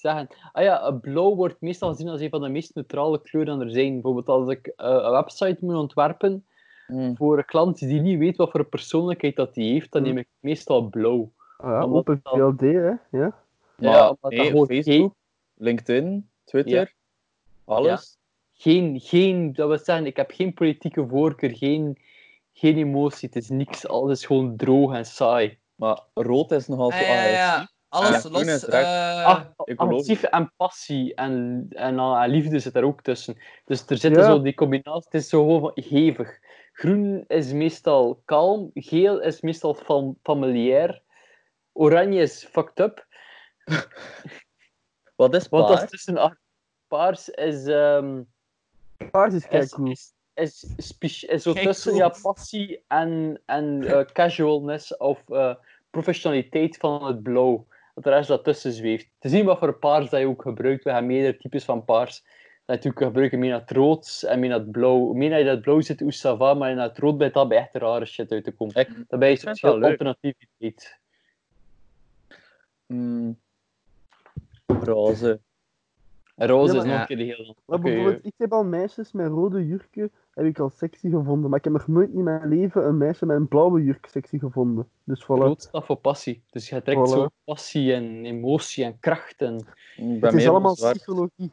Speaker 5: zeggen. Ah ja, eh, blauw wordt meestal gezien als een van de meest neutrale kleuren er zijn. Bijvoorbeeld als ik eh, een website moet ontwerpen
Speaker 6: Hmm.
Speaker 5: voor een klant die niet weet wat voor persoonlijkheid dat die heeft, dan
Speaker 3: Hm.
Speaker 5: neem ik meestal blauw.
Speaker 3: ah ja,
Speaker 5: Omdat
Speaker 3: open
Speaker 5: dan-
Speaker 3: VLD, hè, ja.
Speaker 5: Ja,
Speaker 6: Maar
Speaker 5: omdat dat
Speaker 6: nee,
Speaker 5: gewoon
Speaker 6: Facebook, LinkedIn, Twitter, alles.
Speaker 5: Geen, geen, dat wil zeggen, ik heb geen politieke voorkeur, geen, geen emotie. Het is niks, alles is gewoon droog en saai.
Speaker 6: Maar rood is nogal zo
Speaker 4: Ah, ja, ja.
Speaker 6: agressief.
Speaker 4: Alles
Speaker 6: Ja, groen
Speaker 4: los.
Speaker 6: is recht.
Speaker 4: eh,
Speaker 5: Ah,
Speaker 6: ik geloof
Speaker 5: Actief en passie en, en, eh, en liefde zit daar ook tussen. Dus er zit
Speaker 3: Ja.
Speaker 5: zo die combinatie, het is zo gewoon van hevig. Groen is meestal kalm, geel is meestal fam familiair, oranje is fucked up.
Speaker 6: Wat is
Speaker 5: Want dat is
Speaker 6: paars?
Speaker 5: tussen acht- paars is, ehm
Speaker 3: Paars is
Speaker 5: is,
Speaker 3: kijk cool.
Speaker 5: is, is, speci- is zo
Speaker 4: Kijk,
Speaker 5: tussen
Speaker 4: cool.
Speaker 5: ja, passie en, en eh, casualness of eh, professionaliteit van het blauw. Dat er ergens dat tussen zweeft. Te zien wat voor paars dat je ook gebruikt. We hebben meerdere types van paars. Natuurlijk gebruiken meer naar het rood en meer naar het blauw. Hoe meer dat je naar het blauw zit, hoe ça va, maar naar het rood bent dat bij echt rare shit uit te komen.
Speaker 6: Ik
Speaker 5: Daarbij is
Speaker 6: vind
Speaker 5: het
Speaker 6: het wel
Speaker 5: heel
Speaker 6: leuk.
Speaker 5: alternativiteit.
Speaker 6: Mm. Roze.
Speaker 5: Hmm. Roze
Speaker 3: Ja, maar-
Speaker 5: is nog
Speaker 4: Ja.
Speaker 5: een keer de heel
Speaker 3: Maar
Speaker 5: Oké,
Speaker 3: bijvoorbeeld, ik heb al meisjes met rode jurken heb ik al sexy gevonden, maar ik heb nog nooit in mijn leven een meisje met een blauwe jurk sexy gevonden. Dus voilà.
Speaker 5: Rood staat voor passie. Dus je trekt
Speaker 3: Voilà.
Speaker 5: zo passie en emotie en kracht. En...
Speaker 6: Ik ben
Speaker 3: Het is
Speaker 6: meer
Speaker 3: allemaal
Speaker 6: voor zwart.
Speaker 3: psychologie.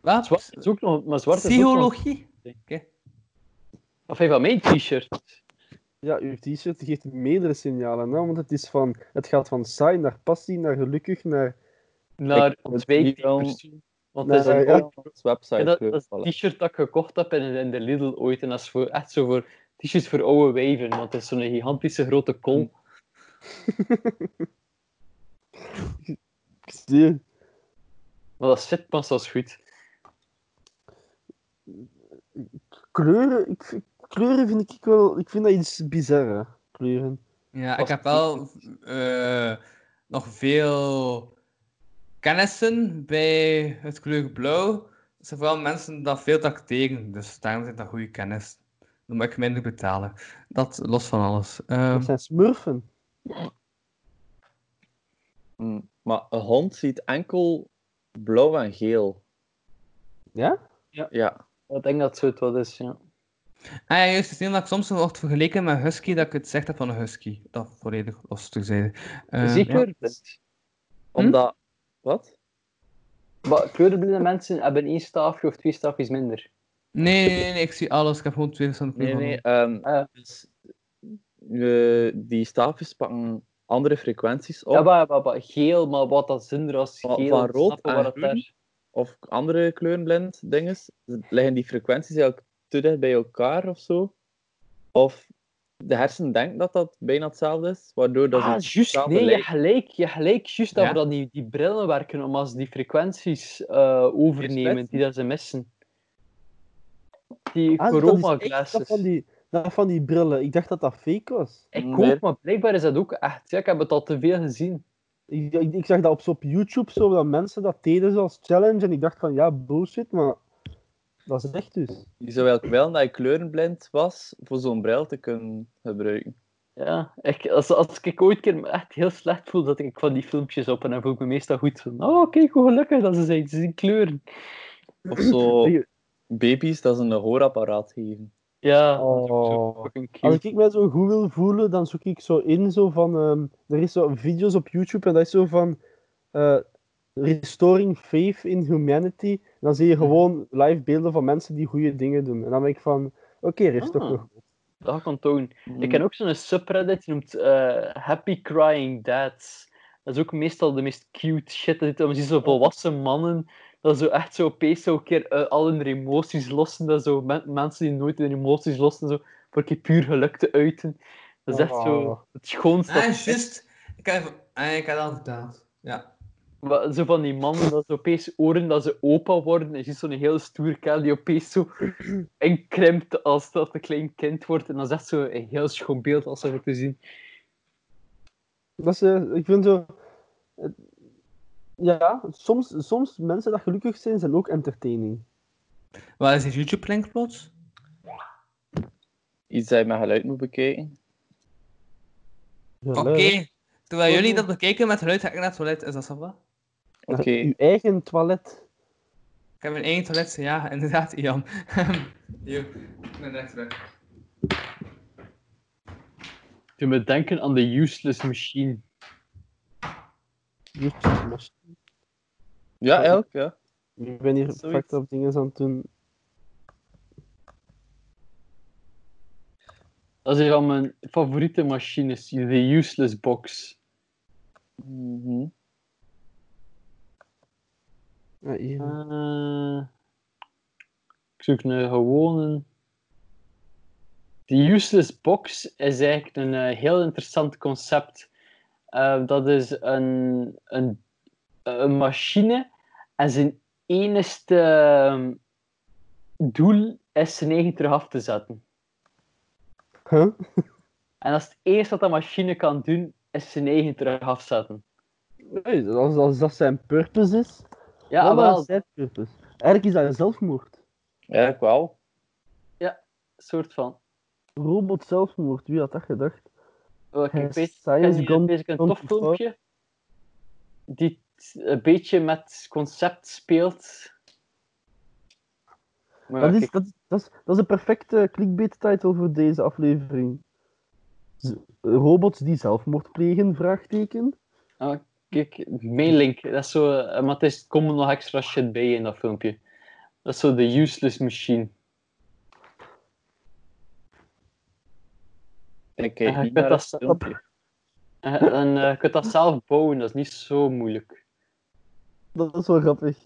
Speaker 4: wat?
Speaker 5: Zwart is ook nog, maar zwart is ook nog...
Speaker 4: Psychologie?
Speaker 5: Of even van mijn t-shirt.
Speaker 3: Ja, uw t-shirt geeft meerdere signalen, hè, want het, is van, het gaat van saai naar passie, naar gelukkig, naar...
Speaker 5: Naar
Speaker 6: Ik moet
Speaker 5: ontwijkt
Speaker 6: hier
Speaker 5: die
Speaker 6: wel-
Speaker 5: persoon. Want
Speaker 3: Nee,
Speaker 5: dat is een
Speaker 3: ja.
Speaker 5: oud-
Speaker 6: Als
Speaker 5: ja,
Speaker 6: website
Speaker 5: dat,
Speaker 6: kleur
Speaker 5: dat is
Speaker 6: vallen.
Speaker 5: een t-shirt dat ik gekocht heb in, in de Lidl ooit. En dat is voor, echt zo voor t-shirts voor oude wijven. Want dat is zo'n gigantische grote kol.
Speaker 6: Hm.
Speaker 3: Ik zie-
Speaker 5: Maar dat zit pas als goed.
Speaker 3: Kleuren, ik, vind- kleuren vind ik wel... Ik vind dat iets bizar, hè, kleuren.
Speaker 4: Ja, ik
Speaker 5: Als
Speaker 4: heb wel eh, nog veel kennissen bij het kleur blauw. Er zijn vooral mensen dat veel tracteren, dus daarom zijn dat goede kennis. Dan moet ik minder betalen. Dat los van alles. Ehm,
Speaker 3: Dat zijn smurfen.
Speaker 6: Mm. Maar een hond ziet enkel blauw en geel.
Speaker 3: Ja?
Speaker 6: Ja.
Speaker 5: Ik denk dat het wat is, ja.
Speaker 4: Ah ja, juist. Het is niet dat ik soms wordt vergeleken met een husky, dat ik het zegt heb van een husky. Dat volledig los Ehm, te zijn.
Speaker 5: Zeker. Hm?
Speaker 6: Omdat... Wat?
Speaker 5: Maar kleurenblinde mensen hebben één staafje of twee staafjes minder.
Speaker 4: Nee, nee, nee, ik zie alles. Ik heb gewoon twee verschillende
Speaker 6: Nee,
Speaker 4: kleuren
Speaker 6: nee. ehm,
Speaker 5: Ah, ja.
Speaker 6: dus, eh, die staafjes pakken andere frequenties op.
Speaker 5: Ja, maar, maar, maar geel, maar wat dat zinder als
Speaker 6: Van-
Speaker 5: geel.
Speaker 6: van rood
Speaker 5: snappen
Speaker 6: en
Speaker 5: waar dat
Speaker 6: groen?
Speaker 5: daar-
Speaker 6: Of andere kleurenblind dinges. Liggen die frequenties eigenlijk te dicht bij elkaar of zo? Of de hersen denkt dat dat bijna hetzelfde is, waardoor dat ze
Speaker 5: Ah, juist.
Speaker 6: hetzelfde
Speaker 5: Nee, je
Speaker 6: lijkt.
Speaker 5: gelijk. Je gelijk. Juist
Speaker 4: Ja.
Speaker 5: dat we dat die, die brillen werken om als die frequenties eh, overnemen
Speaker 6: Frequenties?
Speaker 5: die dat ze missen. Die
Speaker 3: Ah, dat is
Speaker 5: chroma
Speaker 3: echt dat
Speaker 5: glasses.
Speaker 3: van, die, dat van die brillen. Ik dacht dat dat fake was.
Speaker 5: Ik
Speaker 6: Mm, Nee.
Speaker 5: hoop, maar blijkbaar is dat ook echt. Ja, ik heb het al te veel gezien.
Speaker 3: Ik, ik, ik zag dat op, zo op YouTube, zo, dat mensen dat deden zoals challenge. En ik dacht van, ja, bullshit, maar dat is echt dus.
Speaker 6: Je zou eigenlijk wel dat je kleurenblind was voor zo'n bril te kunnen gebruiken.
Speaker 5: Ja, ik, als, als ik ooit keer me echt heel slecht voel, dat ik van die filmpjes op en dan voel ik me meestal goed. Van, oh, kijk hoe gelukkig dat ze zijn. Ze zien kleuren.
Speaker 6: Of zo
Speaker 3: Zeg,
Speaker 6: baby's dat ze een hoorapparaat geven.
Speaker 5: Ja, dat is ook zo
Speaker 3: Oh.
Speaker 5: fucking cute.
Speaker 3: Als ik mij zo goed wil voelen, dan zoek ik zo in zo van... ehm, er is zo video's op YouTube en dat is zo van... eh, Restoring Faith in Humanity. En dan zie je gewoon live beelden van mensen die goede dingen doen. En dan ben ik van... Oké, er is toch
Speaker 5: Ah.
Speaker 3: nog...
Speaker 5: Dat kan toon. Ik
Speaker 6: Mm.
Speaker 5: ken ook zo'n subreddit, die noemt eh, Happy Crying Dads. Dat is ook meestal de meest cute shit. Dat je ziet zo volwassen mannen, dat zo echt zo opeens zo een keer eh, al hun emoties lossen. Dat zo men- mensen die nooit hun emoties lossen, zo voor een keer puur geluk te uiten. Dat is echt
Speaker 3: Oh.
Speaker 5: zo het schoonste.
Speaker 4: Ah,
Speaker 5: dat er is.
Speaker 4: juist. Ik heb, ah, ik heb dat al verteld. Ja.
Speaker 5: Maar Zo van die mannen, dat ze opeens oren dat ze opa worden. En je ziet zo'n hele stoer kerel die opeens zo inkrimpt als dat een klein kind wordt. En dat is echt zo een heel schoon beeld als dat te zien.
Speaker 3: Dat is, eh, ik vind zo... het- ja, soms, soms mensen dat gelukkig zijn, zijn ook entertaining.
Speaker 4: Waar is die YouTube-link plots?
Speaker 6: Iets dat je met geluid moet bekijken.
Speaker 3: Ja,
Speaker 4: Oké.
Speaker 3: leuk.
Speaker 4: Terwijl jullie dat bekijken met geluid, ga ik naar het toilet. Is dat zo wat?
Speaker 6: Oké.
Speaker 3: Uw eigen toilet.
Speaker 4: Ik heb mijn één toilet, ja, (laughs) inderdaad, Ian. Hier, ik ben direct terug.
Speaker 5: Doe me denken aan de useless machine.
Speaker 3: Jezus,
Speaker 6: Ja, elk, ja.
Speaker 3: Ik ben hier
Speaker 6: Zoiets.
Speaker 3: fucked up dingen aan het doen.
Speaker 5: Dat is een van mijn favoriete machines, de Useless Box.
Speaker 6: Mhm.
Speaker 3: Ja, hier.
Speaker 5: Eh, ik zoek een gewone. De Useless Box is eigenlijk een eh, heel interessant concept. Eh, dat is een, een, een machine en zijn enigste ehm, doel is zijn eigen terug af te zetten.
Speaker 3: Huh?
Speaker 5: En dat is het eerste wat dat machine kan doen, is zijn eigen terug afzetten.
Speaker 3: Nee, als, als dat zijn purpose is,
Speaker 5: Ja,
Speaker 3: dan
Speaker 5: wel,
Speaker 3: is zijn purpose. Eigenlijk is dat een zelfmoord.
Speaker 6: Ja, ik wel.
Speaker 5: soort van.
Speaker 3: Robot zelfmoord, wie had dat gedacht?
Speaker 5: Oh, ik
Speaker 3: Ja,
Speaker 5: weet, ik
Speaker 3: Science
Speaker 5: ken hier
Speaker 3: Gone
Speaker 5: bezig een
Speaker 3: Gone
Speaker 5: tof
Speaker 3: Too Far.
Speaker 5: filmpje die t- een beetje met concept speelt. Maar
Speaker 3: Dat
Speaker 5: ja,
Speaker 3: is,
Speaker 5: kijk,
Speaker 3: dat, is- dat, is, dat is een perfecte clickbait-title voor deze aflevering. Z- robots die zelfmoord plegen? Vraagteken.
Speaker 5: kijk, mijn link, dat is zo, eh, maar het is, er komen nog extra shit bij in dat filmpje. Dat is zo de useless machine.
Speaker 6: Ik
Speaker 5: Ja,
Speaker 6: kijk
Speaker 5: Ah, ik weet
Speaker 6: niet naar
Speaker 5: dat
Speaker 6: dat
Speaker 5: ze-
Speaker 6: filmpje.
Speaker 5: En, en eh, je kunt dat zelf bouwen, dat is niet zo moeilijk.
Speaker 3: Dat is wel grappig.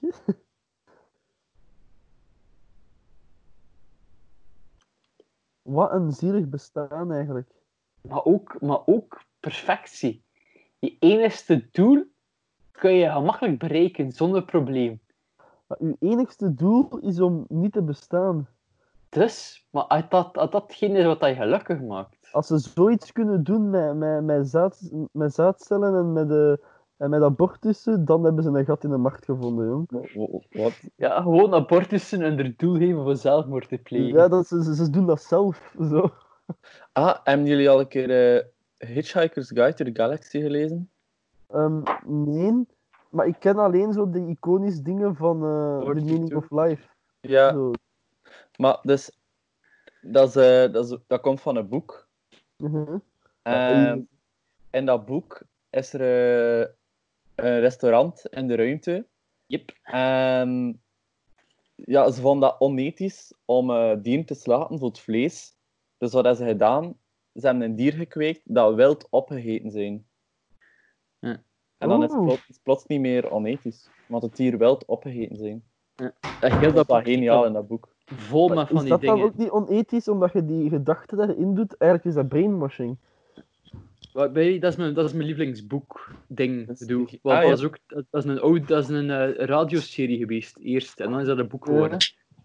Speaker 3: Wat een zielig bestaan eigenlijk.
Speaker 5: Maar ook, maar ook perfectie. Je enigste doel kun je gemakkelijk bereiken zonder probleem.
Speaker 3: Maar uw enigste doel is om niet te bestaan.
Speaker 5: Dus, maar als dat, als datgene is wat je gelukkig maakt.
Speaker 3: Als ze zoiets kunnen doen met, met, met, zaad, met zaadcellen en met, de, en met abortussen, dan hebben ze een gat in de markt gevonden, jong.
Speaker 6: Wa- Wat?
Speaker 5: Ja, gewoon abortussen een doel geven voor zelfmoord te plegen.
Speaker 3: Ja, dat, ze, ze- ze doen dat zelf. Zo.
Speaker 6: Ah, hebben jullie al een keer eh, Hitchhiker's Guide to the Galaxy gelezen?
Speaker 3: Ehm, nee, maar ik ken alleen zo de iconische dingen van eh, The
Speaker 6: Orchid
Speaker 3: Meaning
Speaker 6: too.
Speaker 3: of Life.
Speaker 6: Ja,
Speaker 3: Zo.
Speaker 6: maar dus, dat, is, eh, dat, is, dat komt van een boek.
Speaker 3: Mhm.
Speaker 6: Ehm, in dat boek is er eh, een restaurant in de ruimte.
Speaker 5: Yep.
Speaker 6: En Ehm, ja, ze vonden dat onethisch om eh dieren te slachten voor het vlees. Dus wat hebben ze gedaan? Ze hebben een dier gekweekt dat wild opgegeten zijn.
Speaker 5: Ja.
Speaker 6: En dan is het
Speaker 3: Oeh.
Speaker 6: plots, is het plots niet meer onethisch, want het dier wild opgegeten zijn.
Speaker 5: Dat heel
Speaker 6: Dat is
Speaker 5: dat
Speaker 6: wel
Speaker 5: boek
Speaker 6: geniaal in dat boek.
Speaker 5: vol
Speaker 3: Maar
Speaker 5: met van
Speaker 3: is
Speaker 5: die
Speaker 3: dat dan
Speaker 5: dingen.
Speaker 3: ook niet onethisch omdat je die gedachten daarin doet? Eigenlijk is dat brainwashing.
Speaker 5: Wat- bij- dat, is mijn, dat is mijn lievelingsboek ding.
Speaker 6: Dat is-
Speaker 5: bedoel.
Speaker 6: ah,
Speaker 5: Want
Speaker 6: ja.
Speaker 5: dat, is ook, dat is een, oud, dat is een eh, radioserie geweest eerst. En dan is dat een boek geworden.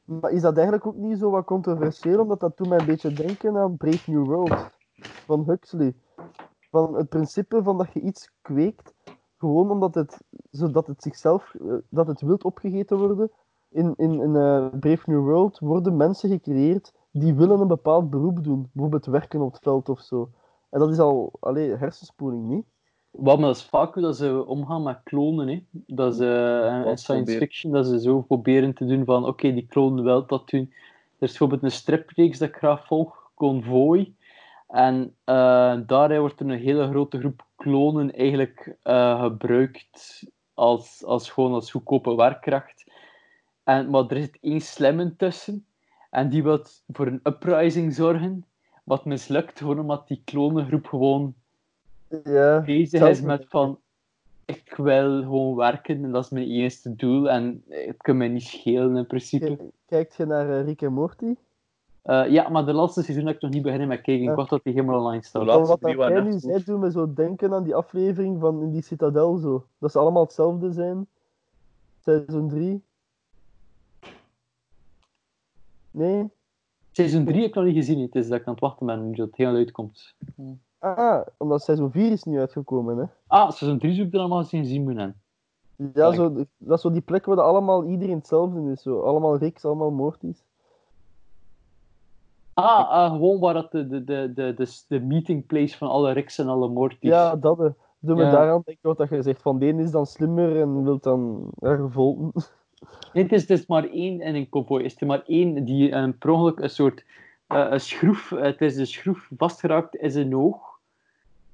Speaker 3: Maar is dat eigenlijk ook niet zo wat controversieel? Omdat dat doet mij een beetje denken aan Brave New World van Huxley. Van het principe van dat je iets kweekt, gewoon omdat het, zodat het zichzelf, eh, dat het wilt opgegeten worden. In, in, in eh, Brave New World worden mensen gecreëerd die willen een bepaald beroep doen. Bijvoorbeeld werken op het veld of zo. En dat is al allee, hersenspoeling, niet?
Speaker 5: Wat maar dat is vaak hoe dat ze omgaan met klonen. Hè. Dat is eh, in
Speaker 6: Wat
Speaker 5: science
Speaker 6: proberen-
Speaker 5: fiction dat ze zo proberen te doen van oké, die klonen wel dat doen. Er is bijvoorbeeld een stripreeks dat ik graag volg, Convoy. En eh daarin wordt er een hele grote groep klonen eigenlijk eh, gebruikt als, als gewoon als goedkope werkkracht. En, maar er zit één slimme tussen en die wil voor een uprising zorgen. Wat mislukt gewoon omdat die klonengroep gewoon
Speaker 3: Ja.
Speaker 5: bezig
Speaker 3: Zelf-
Speaker 5: is met van ik wil gewoon werken en dat is mijn eerste doel en het kan mij niet schelen in principe.
Speaker 3: K- Kijkt je naar eh, Rick en Morty?
Speaker 5: Eh, ja, maar de laatste seizoen heb ik nog niet beginnen met kijken. Ik
Speaker 3: Ja.
Speaker 5: wacht tot die helemaal online
Speaker 6: De
Speaker 5: staat.
Speaker 6: laatste
Speaker 3: Van wat
Speaker 6: drie
Speaker 3: dat
Speaker 6: waren
Speaker 3: jij
Speaker 6: echt
Speaker 3: nu
Speaker 6: goed.
Speaker 3: zei, doet me zo denken aan die aflevering van in die citadel zo. Dat ze allemaal hetzelfde zijn. Seizoen 3. Nee?
Speaker 5: Seizoen 3 heb ik nog niet gezien. Het is dat ik aan het wachten ben nu dat het heel uitkomt.
Speaker 3: Ah, omdat seizoen 4 is nu uitgekomen, hè.
Speaker 5: Ah, seizoen 3 zoek ik er allemaal eens in zien moeten.
Speaker 3: Ja,
Speaker 5: Kijk.
Speaker 3: zo, dat is zo die plek waar dat allemaal iedereen hetzelfde is. Zo. Allemaal Riks, allemaal Mortys.
Speaker 5: Ah, ah, gewoon waar dat de, de, de, de, de, de meeting place van alle Ricks en alle Mortys.
Speaker 3: Ja, dat eh. Doe me
Speaker 5: Ja.
Speaker 3: daaraan denken wat dat je zegt. Van de een is dan slimmer en wil dan erger volgen.
Speaker 5: Nee, het is, het is maar één in een convoy. Is er maar één die eh, per ongeluk een soort eh, een schroef, eh, het is een schroef vastgeraakt in zijn oog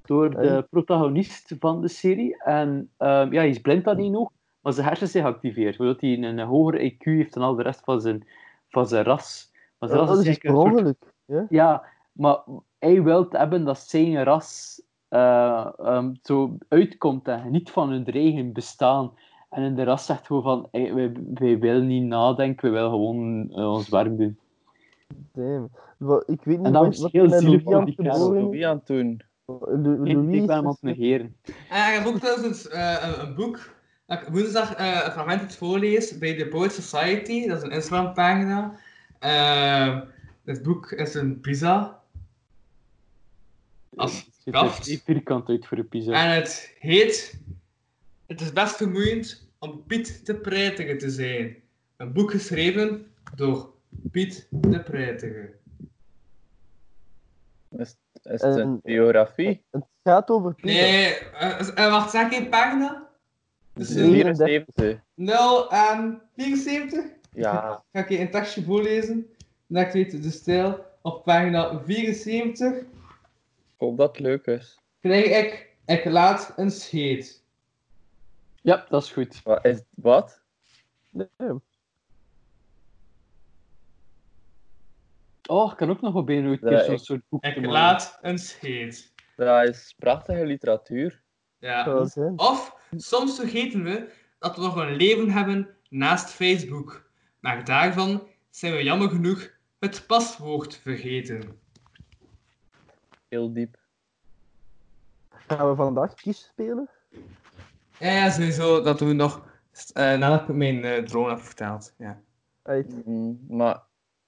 Speaker 5: door de
Speaker 3: Hey.
Speaker 5: protagonist van de serie. En ehm, ja, hij is blind aan één oog. Maar zijn hersens zijn geactiveerd, waardoor hij een, een hoger IQ heeft dan al de rest van zijn, van zijn ras. Maar zijn
Speaker 3: dat,
Speaker 5: ras
Speaker 3: is
Speaker 5: is
Speaker 3: iets per
Speaker 5: eigenlijk een soort-
Speaker 3: ongeluk. Ja?
Speaker 5: Ja, maar hij wil hebben dat zijn ras eh, ehm, zo uitkomt en niet van hun eigen bestaan. En in de ras zegt gewoon van, "Ey, wij, wij willen niet nadenken, wij willen gewoon eh, ons werk doen.
Speaker 3: Damn. Wel, Ik weet
Speaker 5: En
Speaker 3: niet
Speaker 5: dat
Speaker 3: wat,
Speaker 5: is
Speaker 3: wat
Speaker 5: heel
Speaker 3: met
Speaker 5: zielig
Speaker 3: Louis
Speaker 5: voor
Speaker 3: aan
Speaker 5: die
Speaker 3: te
Speaker 5: kerel,
Speaker 6: Wat
Speaker 3: boren
Speaker 6: doe
Speaker 3: is.
Speaker 6: wie aan het doen?
Speaker 3: Lu- Louis
Speaker 5: ik
Speaker 3: is
Speaker 5: ben hem aan het
Speaker 3: dus-
Speaker 5: negeren.
Speaker 4: En ik heb ook trouwens eh, een, een boek. Dat ik woensdag eh, een fragment uit voorlees bij de Poet Society. Dat is een Instagram-pagina. Eh, het boek is een pizza. Als
Speaker 5: Het ziet er
Speaker 4: kracht.
Speaker 5: vrij Dus vierkant uit voor de pizza.
Speaker 4: En het heet... Het is best vermoeiend om Piet de Prijtige te zijn. Een boek geschreven door Piet de Prijtige.
Speaker 6: Is, is het een
Speaker 3: En-
Speaker 6: biografie?
Speaker 3: Het gaat over pizza.
Speaker 4: Nee, eh, eh, wacht, zeg geen pagina?
Speaker 6: Het
Speaker 4: Dus
Speaker 6: is
Speaker 3: Nee.
Speaker 6: 74.
Speaker 4: 0 en 74?
Speaker 6: Ja.
Speaker 4: ga ik je een tekstje voorlezen. Dat ik weet de stijl. Op pagina 74
Speaker 6: Ik hoop dat het leuk is.
Speaker 4: krijg ik, ik laat een scheet.
Speaker 5: Ja, dat is goed.
Speaker 6: Wat? Is, wat?
Speaker 3: Damn.
Speaker 5: Oh, ik kan ook nog wel bijna ooit een
Speaker 6: Ja,
Speaker 5: keer zo'n
Speaker 6: ik-
Speaker 5: soort boek
Speaker 4: Ik
Speaker 5: maken.
Speaker 4: laat een scheet.
Speaker 6: Dat is prachtige literatuur.
Speaker 3: Zou
Speaker 4: Ja.
Speaker 3: dat zijn?
Speaker 4: Of, soms vergeten we dat we nog een leven hebben naast Facebook. Maar daarvan zijn we jammer genoeg het paswoord vergeten.
Speaker 6: Heel diep.
Speaker 3: Gaan we vandaag kies spelen?
Speaker 4: Ja, ja, sowieso, dat doen we nog eh, nadat ik mijn eh, drone heb verteld. Ja.
Speaker 3: Uit.
Speaker 6: Mm, maar,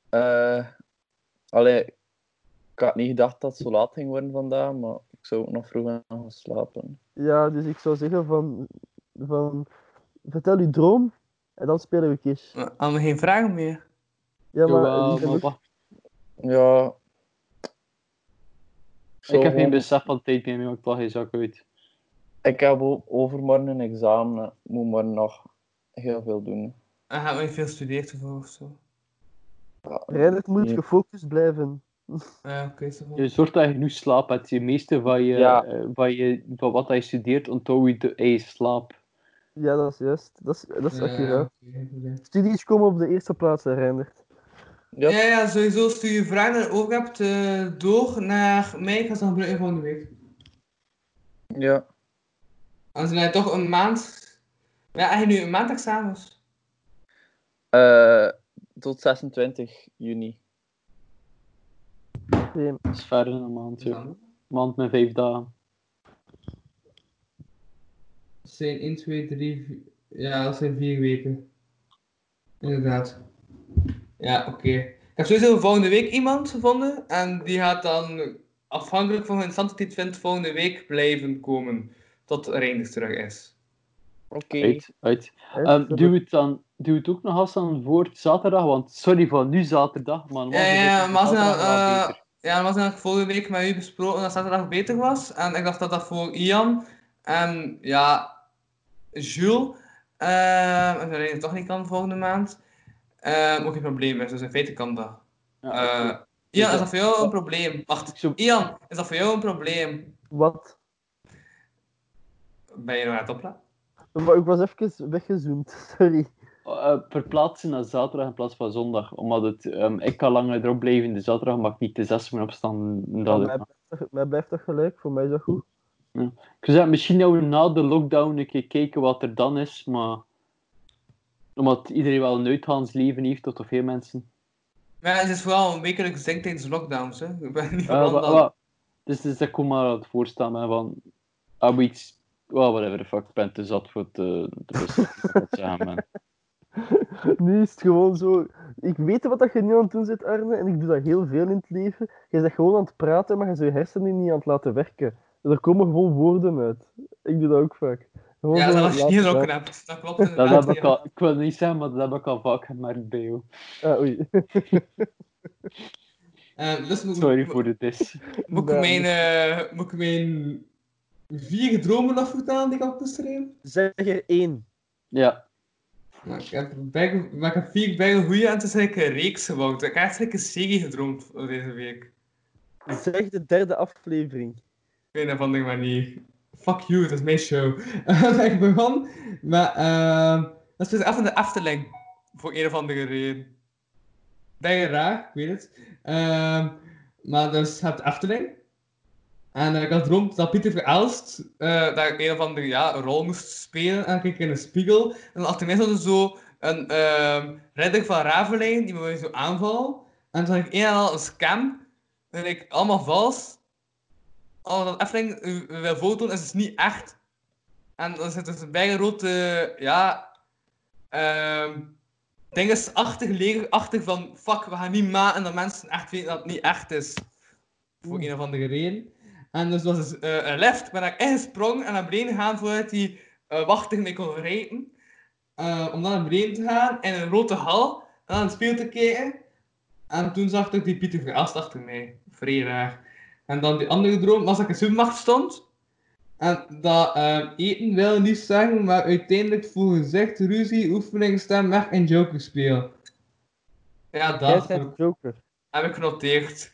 Speaker 6: eh allee, ik had niet gedacht dat het zo laat ging worden vandaag, maar ik zou ook nog vroeg aan gaan slapen.
Speaker 3: Ja, dus ik zou zeggen van, van vertel uw droom en dan spelen we kies.
Speaker 4: Eh, Hadden we geen vragen meer?
Speaker 3: Ja, maar,
Speaker 5: Jawel,
Speaker 3: ik heb
Speaker 5: maar
Speaker 3: ook-
Speaker 5: wacht.
Speaker 6: Ja.
Speaker 5: Ik heb geen
Speaker 6: gewoon-
Speaker 5: besef van tijd bij mij, maar ik plag geen zak uit.
Speaker 6: Ik heb o- overmorgen een examen. hè. Ik moet morgen nog heel veel doen.
Speaker 4: En hebben we niet veel gestudeerd ervoor of zo?
Speaker 3: Reinert moet
Speaker 6: Ja.
Speaker 3: gefocust blijven.
Speaker 4: Ja, oké, zo van.
Speaker 5: Je zorgt dat je genoeg slaap hebt. Je meeste van, je,
Speaker 6: Ja.
Speaker 5: eh, van, je, van wat je studeert, onthoud je de je slaap.
Speaker 3: Ja, dat is juist. Dat is, dat is
Speaker 4: Ja,
Speaker 3: accuraat.
Speaker 4: oké, oké.
Speaker 3: Studies komen op de eerste plaats, hè, Reinert.
Speaker 6: Ja,
Speaker 4: Ja, ja, sowieso stuur je vragen die je ook hebt eh, door naar mij. Ik ga ze dan gebruiken volgende week.
Speaker 6: ja.
Speaker 4: Dan zijn wij toch een maand. Ja, eigenlijk nu een maand examens.
Speaker 6: Eh, tot 26 juni.
Speaker 3: Damn.
Speaker 5: Dat is verder dan een maand.
Speaker 4: Dus
Speaker 5: Ja. Een
Speaker 4: dan
Speaker 5: maand met vijf dagen.
Speaker 4: zijn 1, 2, 3, 4. Ja, dat zijn 4 weken. Inderdaad. Ja, oké. Ik heb sowieso volgende week iemand gevonden. En die gaat dan, afhankelijk van hoe interessant die het vindt, volgende week blijven komen. Tot Reinders terug is.
Speaker 6: Oké.
Speaker 5: Uit, uit.
Speaker 3: Hè,
Speaker 5: Ehm,
Speaker 3: dus dat-
Speaker 5: doe, het dan, doe het ook nog als dan voor zaterdag, want sorry van nu zaterdag, maar normaal
Speaker 4: Ja, ja, ja,
Speaker 5: gezien is
Speaker 4: maar als we
Speaker 5: zaterdag wel
Speaker 4: eh,
Speaker 5: beter.
Speaker 4: ja, maar als ik vorige week met u besproken dat zaterdag beter was. En ik dacht dat dat voor Ian en ja, Jules, eh, en dat toch niet kan volgende maand, eh ook geen probleem is. Dus in feite kan dat.
Speaker 5: Ja, Dus
Speaker 4: Eh, Ian, is dat voor jou een probleem? Wacht,
Speaker 5: ik zou-
Speaker 4: Ian, is dat voor jou een probleem?
Speaker 3: Wat?
Speaker 4: Ben je nog aan het opletten?
Speaker 3: Maar Ik was even weggezoomd, (laughs) sorry.
Speaker 5: Eh, verplaatsen naar zaterdag in plaats van zondag. Omdat het, ehm, ik kan langer erop blijven de zaterdag, maar ik niet de zes moet opstaan.
Speaker 3: Maar
Speaker 5: Dat
Speaker 3: mij, blijft toch, mij blijft toch gelijk, voor mij is dat goed.
Speaker 5: Ik zou zeggen, misschien dat we na de lockdown een keer kijken wat er dan is, maar omdat iedereen wel een uitgaansleven heeft, tot of veel mensen.
Speaker 4: Maar ja, het is vooral een wekelijks ding tijdens lockdowns. Hè. Ik ben niet
Speaker 5: Eh,
Speaker 4: van
Speaker 5: wa-
Speaker 4: dat.
Speaker 5: wa- dus, dus dat komt maar aan het voorstaan hè, van, ah, we iets, well, whatever the fuck, ik ben te zat voor de, de bus. Dat zeggen, man.
Speaker 3: Nu is het gewoon zo. Ik weet wat dat je nu aan het doen zit, Arne, en ik doe dat heel veel in het leven. Je bent gewoon aan het praten, maar je zou je hersenen niet aan het laten werken. Er komen gewoon woorden uit. Ik doe dat ook vaak. Gewoon
Speaker 4: Ja,
Speaker 3: zo
Speaker 4: dat was je
Speaker 3: laten
Speaker 4: niet ook
Speaker 3: praten.
Speaker 4: hebt. Dat klopt.
Speaker 5: (laughs) Dat
Speaker 4: inderdaad,
Speaker 5: heb ik
Speaker 4: ja.
Speaker 5: al, ik wil niet zeggen, maar dat heb ik al vaak gemerkt bij jou.
Speaker 3: Ah, oei.
Speaker 4: Eh, dus moet-
Speaker 5: Sorry voor de dis.
Speaker 4: Moet ik
Speaker 3: Nou,
Speaker 4: mijn, eh, moet ik mijn vier dromen nog vertalen die ik had geschreven?
Speaker 3: Zeg er één.
Speaker 5: Ja,
Speaker 4: Ja, ik heb bijge- maar ik heb vier bijna goeie en het is eigenlijk een reeks gebouwd. Ik heb eigenlijk een serie gedroomd deze week.
Speaker 3: Zeg de derde aflevering.
Speaker 4: Op een of andere manier. fuck you, het is mijn show. (laughs) En ik begon met... ehm, dat is dus even de Efteling. Voor een of andere reden. Denk je raar, ik weet het. Ehm, maar dus, je hebt Efteling. En eh, ik had droomd dat Pieter Verelst eh dat ik een of andere ja, een rol moest spelen. En ik keek in een spiegel. En dan achter mij stond er zo een ehm, redder van Ravelijn, die me wou zo aanvallen. En toen had ik een en al een scam. En ik allemaal vals. Al dat Efteling eh, wil voordoen, is dus niet echt. En dan zit dus een bijgerote, ja... ehm ding is achtig, legerachtig van... Fuck, we gaan niet maken dat mensen echt weten dat het niet echt is. Voor
Speaker 3: Mm.
Speaker 4: een of andere reden. En dus was dus, eh, een lift waar ik ingesprongen en naar beneden gegaan voordat die eh wachtig mee kon rijden. Eh, om dan naar beneden te gaan in een rode hal en aan het speel te kijken. En toen zag ik die Pieter Verelst achter mij. Vrij raar. En dan die andere droom was dat ik in de supermarkt stond. En dat eh, eten wil niet zeggen, maar uiteindelijk voor gezicht, ruzie, oefening, stemweg en joker speel. Ja,
Speaker 3: Jij
Speaker 4: dat
Speaker 3: bent Joker.
Speaker 4: heb ik genoteerd.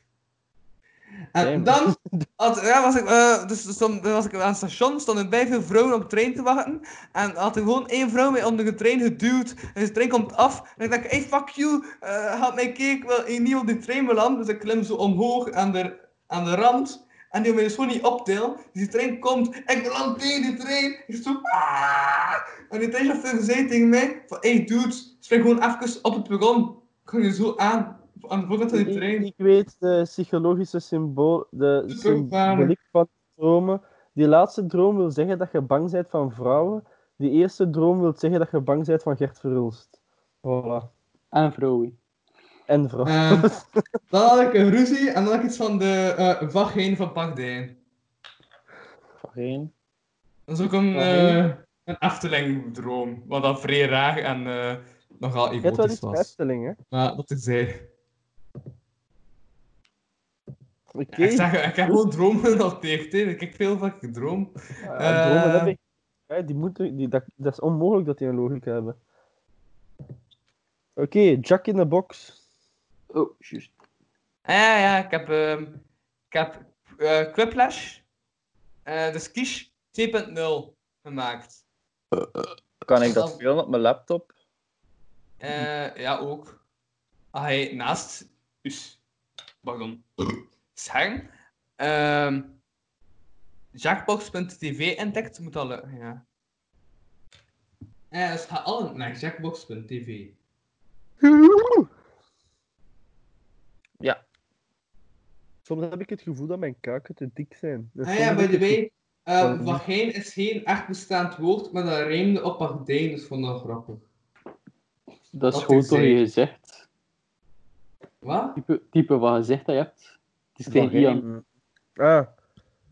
Speaker 5: Damn.
Speaker 4: En dan had, ja, was ik, eh, dus stond, dan was ik aan het station, stonden bij veel vrouwen op de trein te wachten. En had er gewoon één vrouw mee onder de trein geduwd. En de trein komt af. En ik dacht, hey, fuck you, eh help mij kijken, ik wil hier niet op die trein belanden. Dus ik klim zo omhoog aan de, aan de rand. En die wil mij dus gewoon niet optillen. Dus die trein komt, ik beland tegen die trein. Ik zo, "Ah!" En die treinchauffeur zei tegen mij, van, hey dude, spring gewoon even op het perron. Ik ga je zo aan, aan de voorkant van die
Speaker 3: Ik,
Speaker 4: trein.
Speaker 3: ik weet de psychologische symbool, de
Speaker 4: Supervaarlijk.
Speaker 3: symboliek van dromen. Die laatste droom wil zeggen dat je bang bent van vrouwen. Die eerste droom wil zeggen dat je bang bent van Gert Verhulst. Voilà.
Speaker 5: En vrouwen.
Speaker 3: En vrouwen. (laughs)
Speaker 4: Eh, dan had ik een ruzie en dan had ik iets van de eh vagijn van Pagdijn.
Speaker 6: Geen.
Speaker 4: Dat is ook een,
Speaker 6: Vagijn?
Speaker 4: eh een Efteling-droom, wat dat vrij raar en eh, nogal
Speaker 3: je hebt wel
Speaker 4: egotisch
Speaker 3: iets met
Speaker 4: was.
Speaker 3: Efteling, hè?
Speaker 4: Maar dat is zij.
Speaker 3: Oké.
Speaker 4: Ik, zeg, ik heb gewoon dromen genoteerd, hè. ik kijk veel van ik droom.
Speaker 3: Ja, dromen
Speaker 4: eh,
Speaker 3: heb ik. Ja, die moeten, die, dat, dat is onmogelijk dat die een logica hebben. Oké, Jack in the Box.
Speaker 5: Oh, juist.
Speaker 4: Ah, ja, ja, ik heb, ehm ik heb eh Quiplash, eh, dus Kish 2.0 gemaakt.
Speaker 6: Kan ik dat spelen op mijn laptop?
Speaker 4: Eh, ja, ook. Als hij naast uw s- pardon, scherm ehm, jackbox.tv entdekt, moet dat lukken, ja. Eh, dus ga allen naar jackbox.tv.
Speaker 3: Soms heb ik het gevoel dat mijn kaken te dik zijn. Dat is
Speaker 4: Ah ja,
Speaker 3: soms
Speaker 4: by
Speaker 3: een
Speaker 4: the
Speaker 3: beetje-
Speaker 4: way, eh
Speaker 3: Pardon.
Speaker 4: vagijn is geen echt bestaand woord, maar dat rijmde op pardijn, dus vond ik dat grappig.
Speaker 5: Dat is
Speaker 4: Wat
Speaker 5: gewoon
Speaker 4: ik
Speaker 5: door
Speaker 4: zei.
Speaker 5: je gezicht.
Speaker 4: Wat?
Speaker 5: Type, type van gezicht dat je hebt. Het is geen
Speaker 3: Vagijn.
Speaker 5: Ian.
Speaker 3: Ah,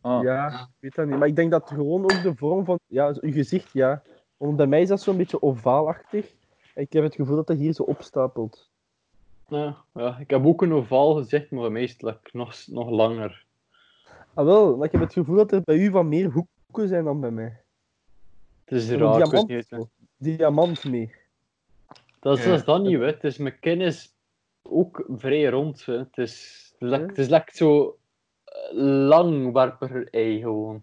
Speaker 6: Ah,
Speaker 3: ja, ik weet dat niet. Maar ik denk dat gewoon ook de vorm van... Ja, zo- uw gezicht, ja. Want bij mij is dat zo'n beetje ovaalachtig. En ik heb het gevoel dat dat hier zo opstapelt.
Speaker 5: Ja, ja, ik heb ook een ovaal gezicht, maar meestal nog, nog langer.
Speaker 3: Ah wel, maar ik heb het gevoel dat er bij u wat meer hoeken zijn dan bij mij.
Speaker 5: Het is
Speaker 3: Zo'n
Speaker 5: raar, ik weet
Speaker 3: diamant,
Speaker 5: niet.
Speaker 3: zo. diamant meer.
Speaker 5: Dat is,
Speaker 4: Ja.
Speaker 5: dat is dat niet, hè. Het is mijn kin is ook vrij rond. Hè. Het is lek, het is lek zo eh, langwerper ei gewoon.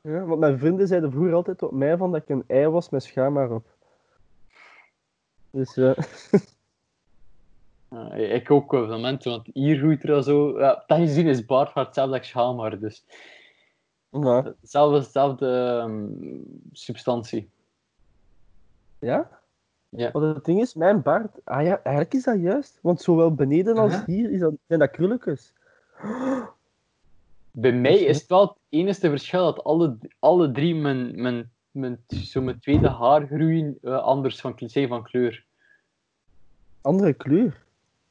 Speaker 3: Ja, want mijn vrienden zeiden vroeger altijd op mij van dat ik een ei was met schaam op. Dus ja.
Speaker 5: Ja, ik ook op dat moment, want hier groeit er al zo. Ja, dat gezien is baardhaar hetzelfde als schaamhaar, dus
Speaker 3: Maar,
Speaker 5: hetzelfde, hetzelfde ehm, substantie.
Speaker 3: ja?
Speaker 5: Ja.
Speaker 3: Want het ding is, mijn baard... Ah ja, eigenlijk is dat juist. Want zowel beneden als
Speaker 4: Aha.
Speaker 3: hier is dat, zijn dat krulletjes.
Speaker 5: Bij mij is het wel het enige verschil dat alle, alle drie mijn, mijn, mijn, zo mijn tweede haar groeien eh, anders van, kle- zijn van kleur.
Speaker 3: Andere kleur.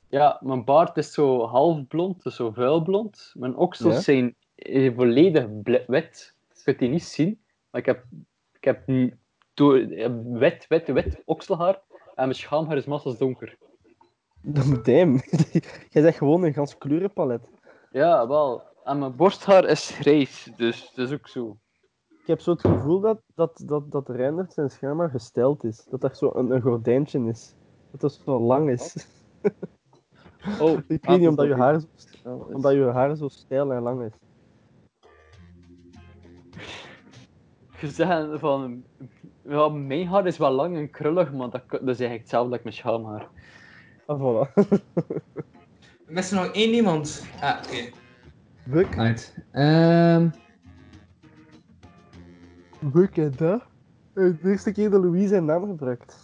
Speaker 5: Ja, mijn baard is zo half blond, dus zo vuilblond. Mijn oksels
Speaker 3: Ja.
Speaker 5: zijn eh, volledig bla- wit. Dat kunt je niet zien, maar ik heb, ik heb n- door, ik heb wit, wit, wit okselhaar. En mijn schaamhaar is massas donker.
Speaker 3: Damn. (laughs) Jij zegt gewoon een gans kleurenpalet.
Speaker 5: Ja, wel. En mijn borsthaar is grijs, dus dat is ook zo.
Speaker 3: Ik heb zo het gevoel dat, dat, dat, dat Reindert zijn schaam maar gesteld is. Dat er zo een, een gordijntje is. Dat dat zo lang is.
Speaker 5: Oh,
Speaker 3: (laughs) Ik
Speaker 5: ah,
Speaker 3: weet niet, omdat je
Speaker 5: dat-
Speaker 3: haar zo, omdat je haar zo stijl en lang is.
Speaker 5: zeggen van... Ja, mijn haar is wel lang en krullig, maar dat, dat is eigenlijk hetzelfde als mijn schaamhaar.
Speaker 3: Ah, (laughs) voilà.
Speaker 4: Mist er nog één iemand? Ah, oké.
Speaker 3: Wuk,
Speaker 4: Right. Ehm,
Speaker 3: Wuk en dat. Eh, De eerste keer dat Louis zijn naam gebruikt.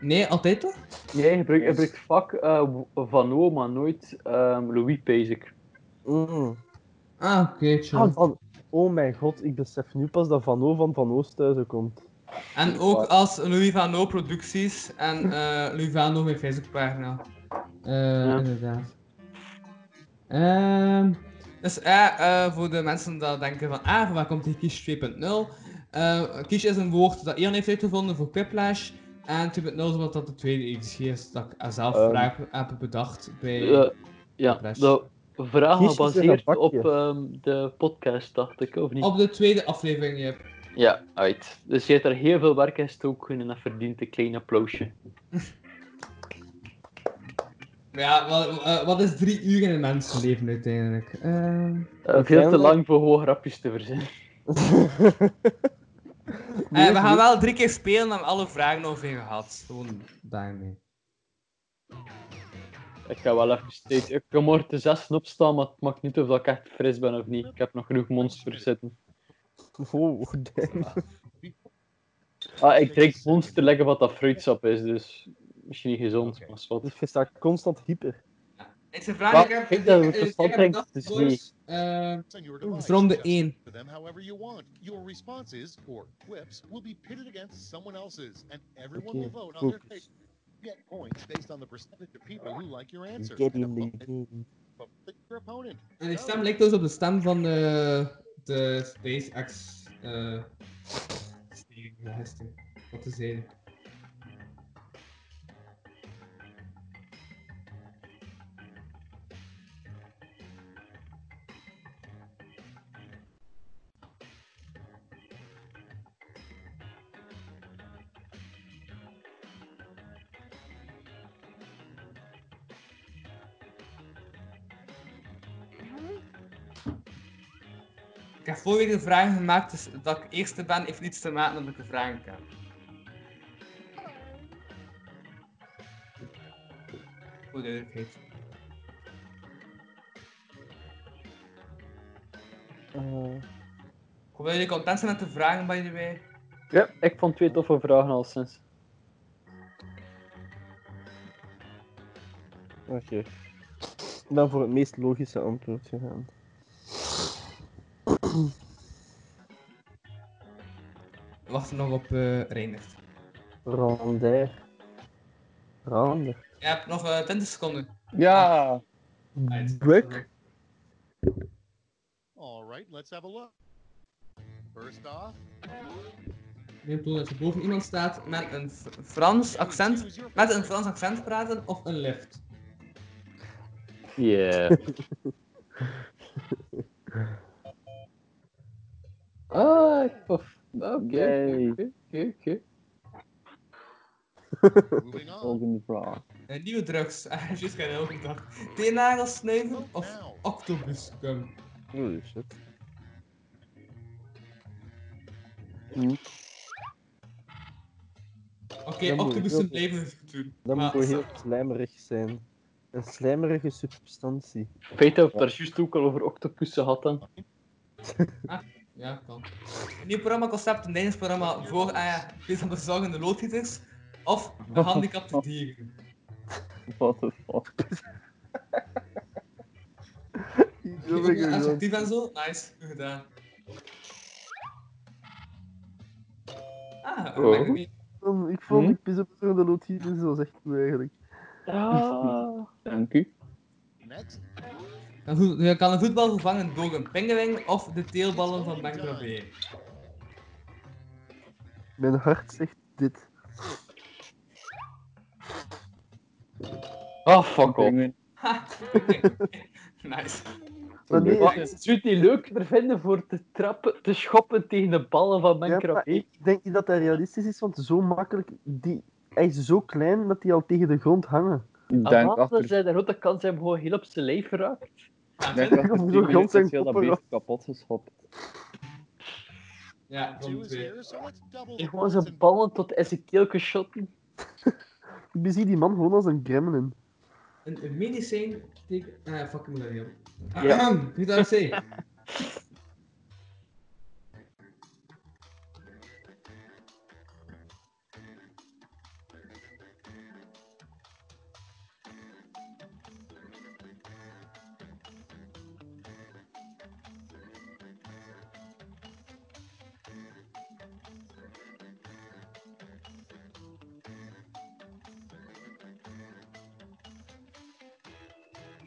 Speaker 4: nee, altijd toch?
Speaker 5: Jij gebruikt, gebruikt vaak eh, w- Van O, maar nooit ehm, Louis Pazik.
Speaker 3: Mm.
Speaker 4: Ah, oké, chill.
Speaker 3: Ah, van- oh mijn god, ik besef nu pas dat Van O van Van Oost thuis komt.
Speaker 4: En ook als Louis van O producties en eh, Louis van O mijn Facebookpagina. Eh Inderdaad. Ehm, dus eh, eh, voor de mensen die denken van, ah, van waar komt die Kish 2.0? Eh Kish is een woord dat Ian heeft uitgevonden voor Quiplash. En 2.0 is omdat dat de tweede editie is dat ik zelf
Speaker 3: Ehm.
Speaker 4: vraag heb bedacht bij...
Speaker 5: Eh, ja,
Speaker 4: Best.
Speaker 5: de vraag
Speaker 3: Kies eens een
Speaker 5: gebaseerd
Speaker 3: bakje.
Speaker 5: op ehm, de podcast, dacht ik, of niet?
Speaker 4: Op de tweede aflevering, je hebt.
Speaker 5: Ja, uit. Dus je hebt er heel veel werk in gestoken en dat verdient een klein applausje.
Speaker 4: Maar ja, wat, eh, wat is drie uur in een mensenleven uiteindelijk? Ehm,
Speaker 5: Eh, veel te
Speaker 3: Uiteindelijk-
Speaker 5: lang voor hoge grapjes te verzinnen. (laughs)
Speaker 4: Eh, we gaan wel drie keer spelen en we hebben alle vragen over je gehad. Gewoon daarmee.
Speaker 5: Ik ga wel even steeds... Ik kan morgen te zessen opstaan, maar het maakt niet uit of ik echt fris ben of niet. Ik heb nog genoeg monsters zitten.
Speaker 3: Oh, damn.
Speaker 5: Ah, ik drink monster lekker wat dat fruitsap is, dus... Misschien niet gezond, maar is wat.
Speaker 3: (laughs) Dus je staat constant hyper.
Speaker 4: Het is een vraag
Speaker 5: Wel,
Speaker 4: die ik heb.
Speaker 5: ik denk dat we
Speaker 4: eh,
Speaker 5: verstand
Speaker 4: ik heb
Speaker 5: brengen,
Speaker 4: bedacht,
Speaker 5: dus
Speaker 4: boys.
Speaker 5: niet.
Speaker 4: Eh,
Speaker 9: on your device.
Speaker 4: Ronde
Speaker 9: Just
Speaker 4: één.
Speaker 9: to them however you want. Your responses or quips will be pitted against someone else's, and everyone will
Speaker 3: Okay,
Speaker 9: vote on their
Speaker 3: focus.
Speaker 9: favorite. Get points based on the percentage of people who like your answer. and
Speaker 3: Get in
Speaker 9: the
Speaker 3: the game.
Speaker 9: vote of your opponent.
Speaker 4: en die stem lijkt dus op de stem van de, de SpaceX. eh Steven van gisteren. Wat te zeggen. Ik heb vorige week de vragen gemaakt, dus dat ik eerste ben heeft niets te maken met dat ik de vragen kan. Voor de duidelijkheid.
Speaker 3: Eh,
Speaker 4: Ik hoop dat jullie content zijn met de vragen, by the way.
Speaker 5: Ja, ik vond twee toffe vragen al sinds.
Speaker 3: Oké. Dan voor het meest logische antwoord gegaan.
Speaker 4: We wachten nog op eh Reinert.
Speaker 3: Rander. Rander.
Speaker 4: Je hebt nog eh 20 seconden.
Speaker 6: Ja!
Speaker 3: Wuk.
Speaker 9: All right, let's have a look. First off,
Speaker 4: Neem toe dat je boven iemand staat met een F- Frans accent,
Speaker 9: choose your
Speaker 4: met een
Speaker 9: favorite.
Speaker 4: Frans accent praten of een lift.
Speaker 5: Yeah. ah, tof. Oké,
Speaker 6: Yay!
Speaker 5: oké, oké.
Speaker 9: Moving on.
Speaker 6: Volgende vraag.
Speaker 4: Een nieuwe drugs, (laughs) Ah, juist geen elke dag. Teennagels snuiven
Speaker 3: Oh.
Speaker 9: Vote
Speaker 4: of
Speaker 9: now.
Speaker 4: octopusgum?
Speaker 3: Holy shit.
Speaker 4: Oké,
Speaker 3: Dat moet
Speaker 4: octopussen
Speaker 3: ik
Speaker 4: blijven het doen.
Speaker 3: Dat
Speaker 4: maar-
Speaker 3: moet heel slijmerig zijn. Een slijmerige substantie.
Speaker 5: Weet je of daar juist ook al over octopussen had dan?
Speaker 4: Ja, kan. Een nieuw programmaconcept, een Nederlands voor eh bezig met zorgende loodgieters
Speaker 3: (laughs)
Speaker 4: of gehandicapte dieren.
Speaker 6: What the fuck?
Speaker 4: Ook (laughs) een Assertief en zo, nice, goed gedaan. Ah, dat ben ik
Speaker 5: Oh.
Speaker 4: niet.
Speaker 3: Um, ik vond
Speaker 6: Hm?
Speaker 3: ik pis op de loodgieters, dat was echt goed eigenlijk.
Speaker 5: Ah.
Speaker 6: Dank u.
Speaker 9: Next,
Speaker 4: Een voet- Je kan een voetbal vervangen door een pingeling of de teelballen van Bank
Speaker 3: Mijn hart zegt dit.
Speaker 5: Ah, fuck off.
Speaker 6: Dingen.
Speaker 4: (laughs) Ha, (laughs) oké. nice.
Speaker 3: Maar nee,
Speaker 5: Wat is het zoet niet leuker vinden voor te trappen, te schoppen tegen de ballen van
Speaker 3: ja, maar
Speaker 5: Minecraft?
Speaker 3: ik denk niet dat dat realistisch is, want zo makkelijk... Die, hij is zo klein dat hij al tegen de grond hangen.
Speaker 6: Ik denk
Speaker 5: Amanda
Speaker 6: achter
Speaker 5: zei de grote kans hebben gewoon heel op zijn lijf geraakt.
Speaker 4: Ja,
Speaker 6: Ik denk
Speaker 4: Vin-
Speaker 6: achter
Speaker 3: Zo
Speaker 6: tien minuten
Speaker 3: gans en
Speaker 6: is heel dat
Speaker 3: koppen,
Speaker 6: beest kapot geschopt.
Speaker 4: Ja,
Speaker 9: Two
Speaker 4: komt
Speaker 9: is
Speaker 4: weer.
Speaker 9: here, so let's double the
Speaker 5: Er gewoon
Speaker 9: points
Speaker 5: zijn
Speaker 9: and
Speaker 5: ballen tot Ezekiel geschoten.
Speaker 3: Ik bezie die man gewoon als een gremlin.
Speaker 4: Een, een mini-sync tegen... Ah, fuck, ik moet daar niet op.
Speaker 5: Ja.
Speaker 4: Ahem, (clears throat) Niet aan het zeggen.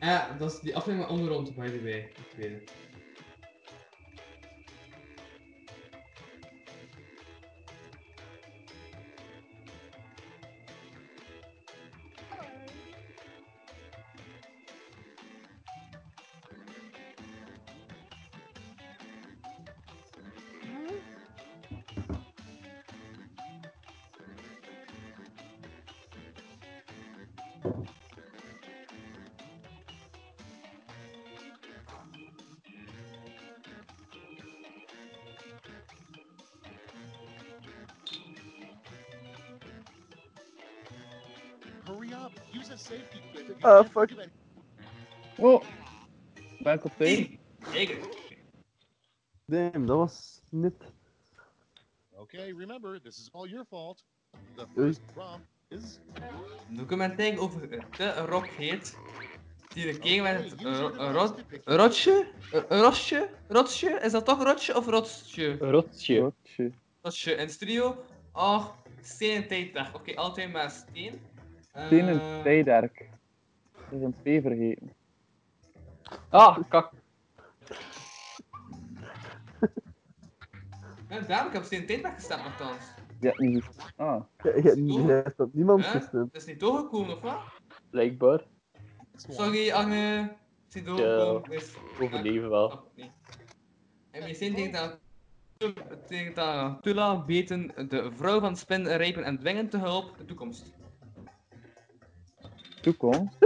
Speaker 4: Ja, dat is die aflevering met onderrond, by the way. Ik weet het.
Speaker 9: hurry up. Use a safety clip. You
Speaker 3: Ah,
Speaker 9: can't
Speaker 3: fuck.
Speaker 9: do anything.
Speaker 6: Oh, ben ik op tijd?
Speaker 4: Zeker.
Speaker 3: Damn, dat was net.
Speaker 9: Okay, remember, this is all your fault. The
Speaker 3: Oei.
Speaker 9: first prompt is
Speaker 4: Een documentaire over de Rock heet. Die een keer met
Speaker 9: Okay,
Speaker 4: een
Speaker 9: use
Speaker 4: ro-
Speaker 9: your
Speaker 4: een
Speaker 9: device
Speaker 4: rot-
Speaker 9: to pick
Speaker 4: een rotje? Een een rotje? Rotje? Is dat toch rotje of rotsje?
Speaker 5: Rotje.
Speaker 6: Rotje.
Speaker 4: Rotje in studio. Oh, steen en tijddag. Oké, altijd maar steen. Eh,
Speaker 6: Steen en Tijderk. Dat is een P vergeten.
Speaker 5: Ah, kak.
Speaker 4: Ja, daarom, ik heb steen en tijddag gestemd nogthans.
Speaker 6: Ja, niet goed. Ah,
Speaker 3: Je, je, je hebt op niemand
Speaker 4: Hè?
Speaker 3: gestemd.
Speaker 4: Dat is niet doorgekomen, of wat?
Speaker 5: Blijkbaar.
Speaker 9: next one.
Speaker 4: Sorry, Anne. Het is niet doorgekomen. Dus-
Speaker 5: Overleven wel.
Speaker 4: Snap het niet. En misschien tegen dat (laughs) tegen dat Tula beten de vrouw van Spin rijpen en dwingen te hulp de toekomst.
Speaker 6: toekomst.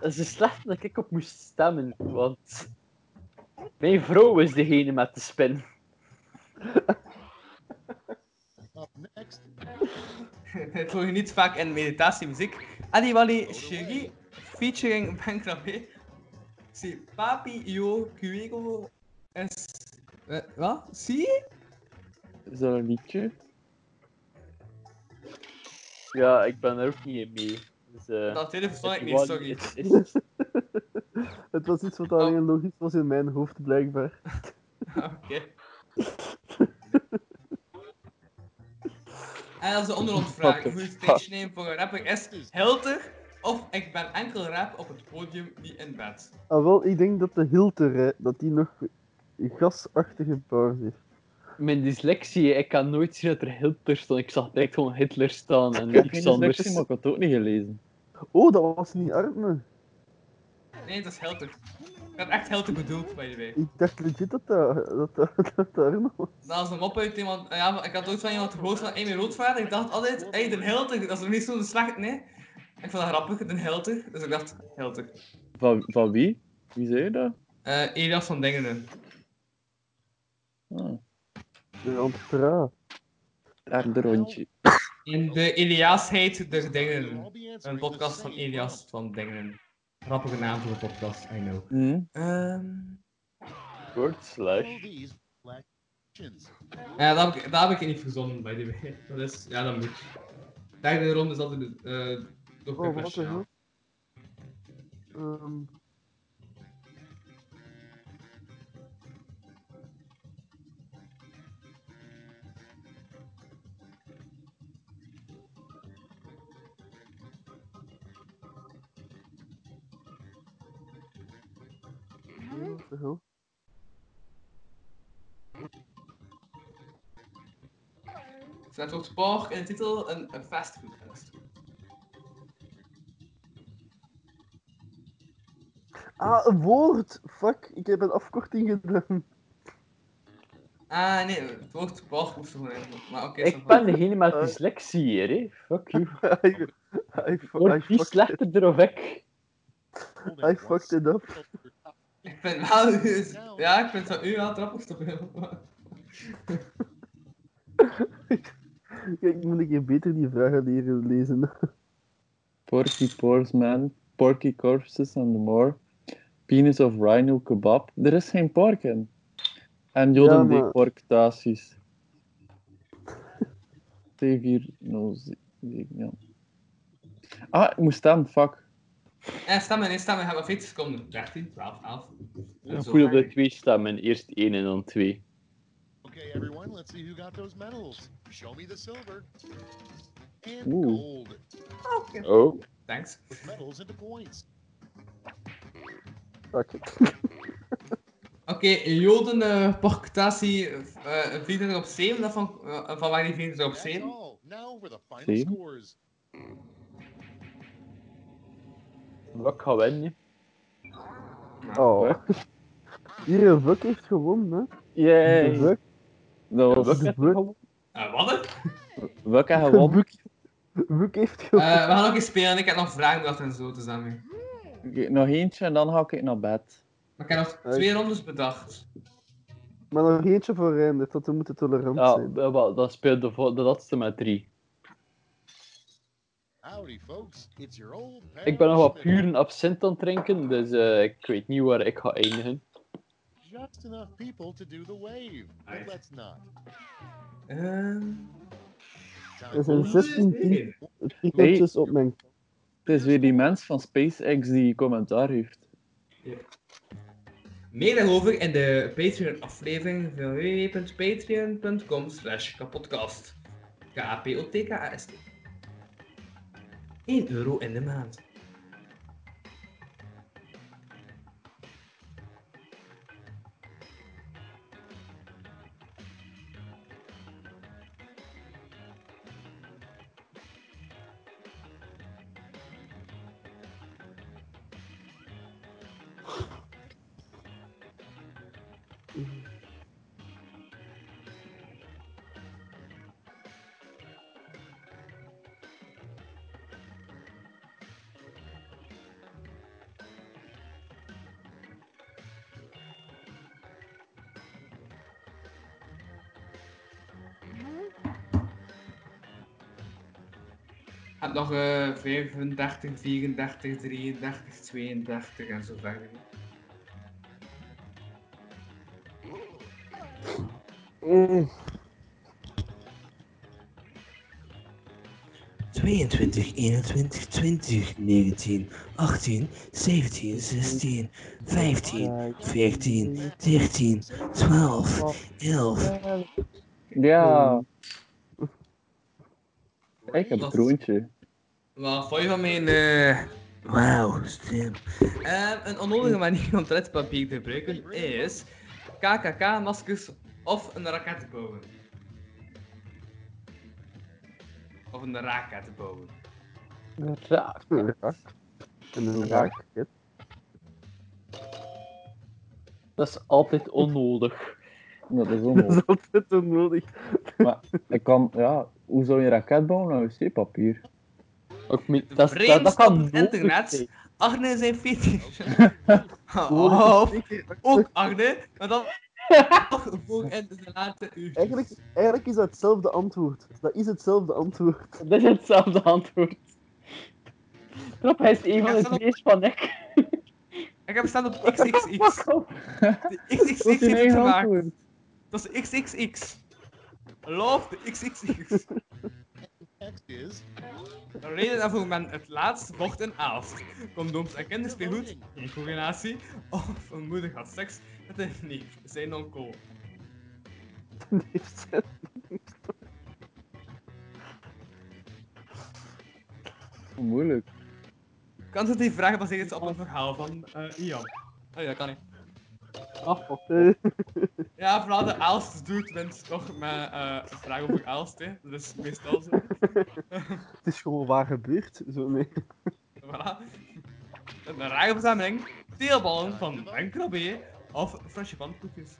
Speaker 5: Het is dus slecht dat ik op moest stemmen, want... Mijn vrouw is degene met de spin.
Speaker 9: Up next,
Speaker 4: Het hoor je niet vaak in meditatiemuziek. Adi Wali Shiri featuring Ben Krabbe. Si papi yo cuego es... Eh, wat? Si?
Speaker 6: Is dat een liedje?
Speaker 5: Ja, ik ben er ook niet in mee. Dus, eh,
Speaker 4: Dat hele verstond ik
Speaker 5: het
Speaker 4: niet,
Speaker 5: was-
Speaker 4: sorry.
Speaker 5: het is- (laughs)
Speaker 3: Het was iets wat alleen logisch was in mijn hoofd, blijkbaar.
Speaker 4: Ah, Oké. En als de (laughs) onderrondvraag,
Speaker 6: What the
Speaker 4: hoe
Speaker 6: fuck?
Speaker 4: stage name voor een rapper is Hilter of ik ben enkel rap op het podium niet in bed.
Speaker 3: Ah, wel, ik denk dat de Hilter, hè, dat die nog gasachtige bars heeft.
Speaker 5: Mijn dyslexie, ik kan nooit zien dat er Hitler stond. Ik zag direct gewoon Hitler staan en
Speaker 6: Ik heb
Speaker 5: niks
Speaker 6: geen dyslexie,
Speaker 5: anders.
Speaker 6: maar ik had het ook niet gelezen.
Speaker 3: Oh, dat was niet Arne.
Speaker 4: Nee, dat is Hilter. Ik had echt Hilter bedoeld, by the way.
Speaker 3: Ik dacht legit dat dat, dat, dat, dat Arne was.
Speaker 4: Dat was een mop uit iemand, ja, maar ik had ooit van iemand gehoord van Amy Roodvaarder. Ik dacht altijd, hey, de Hilter, dat is nog niet zo'n slecht, nee. Ik vond dat grappig, de Hilter. Dus ik dacht, Hilter.
Speaker 6: Van, van wie? Wie zei dat?
Speaker 4: Eh Elias van Dingenen.
Speaker 6: Ah,
Speaker 3: De Antra.
Speaker 6: daar de rondje.
Speaker 4: In de Eliasheid der Dingen.
Speaker 9: I'll be answering
Speaker 4: Een
Speaker 9: the
Speaker 4: podcast van
Speaker 9: same
Speaker 4: Elias van Dingen. Grappige naam voor een podcast, I know.
Speaker 6: Hm?
Speaker 4: Ehm
Speaker 5: Word
Speaker 9: prompt.
Speaker 5: slash.
Speaker 9: Follow these black actions.
Speaker 4: ja, Eh, daar heb, ik, daar heb ik niet verzonnen, by the way. (laughs) Dat is, ja, dat moet. Derde ronde is altijd eh door
Speaker 3: Oh, wat
Speaker 4: Peppers,
Speaker 3: een
Speaker 4: ja.
Speaker 3: hoop. Ehm, Wat de hel?
Speaker 4: Staat ook Spoor in de titel een, een fastfoodfest.
Speaker 3: Ah, een woord! Fuck, ik heb een afkorting gedaan. (laughs)
Speaker 4: Ah nee, het woord Spoor moest er gewoon in. Maar oké,
Speaker 5: Ik ben degene met dyslexie hier, hè. Fuck you.
Speaker 3: I, I, fu- I
Speaker 5: Wordt die
Speaker 3: fucked,
Speaker 5: slechter of ik?
Speaker 9: Hold it
Speaker 3: I
Speaker 9: once.
Speaker 3: fucked it up.
Speaker 4: Ik vind wel uw... Ja, ik vind wel u wel (laughs) trappig te veel.
Speaker 3: Kijk, moet ik hier beter die vragen leren lezen.
Speaker 6: Porky Pores Man, Porky Corpses and More, Penis of Rhino Kebab. Er is geen pork in. En Joden
Speaker 3: Ja,
Speaker 6: ja,
Speaker 3: maar-
Speaker 6: Porktaties. T407, ja. Ah, ik moest staan, fuck.
Speaker 4: En Eh, stemmen, nee, stemmen, we hebben 40 seconden. 13, 12, 11.
Speaker 10: Goed
Speaker 4: Zo.
Speaker 10: dat er twee stemmen. Eerst één en dan twee.
Speaker 9: Okay, everyone, let's see who got those medals. Show me the silver and
Speaker 6: Ooh.
Speaker 9: gold.
Speaker 4: Oké.
Speaker 10: Oh.
Speaker 4: Thanks.
Speaker 9: Put medals into points.
Speaker 3: Fuck.
Speaker 4: Oké, Joden, eh porcutatie, eh 34 op 7. Dat van, eh, van waar die 34 op
Speaker 9: That's
Speaker 4: 7?
Speaker 9: all. Now for the final
Speaker 6: See?
Speaker 9: scores.
Speaker 5: Wat gaat winnen? hè?
Speaker 3: (laughs) Oh. Hier, een fuck heeft gewonnen, hè.
Speaker 6: Yay!
Speaker 3: De fuck.
Speaker 6: Dat was (laughs)
Speaker 3: De fuck.
Speaker 4: Eh wat? hè?
Speaker 6: welke gewonnen.
Speaker 3: (laughs) Fuck heeft gewonnen.
Speaker 4: Eh, we gaan ook eens spelen. Ik heb nog vragen bedacht en zo, dus daarmee.
Speaker 6: Oké, Nog eentje en dan ga ik naar bed.
Speaker 4: Maar ik heb nog
Speaker 3: Eh,
Speaker 4: twee rondes bedacht.
Speaker 3: Maar nog eentje voor Reinder, tot we moeten tolerant
Speaker 5: Eh. Ja,
Speaker 3: zijn.
Speaker 5: eh, wel, dan speelt de, vo- de laatste met drie.
Speaker 9: Howdy, folks. It's your old pal.
Speaker 5: Ik ben nog wat
Speaker 9: Schmidt.
Speaker 5: puren absint aan het drinken, dus eh, ik weet niet waar ik ga eindigen.
Speaker 9: Just enough people to do the wave. But
Speaker 4: Nice.
Speaker 9: let's not.
Speaker 4: Eh,
Speaker 9: Time
Speaker 3: Er
Speaker 9: for
Speaker 3: zijn 16 ticketjes dus op mijn...
Speaker 6: Het is weer die mens van SpaceX die commentaar heeft.
Speaker 4: Meer daarover in de Patreon-aflevering van www.patreon.com slash kapodcast. K-A-P-O-T-K-A-S-T. 1 euro in de maand. Ik heb nog eh 35, 34, 33, 32 en zo verder.
Speaker 3: Mm.
Speaker 8: 22, 21, 20, 19, 18, 17, 16, 15, 14, 13, 12, 11.
Speaker 6: Ja, ik heb
Speaker 4: Wat?
Speaker 6: een troontje.
Speaker 4: Wat vond je van mijn... eh,
Speaker 8: Wauw, slim.
Speaker 4: Ehm, een onnodige manier om toiletpapier te gebruiken is KKK-maskers of een raket bouwen. Of een raket bouwen.
Speaker 5: Raak.
Speaker 3: Een rak. En een raak.
Speaker 5: Dat is altijd onnodig.
Speaker 6: Dat is
Speaker 3: Dat
Speaker 6: onmogelijk.
Speaker 3: is altijd onnodig.
Speaker 6: Ik kan, ja, hoe zou je een raket bouwen nou wc-papier?
Speaker 5: Ik meen,
Speaker 4: De
Speaker 5: dat, is- dat, dat
Speaker 4: vreemdste
Speaker 5: kan
Speaker 4: op het
Speaker 5: nodig
Speaker 4: internet.
Speaker 5: zijn.
Speaker 4: Agne zijn 40.
Speaker 3: Oh,
Speaker 4: Of
Speaker 5: Oh.
Speaker 4: ook Agne, maar dan Oh, toch voor in de laatste uur.
Speaker 3: Eigenlijk, eigenlijk is dat hetzelfde antwoord. Dat is hetzelfde antwoord.
Speaker 5: (laughs) Dat is hetzelfde antwoord. Trap, hij is een
Speaker 4: Ja,
Speaker 5: van de
Speaker 4: zelf-
Speaker 5: meest van ik.
Speaker 4: Ik heb staan op XXX.
Speaker 5: Fuck off.
Speaker 4: De XXX
Speaker 6: Dat is
Speaker 4: heeft het
Speaker 6: een
Speaker 5: nou
Speaker 6: eigen
Speaker 4: gemaakt.
Speaker 6: antwoord.
Speaker 4: Dat is de XXX. Love de XXX.
Speaker 9: Next is
Speaker 4: De reden daarvoor men het laatst mocht in Aalst. Condooms en kinderspeelgoed, in combinatie, of een moeder had seks met een neef, zijn onkel.
Speaker 6: Moeilijk.
Speaker 4: Kan ze die vraag baseren op een verhaal van eh, Ian? Oh ja, kan ik.
Speaker 5: Ah, fuck.
Speaker 3: Eh,
Speaker 4: Ja, vooral de Aalst doet wint toch met eh een vraag over Aalst, hè. Dat is meestal zo.
Speaker 3: het is gewoon waar gebeurd. Zo, nee.
Speaker 4: voilà. Een rare verzameling, teelballen van Bankrabbé of frasje van koekjes.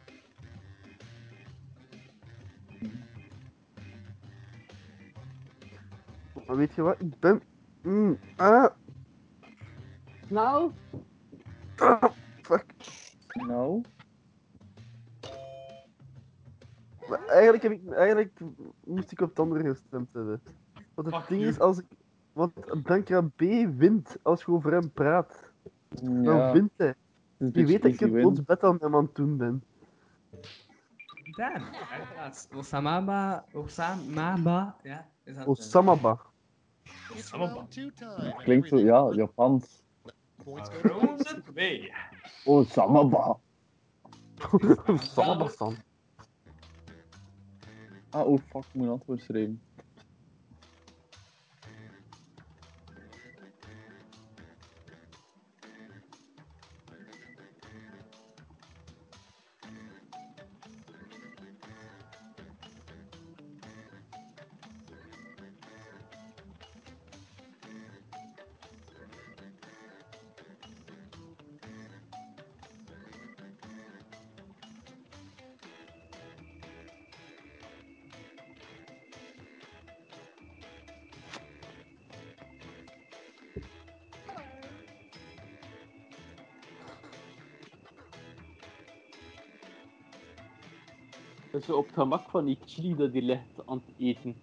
Speaker 3: Maar weet je wat? Ik ben... Mm, ah,
Speaker 5: Nou,
Speaker 3: ah, fuck.
Speaker 6: No.
Speaker 3: Maar eigenlijk, heb ik, eigenlijk moest ik op het andere gestemd hebben. Want het
Speaker 4: Fuck
Speaker 3: ding
Speaker 4: you.
Speaker 3: is, als ik, want Dankra B wint als je over hem praat. Dan
Speaker 6: Ja,
Speaker 3: wint hij.
Speaker 6: het is een
Speaker 3: Je
Speaker 6: beetje
Speaker 3: weet dat ik
Speaker 6: easy
Speaker 3: een
Speaker 6: win.
Speaker 3: ons bed aan hem aan het doen ben.
Speaker 4: Dan, en plaats. Osamaba, Osamaba, ja. Is dat, eh,
Speaker 3: Osamaba.
Speaker 9: It's
Speaker 4: Allemaal.
Speaker 9: round two time.
Speaker 6: Klinkt zo, ja, Japans.
Speaker 9: Points
Speaker 4: (laughs)
Speaker 9: go to
Speaker 4: Frozen 2.
Speaker 6: Oh, Samaba.
Speaker 3: (laughs) Osamaba-san.
Speaker 6: Ah, oh fuck, ik moet een antwoord schrijven.
Speaker 5: Dat is op het gemak van die chili dat die ligt aan het eten.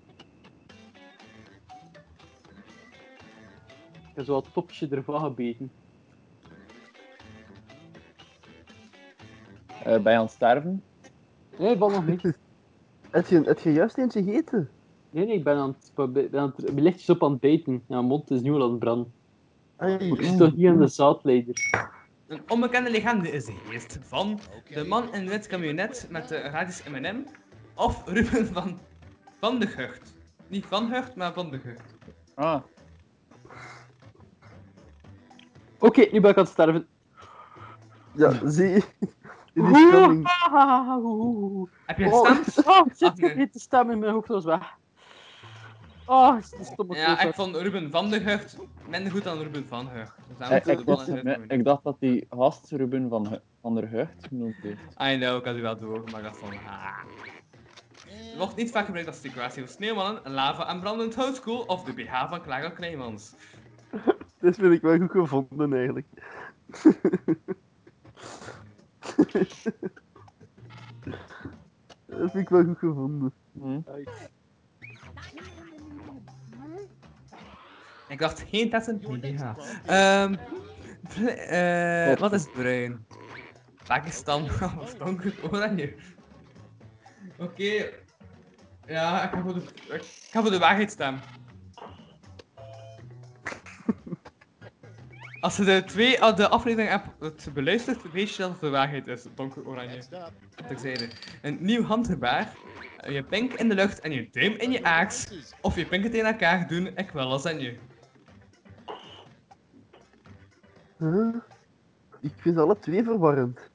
Speaker 5: Ik heb zo het topje ervan gebeten.
Speaker 6: Eh ben je aan het sterven?
Speaker 5: Nee, wat nog niet.
Speaker 3: Heb je, heb je juist eentje gegeten?
Speaker 5: Nee, nee, ik ben aan het, probe- ben aan het lichtjes op aan het bijten. Ja, mijn mond is nu al aan het branden. Ik
Speaker 3: Ai,
Speaker 5: zit toch niet aan de zaadleider.
Speaker 4: Een onbekende legende is de eerst van
Speaker 9: Okay.
Speaker 4: de man in wit camionet met de radius M&M of Ruben van, van de Gucht. Niet van Gucht, maar van de Gucht.
Speaker 6: Ah,
Speaker 5: Oké, nu ben ik aan het sterven.
Speaker 6: (laughs)
Speaker 3: ja, zie. Dit is
Speaker 5: (laughs)
Speaker 3: spelling.
Speaker 5: Ah, oeh.
Speaker 4: Heb je
Speaker 5: Oh,
Speaker 4: gestemd?
Speaker 6: (laughs)
Speaker 5: oh, ik
Speaker 4: Ah,
Speaker 5: zit
Speaker 4: nee.
Speaker 5: weer te stemmen in mijn hoofd was weg. Oh, het is een stomme
Speaker 4: Ja,
Speaker 5: klootzak.
Speaker 4: ik vond Ruben van de Gucht minder goed dan Ruben van Gucht. Dus daarom
Speaker 6: eh,
Speaker 4: zit
Speaker 6: ik,
Speaker 4: de bal
Speaker 6: dacht,
Speaker 4: in het
Speaker 6: nee,
Speaker 4: camionet.
Speaker 6: ik dacht dat die gast Ruben van, Hu- van der Hucht genoemd heeft.
Speaker 4: I know, ik Ah, had u wel door, maar ik dacht van... ah. Het wordt niet vaak gebruikt als decoratie voor sneeuwmannen, lava en brandend houtskool of de BH van Clara Kleimans.
Speaker 3: Dit vind Dus ik wel goed gevonden eigenlijk. (laughs) Dat vind ik wel goed gevonden.
Speaker 6: Hm?
Speaker 4: Ik dacht geen testen,
Speaker 9: Your
Speaker 4: geen
Speaker 9: next
Speaker 4: BH.
Speaker 9: prompt is-
Speaker 4: Ehm, (laughs) br- eh, wat is bruin? Pakistan, (laughs) afhankelijk oranje. Oké. Ja, ik ga voor de, ik ga voor de waarheid stemmen. Als je de twee eh, de aflevering hebt beluisterd, weet je dat het de waarheid is. Donker oranje.
Speaker 9: Next up,
Speaker 4: Terzijde. Een nieuw handgebaar. Je pink in de lucht en je duim in je aaks.
Speaker 9: choices.
Speaker 4: Of je pinken tegen elkaar doen, ik wel lasagne.
Speaker 3: Huh? Ik vind ze alle twee verwarrend.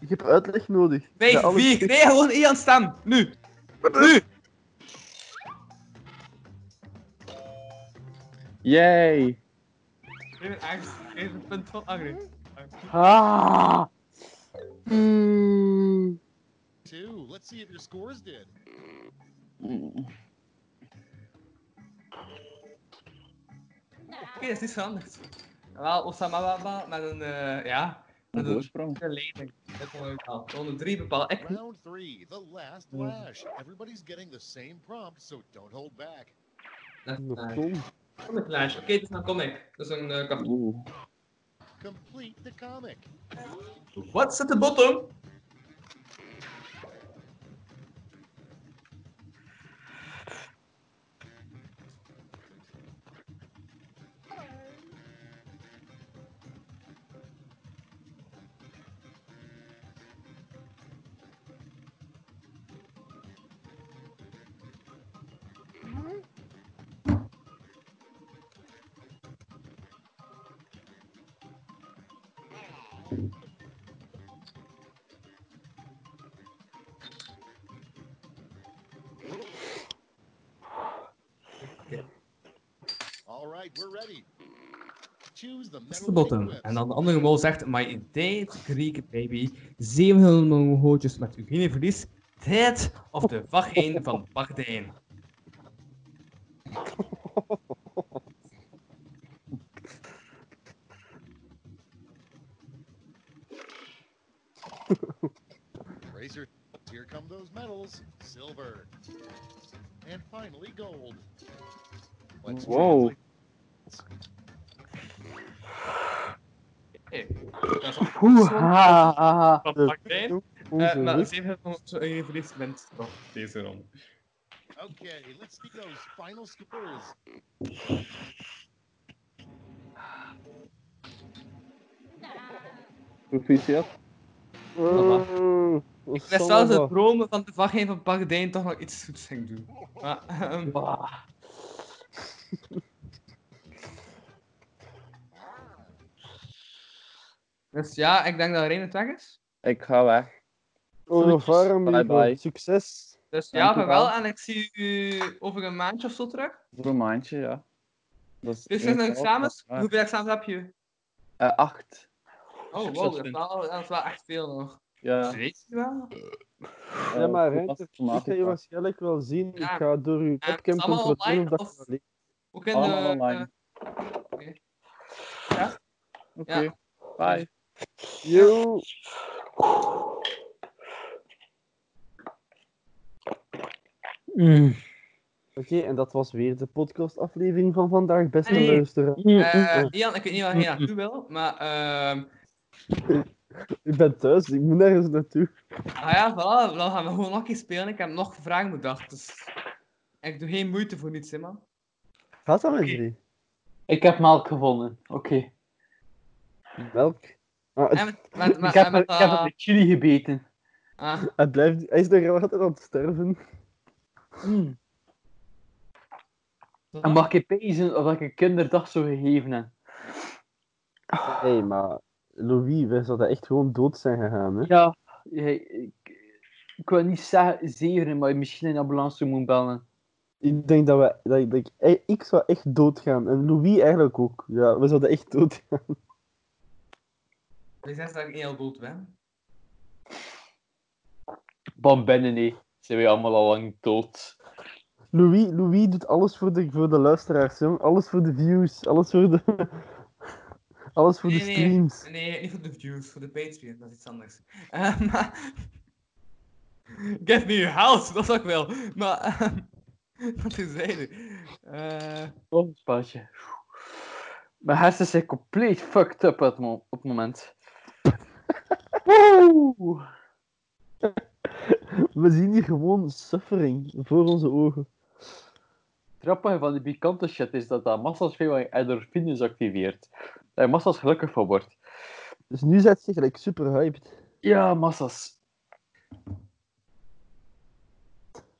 Speaker 3: Ik heb uitleg nodig. Ja,
Speaker 4: Vijf,
Speaker 3: alle
Speaker 4: vier, nee, gewoon Ian staan. Nu. Nu.
Speaker 6: Yay!
Speaker 4: Ik ben aangeschreven, punt van Agri.
Speaker 5: Ah.
Speaker 9: Two. Let's see if your scores did.
Speaker 4: Oké, dat is niet veranderd. Wel, Osama Baba met een, eh, ja,
Speaker 6: Een
Speaker 4: met een
Speaker 6: voorsprong.
Speaker 4: leiding. Dat kon ik wel. Ronde drie bepaal ik niet.
Speaker 9: Round three. The last lash. Everybody's getting the same prompt, so don't hold back.
Speaker 4: Dat is
Speaker 3: Nog
Speaker 4: waar.
Speaker 3: dom.
Speaker 4: Comic Lash. Oké, dit is een comic. Dat is een eh, cartoon.
Speaker 6: Oeh.
Speaker 9: Complete the comic.
Speaker 4: What's at the bottom?
Speaker 9: All right, we're ready. Choose the
Speaker 4: That's
Speaker 9: metal
Speaker 4: the bottom.
Speaker 9: whips.
Speaker 4: En dan de andere mol zegt, my date Greek baby, 700 miljoen hootjes met urineverlies, tijd of de vagijn van Bardijn.
Speaker 9: Razor. Here come those medals. Silver. And finally, gold. Let's
Speaker 6: Whoa.
Speaker 9: translate-
Speaker 4: Hey, dat is ook
Speaker 5: Oeh,
Speaker 4: zo'n-
Speaker 5: ha, ha, ha.
Speaker 4: Van
Speaker 3: Dus-
Speaker 4: Martijn. Eh, maar
Speaker 3: Ongerust.
Speaker 4: zeven hebben ons je verliefd bent nog deze ronde.
Speaker 9: Okay, let's see those final scores.
Speaker 6: Proficiat.
Speaker 3: Mm,
Speaker 4: Ik wist wel dat het dromen van de vagijn van Bagdijn toch nog iets goeds ging doen. Maar, ehm,
Speaker 5: Wah.
Speaker 4: dus ja, ik denk dat Rijn het weg is.
Speaker 6: Ik ga weg.
Speaker 3: Ongevaar,
Speaker 6: Bye bye.
Speaker 3: Oh, Succes.
Speaker 4: Dus
Speaker 6: Dank
Speaker 4: ja,
Speaker 6: u
Speaker 4: maar wel.
Speaker 6: wel.
Speaker 4: En ik zie u over een maandje of zo terug.
Speaker 6: Voor een maandje, ja. Dat is
Speaker 4: Dus
Speaker 6: één
Speaker 4: zijn er
Speaker 6: taal,
Speaker 4: examens?
Speaker 6: maar-
Speaker 4: Hoeveel examens heb je?
Speaker 6: Eh, acht.
Speaker 4: Oh, wow, dat is wel, dat is wel echt veel nog.
Speaker 6: Ja. eh,
Speaker 4: Weet je wel?
Speaker 3: Ja, maar hè,
Speaker 6: dat
Speaker 3: ik kan je waarschijnlijk wel zien. Ik
Speaker 4: Ja.
Speaker 3: ga door uw
Speaker 4: het
Speaker 3: webcam
Speaker 4: is allemaal
Speaker 3: controleren of dat
Speaker 4: online,
Speaker 3: je dat leest.
Speaker 4: of- Hoe kunnen eh,
Speaker 6: Allemaal
Speaker 4: we-
Speaker 6: online.
Speaker 4: oké. Ja.
Speaker 6: Oké.
Speaker 4: Ja.
Speaker 6: Bye.
Speaker 3: Yo. Oké, en dat was weer de podcastaflevering van vandaag, beste
Speaker 4: Nee.
Speaker 3: luisteraar.
Speaker 4: eh, Ian, ik weet niet waar je naartoe wil, maar ehm,
Speaker 3: Ik ben thuis, ik moet nergens naartoe.
Speaker 4: Ah ja, voilà, dan gaan we gewoon nog eens spelen. Ik heb nog vragen bedacht, dus... Ik doe geen moeite voor niets, hè, man.
Speaker 3: Gaat dat met drie?
Speaker 5: Ik heb melk gevonden. Oké.
Speaker 3: Melk. Ah, het,
Speaker 4: En met, met, met,
Speaker 5: Ik heb,
Speaker 4: en
Speaker 5: er-
Speaker 4: met,
Speaker 5: ik heb
Speaker 4: ah,
Speaker 5: het met chili gebeten.
Speaker 4: ah,
Speaker 3: het blijft, hij is nog altijd aan het sterven.
Speaker 5: Mm. En mag ik pezen of ik een kinderdag zou gegeven heb?
Speaker 3: Hé, hey, maar Louis, wij zouden echt gewoon dood zijn gegaan, hè?
Speaker 5: Ja, ik, ik, ik wil niet zeggen zeven, maar misschien een ambulance moet bellen.
Speaker 3: Ik denk dat we, dat, ik- dat ik, ik zou echt doodgaan. En Louis eigenlijk ook. Ja, we zouden echt doodgaan.
Speaker 4: we zijn straks heel dood, ben.
Speaker 5: Van binnen, nee. Zijn wij allemaal al lang dood.
Speaker 3: Louis, Louis doet alles voor de, voor de luisteraars, jong. Alles voor de views, alles voor de... (laughs) Alles voor de
Speaker 4: Nee, nee.
Speaker 3: streams.
Speaker 4: (laughs) Nee, niet voor de views, voor de Patreon, dat is iets anders. Eh, (laughs) maar... Get me your house, dat is ook wel. Maar, ehm, (laughs) wat is zijde? Eh
Speaker 5: Oh, een spaatje. Mijn hersenen zijn compleet fucked up op het mo- op het moment. Woe!
Speaker 3: We zien hier gewoon suffering voor onze ogen.
Speaker 5: Het grappige van die pikante shit is dat dat massas veel endorfines activeert. Daar je massas gelukkig van wordt.
Speaker 3: Dus nu zet ze gelijk super hyped.
Speaker 5: Ja, massas.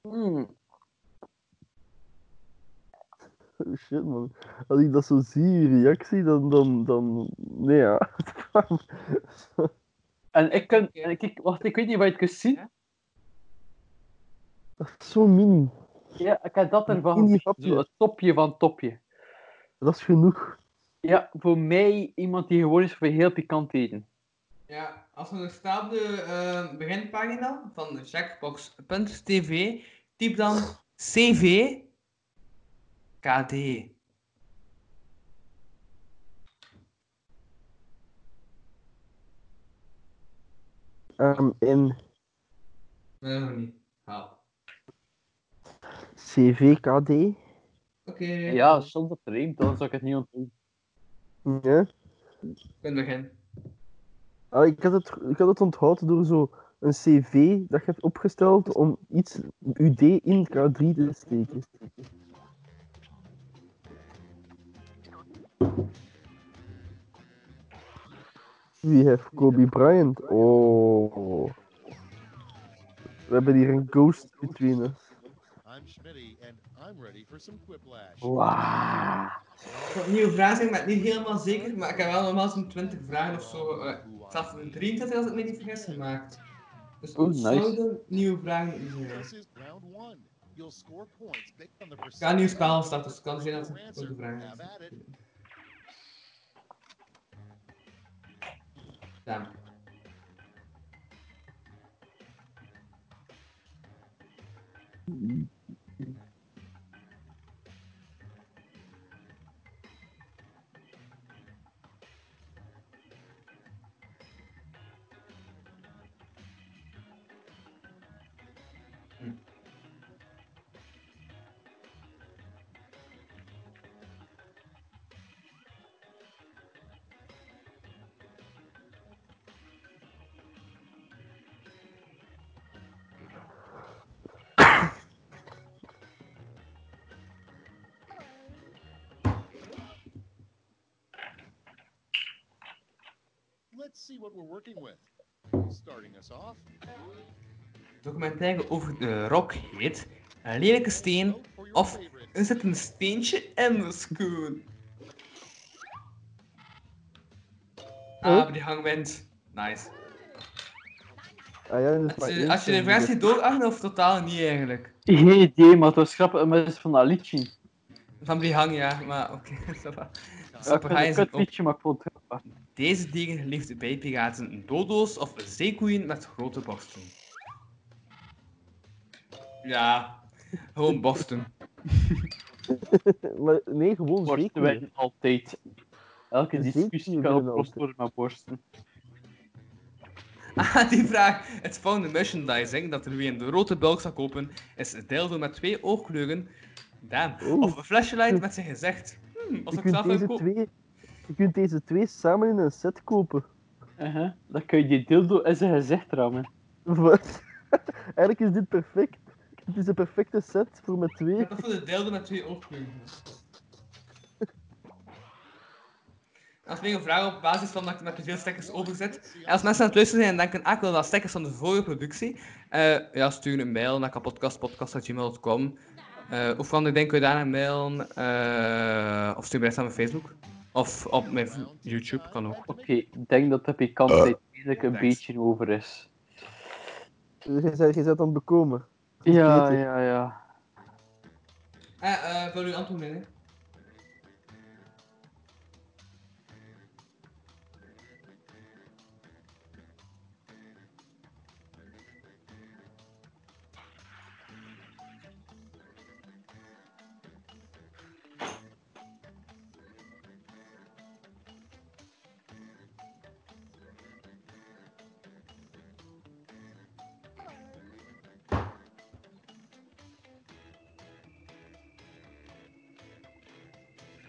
Speaker 5: Mm.
Speaker 3: Oh shit man. Als ik dat zo zie, je reactie, dan. dan, dan... Nee ja.
Speaker 5: En ik kan... En ik, ik- wacht, ik weet niet wat je het kunt zien.
Speaker 3: Dat is zo min.
Speaker 5: Ja, ik heb dat ervan
Speaker 3: In die
Speaker 5: gezien.
Speaker 3: hapje.
Speaker 5: Zo het topje van het topje.
Speaker 3: Dat is genoeg.
Speaker 5: Ja, voor mij iemand die gewoon is voor heel pikant eten.
Speaker 4: Ja, als we nog staan op de eh, beginpagina van jackbox.tv, typ dan CV KD.
Speaker 3: Ehm, in
Speaker 4: Nee, nog niet. Ja.
Speaker 3: CVKD.
Speaker 4: Oké,
Speaker 5: Ja, soms dat reemt, dan zou ik het niet ontdoen.
Speaker 3: Ja.
Speaker 4: we kunnen beginnen.
Speaker 3: Ah, ik, had het, ik had het onthouden door zo een CV dat je hebt opgesteld om iets UD in K3 te steken. We have Kobe Bryant. Oh. We hebben hier een ghost between us.
Speaker 9: I'm Schmitty, and I'm ready for some quiplash.
Speaker 5: Wauw.
Speaker 4: Ik heb nieuwe vragen zijn, maar niet helemaal zeker, maar ik heb wel normaal zo'n 20 vragen of zo, eh, zelfs een 23 als ik me niet vergis, gemaakt. Dus
Speaker 5: Oeh,
Speaker 4: het
Speaker 5: nice.
Speaker 4: zouden nieuwe vragen moeten zijn.
Speaker 9: This is round one. You'll score points based on the
Speaker 4: Ik ga een nieuw
Speaker 9: percentage
Speaker 4: spel starten, dus het kan zijn dat
Speaker 9: of your
Speaker 4: het ook
Speaker 9: answer.
Speaker 4: de vragen
Speaker 9: Have
Speaker 4: is.
Speaker 9: at it.
Speaker 4: Ja.
Speaker 9: Let's see what we're working with. Starting us off.
Speaker 4: documentaire over de rock heet Een lelijke steen
Speaker 9: vote for your
Speaker 4: of
Speaker 9: favorite.
Speaker 4: er zit een steentje in de schoen. Ah,
Speaker 5: Oh.
Speaker 4: maar die hangwind. Nice.
Speaker 3: Ah ja, dat is
Speaker 4: Als
Speaker 3: maar
Speaker 4: je,
Speaker 3: één
Speaker 4: als je de
Speaker 3: stem
Speaker 4: versie doodacht of totaal niet eigenlijk.
Speaker 5: Geen idee, maar het was grappig. Maar het is van dat liedje.
Speaker 4: Van die hang ja, maar oké. (laughs) ça va.
Speaker 5: Ja, ik
Speaker 4: Sapper Heinz
Speaker 5: vind het een
Speaker 4: en
Speaker 5: kut
Speaker 4: ook
Speaker 5: liedje, maar ik vond het grappig.
Speaker 4: Deze dieren geliefd bij piraten, dodo's of zeekoeien met grote borsten. Ja, gewoon borsten. (laughs)
Speaker 3: hier. Maar nee, gewoon
Speaker 5: Borsten
Speaker 3: zeker.
Speaker 5: winnen altijd. Elke
Speaker 3: Zeker
Speaker 5: discussie kan
Speaker 3: winnen
Speaker 5: opgelost worden met borsten.
Speaker 4: Ah, die vraag. Het volgende merchandising dat er wie een rode bulk zal kopen, is een dildo met twee oogkleuren. Damn.
Speaker 3: Oeh.
Speaker 4: Of een flashlight met zijn gezicht. Hmm, als
Speaker 3: Je
Speaker 4: ik zelf
Speaker 3: kunt,
Speaker 4: wil
Speaker 3: deze
Speaker 4: kopen.
Speaker 3: twee, je kunt deze twee samen in een set kopen.
Speaker 5: Uh-huh. Dan kun je die dildo in zijn gezicht rammen.
Speaker 3: Wat? (laughs) Eigenlijk is dit perfect. Dit is een perfecte set voor met twee.
Speaker 4: Dat is voor de dildo met twee oogkleuren. Als ik een vraag op basis van dat ik met te veel stekkers overzet, En als mensen aan het luisteren zijn en denken, ah, ik wil dat stekkers van de vorige productie, eh, ja, stuur een mail naar kapotkastpodcast.gmail.com. Eh of kan ik denk, kun je daar een mail, eh, of stuur bericht aan mijn Facebook. Of op mijn v- YouTube, kan ook.
Speaker 5: Oké, ik denk dat de pikantheid eigenlijk een
Speaker 4: Thanks.
Speaker 5: beetje over is.
Speaker 3: Je bent je bent aan het bekomen.
Speaker 5: Ja,
Speaker 3: beter.
Speaker 5: ja, ja.
Speaker 4: Eh, eh, wil u antwoord nemen?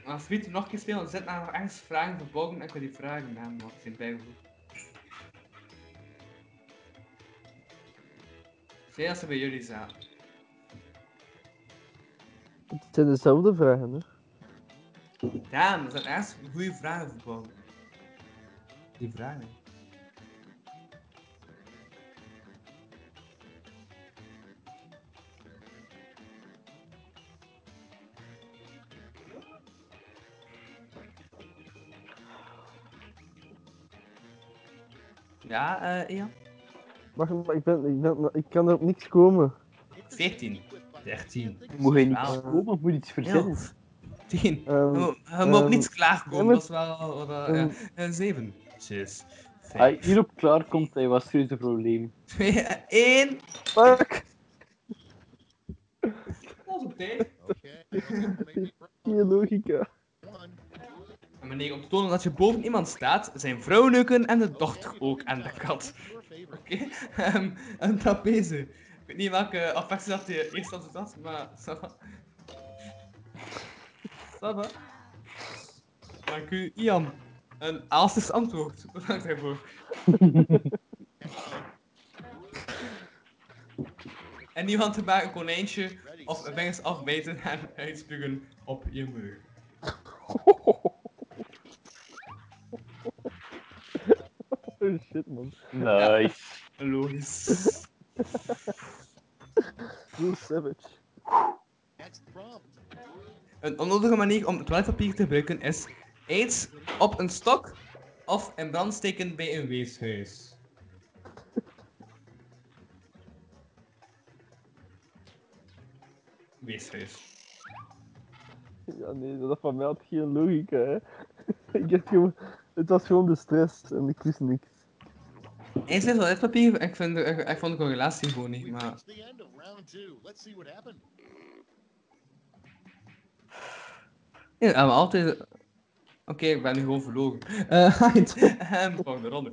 Speaker 4: Als we het nog een keer spelen, dan zitten er nog ergens vragen verborgen en ik wil die vragen namen, want ze zijn bijgevoegd. Zij als ze bij jullie zaten.
Speaker 3: Het zijn dezelfde vragen, hè?
Speaker 4: Damn, er zijn echt goede vragen verbonden. Die vragen. Ja, eh, Ian?
Speaker 3: Wacht, maar ik, ben, ik, ben, ik kan er op niks komen.
Speaker 4: 14, 13,
Speaker 5: Moet je niet
Speaker 4: Wauw.
Speaker 5: komen, moet je iets verzinnen.
Speaker 4: 11, 10.
Speaker 3: Ehm,
Speaker 4: Je moet- je moet op
Speaker 3: ehm,
Speaker 4: niets klaarkomen,
Speaker 3: ja,
Speaker 4: dat is wel... wat, eh,
Speaker 3: ehm.
Speaker 4: eh, 7, 6,
Speaker 5: Als
Speaker 4: 5,
Speaker 5: je hierop klaarkomt, hij was serieus een probleem.
Speaker 4: 2, 1...
Speaker 3: Fuck!
Speaker 4: Dat is op tijd.
Speaker 9: Okay. well, maybe
Speaker 3: Je logica.
Speaker 4: (laughs)
Speaker 9: one.
Speaker 4: Een manier om te tonen dat je boven iemand staat, zijn vrouw neuken en de dochter ook en de kat.
Speaker 9: Your favorite.
Speaker 4: Oké? Ehm, een trapeze. Ik weet niet welke affectie dat de eerste had was, maar... ça va. Ça va. Dank u, Ian. Een aalstes antwoord. Bedankt daarvoor. en iemand te maken een konijntje of een vingers afbijten en uitspugen op je muur.
Speaker 3: Oh shit, man. (laughs)
Speaker 5: Nice.
Speaker 4: Logisch.
Speaker 3: Real savage.
Speaker 9: Next prompt.
Speaker 4: (laughs) Een onnodige manier om toiletpapier te gebruiken is aids op een stok of in brand steken bij een weeshuis. Weeshuis.
Speaker 3: Ja, nee, dat van mij had geen logica, hè. (laughs) ik heb gewoon... Het was gewoon de stress en ik wist niks.
Speaker 4: Aids met toiletpapier, ik, vind, ik, ik vond de correlatie gewoon niet,
Speaker 9: We've
Speaker 4: maar...
Speaker 9: reached the end of round two. Let's see what happened.
Speaker 4: Ja, maar altijd... Oké, ik ben nu gewoon verloren. Eh, (laughs) Heinz, ehm, volgende ronde.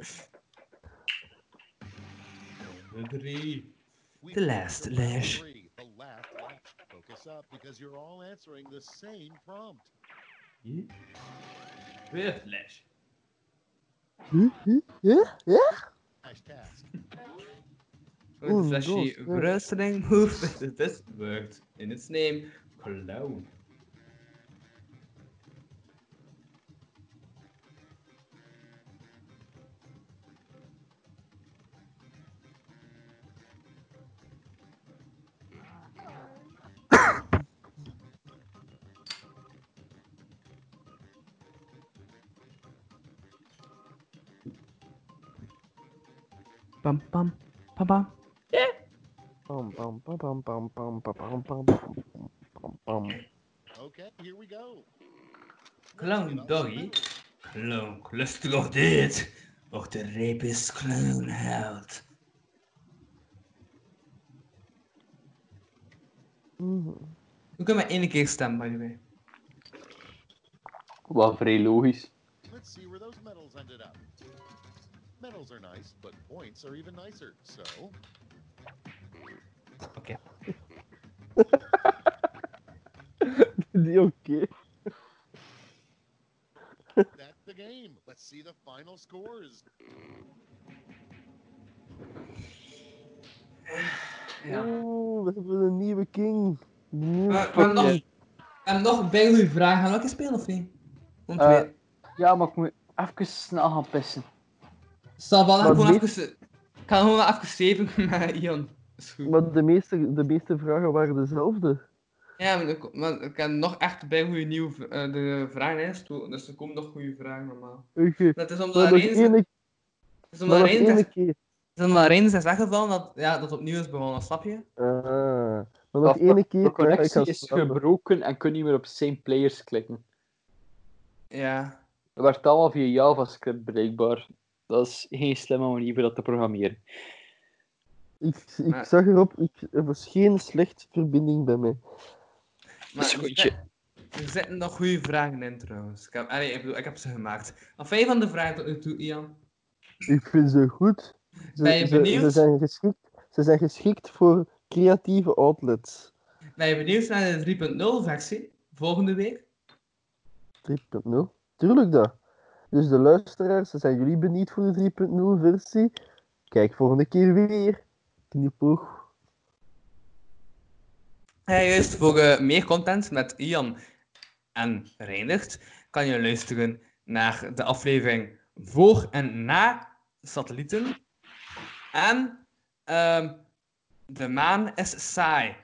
Speaker 4: Ronde drie.
Speaker 9: We've
Speaker 4: The
Speaker 9: reached
Speaker 4: last
Speaker 9: round
Speaker 4: lash.
Speaker 9: three, The last lash. Focus up because you're all answering the same prompt.
Speaker 4: Weer flash.
Speaker 9: Last task.
Speaker 4: With
Speaker 3: Oeh,
Speaker 4: flashy
Speaker 3: doos, ja.
Speaker 4: wrestling (laughs) move that this worked in its name, cologne.
Speaker 8: Pam, pam, pam, pam.
Speaker 3: Bam, bam, bam, bam, bam, bam, bam, bam, bam, bam, bam, bam.
Speaker 9: Okay, here we go.
Speaker 4: Clown Doggy. Clown, lustig nog dit. Och de reep is clownheld.
Speaker 3: Mhm.
Speaker 4: We kunnen maar één keer stemmen, by the way.
Speaker 5: Wat vrij logisch.
Speaker 9: Let's see where those medals ended up. Medals are nice, but points are even nicer. So,
Speaker 4: Oké.
Speaker 3: Die oké.
Speaker 9: that's the game. Let's see the final scores.
Speaker 4: Ja.
Speaker 3: Oeh, we hebben een nieuwe king. De nieuwe
Speaker 4: Maar, maar nog,
Speaker 3: fucking-
Speaker 4: en nog bij u vragen, gaan we ook eens spelen of niet? Om
Speaker 5: Eh.
Speaker 4: twee.
Speaker 5: Ja, maar ik moet even snel gaan pissen.
Speaker 4: Stel, we gaan
Speaker 3: maar
Speaker 4: gewoon
Speaker 3: dit-
Speaker 4: even... Ik ga gewoon even zeven (laughs) met Ian. Is goed.
Speaker 3: Maar de meeste, de meeste vragen waren dezelfde.
Speaker 4: Ja, maar, ik- maar ik heb nog echt bij goede nieuwe v- eh, de vragenlijst toe, dus er komen nog goede vragen normaal.
Speaker 3: Oké.
Speaker 4: Dat is omdat
Speaker 3: Maar
Speaker 4: er
Speaker 3: nog
Speaker 4: eens,
Speaker 3: dus één
Speaker 4: is omdat
Speaker 3: maar
Speaker 4: er
Speaker 3: nog
Speaker 4: eens,
Speaker 3: één
Speaker 4: is
Speaker 3: keer.
Speaker 4: omdat er eens is weggevallen dat, ja, dat opnieuw is begonnen, snap je?
Speaker 3: Ah, maar nog
Speaker 5: Dat-
Speaker 3: één keer.
Speaker 5: De
Speaker 3: ja, ik ga
Speaker 5: connectie is
Speaker 3: slapen.
Speaker 5: gebroken en kun niet meer op same players klikken.
Speaker 4: Ja.
Speaker 5: Dat werd allemaal via JavaScript bereikbaar. Dat is geen slimme manier om dat te programmeren.
Speaker 3: Ik, ik
Speaker 4: Maar-
Speaker 3: zag erop, ik, er was geen slecht verbinding bij mij.
Speaker 4: Maar
Speaker 5: is
Speaker 4: er
Speaker 5: goedje.
Speaker 4: zitten- Er zitten nog goede vragen in trouwens. Ik heb, allee, ik, bedoel, ik heb ze gemaakt. Af van de vragen tot nu toe, Ian.
Speaker 3: Ik vind ze goed. Ze,
Speaker 4: Ben
Speaker 3: ze-
Speaker 4: je
Speaker 3: Ze,
Speaker 4: benieuwd?
Speaker 3: zijn geschikt, ze zijn geschikt voor creatieve outlets.
Speaker 4: Ben je benieuwd naar de 3.0 versie volgende week?
Speaker 3: 3.0. Tuurlijk dat. Dus de luisteraars, zijn jullie benieuwd voor de 3.0 versie? Kijk volgende keer weer. Knipoog.
Speaker 4: Ja, juist voor eh, meer content met Ian en Reinert kan je luisteren naar de aflevering voor en na satellieten. En ehm, de maan is saai.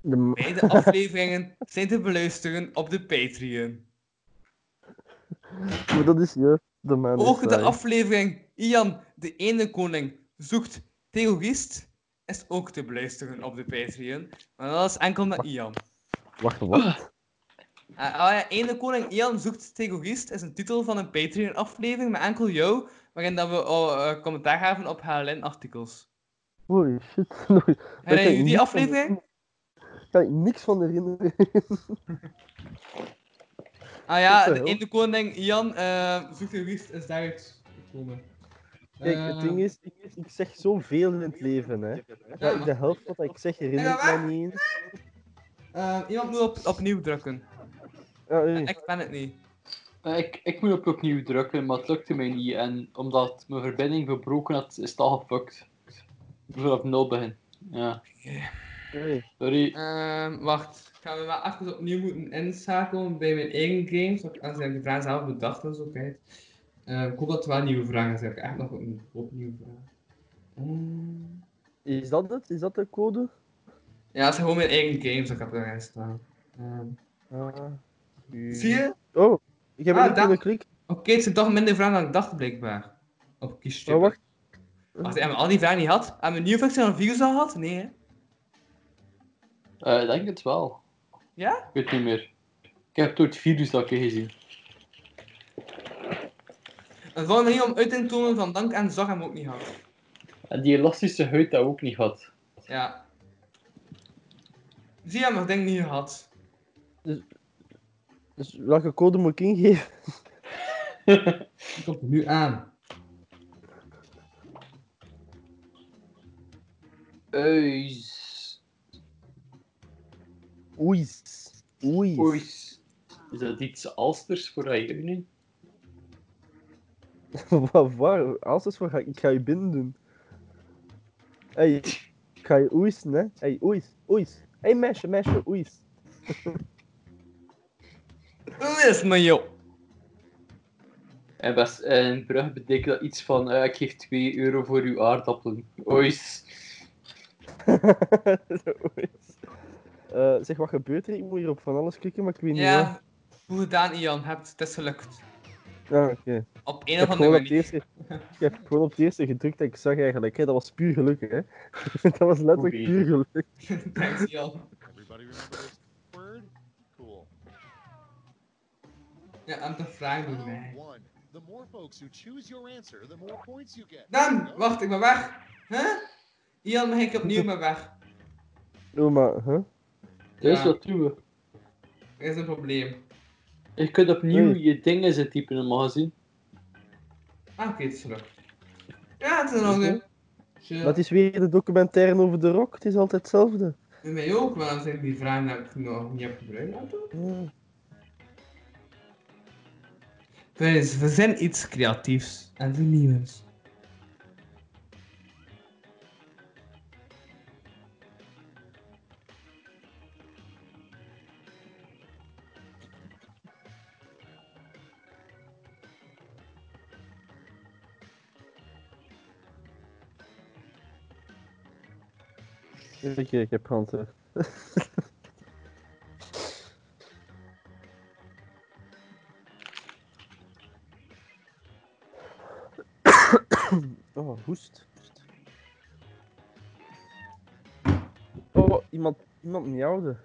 Speaker 3: De m-
Speaker 4: Beide afleveringen zijn te beluisteren op de Patreon.
Speaker 3: maar dat is juist de man.
Speaker 4: Ook de aflevering Ian de ene koning zoekt terrorist is ook te beluisteren op de Patreon. Maar dat is enkel met Ian.
Speaker 3: Wacht, wat?
Speaker 4: Eh, ah ja, Ene Koning Ian zoekt terrorist is een titel van een Patreon-aflevering met enkel jou, waarin dat we oh, eh, commentaar gaven op HLN-artikels.
Speaker 3: Holy shit. (laughs) Nog- Daar kan
Speaker 4: Herinner
Speaker 3: ik
Speaker 4: jullie
Speaker 3: niks
Speaker 4: die
Speaker 3: van
Speaker 4: aflevering?
Speaker 3: herinneren. Daar kan ik niks van herinneren.
Speaker 4: Ah ja,
Speaker 3: Wat
Speaker 4: de
Speaker 3: de hel?
Speaker 4: Ene Koning Ian eh, zoekt terrorist is daaruit gekomen.
Speaker 3: (laughs) Kijk, het ding
Speaker 4: Eh,
Speaker 3: is, ik, ik zeg zoveel in het leven, hè.
Speaker 4: ja,
Speaker 3: Dat ik de helft wat ik zeg herinner ik mij niet eens.
Speaker 4: eh, iemand moet op, opnieuw drukken.
Speaker 3: Ah, oei.
Speaker 4: Ik ben het niet.
Speaker 5: Eh, Ik, ik moet op opnieuw drukken, maar het lukte mij niet. En omdat mijn verbinding verbroken had, is het al gefukt. Ik moet vanaf nul beginnen. Ja,
Speaker 3: Oei.
Speaker 5: sorry.
Speaker 4: Ehm, wacht, ik ga me wel even opnieuw moeten inschakelen bij mijn eigen games. want Als ik de vraag zelf bedacht en zo, kijk. Ehm, ik hoop dat er wel nieuwe vragen zijn. Ik heb echt nog een hoop nieuwe vragen. Ehm,
Speaker 3: Is dat het? Is dat de code?
Speaker 4: Ja, het zijn gewoon mijn eigen games dat ik heb erin staan. Ehm,
Speaker 3: Ah.
Speaker 4: Zie je?
Speaker 3: Oh, ik heb
Speaker 4: Ah,
Speaker 3: het niet
Speaker 4: dat-
Speaker 3: kunnen klikken.
Speaker 4: Oké, het zijn toch minder vragen dan ik dacht, blijkbaar. Op kiestje.
Speaker 3: Maar wacht.
Speaker 4: Oh, Wacht, hebben we al die vragen niet gehad? Hebben we een nieuwe versie van virus al gehad? Nee, hè?
Speaker 5: Eh, ik denk het wel.
Speaker 4: Ja?
Speaker 5: Ik weet niet meer. Ik heb door het virus dat keer gezien.
Speaker 4: Een volgende manier om uiting te tonen van dank en zorg hebben we ook niet gehad.
Speaker 5: En die elastische huid dat ook niet had.
Speaker 4: Ja. Zie je, hebben we dat ding niet gehad.
Speaker 3: Dus welke code moet ik ingeven?
Speaker 4: Die komt er nu aan.
Speaker 5: Eus.
Speaker 3: Oeis. Oeis.
Speaker 5: Oeis. Is dat iets alsters voor Ayuni?
Speaker 3: (laughs) Wat waar? Als is voor ga ik ik ga je binnen doen. Hey, ik ga je oeisen, hè? Hey, oeis, oeis. Hey, meisje, meisje, (laughs) oeis.
Speaker 4: Dat is me, joh.
Speaker 5: En best, in Brugge betekent dat iets van, eh, ik geef 2 euro voor uw aardappelen. Oeis.
Speaker 3: oeis. Eh, zeg, wat gebeurt er? Ik moet hier op van alles klikken, maar ik weet niet
Speaker 4: Ja. Goed gedaan, Ian. Hebt- Het is gelukt.
Speaker 3: waar. Ah, oké.
Speaker 4: Op een
Speaker 3: heb
Speaker 4: of andere
Speaker 3: gewoon op
Speaker 4: manier.
Speaker 3: het eerste, ik heb gewoon op het eerste gedrukt dat ik zag eigenlijk. Hè. Dat was puur geluk, hè. (laughs) dat was letterlijk
Speaker 5: Oei.
Speaker 3: puur geluk.
Speaker 4: (laughs) Thanks, Jan.
Speaker 9: Everybody remember this word? Cool.
Speaker 4: Ja, aan te vragen
Speaker 9: Round
Speaker 4: door mij.
Speaker 9: one. The more folks who choose your answer, the more points you get.
Speaker 4: Dan,
Speaker 9: Go.
Speaker 4: wacht, ik ben weg. Huh? Ian, mag ik opnieuw maar weg?
Speaker 3: Oh, maar, hè?
Speaker 5: Dus
Speaker 4: Ja.
Speaker 5: wat doen we?
Speaker 4: Er is een probleem.
Speaker 5: Je kunt opnieuw
Speaker 3: Nee.
Speaker 5: je dingen zitten typen in het magazijn.
Speaker 4: Ah, oké, het is gelukt. Ja, het is nog een. Tja,
Speaker 3: Dat is weer de documentaire over de rock. Het is altijd hetzelfde.
Speaker 4: En mij ook, want dan zijn die vragen dat ik nog niet heb gebruikt. Ja, toch?
Speaker 3: Ja.
Speaker 4: Dus, we zijn iets creatiefs en vernieuwends.
Speaker 3: Kijk, ik heb handen. oh, hoest. Oh, iemand, iemand miauwde.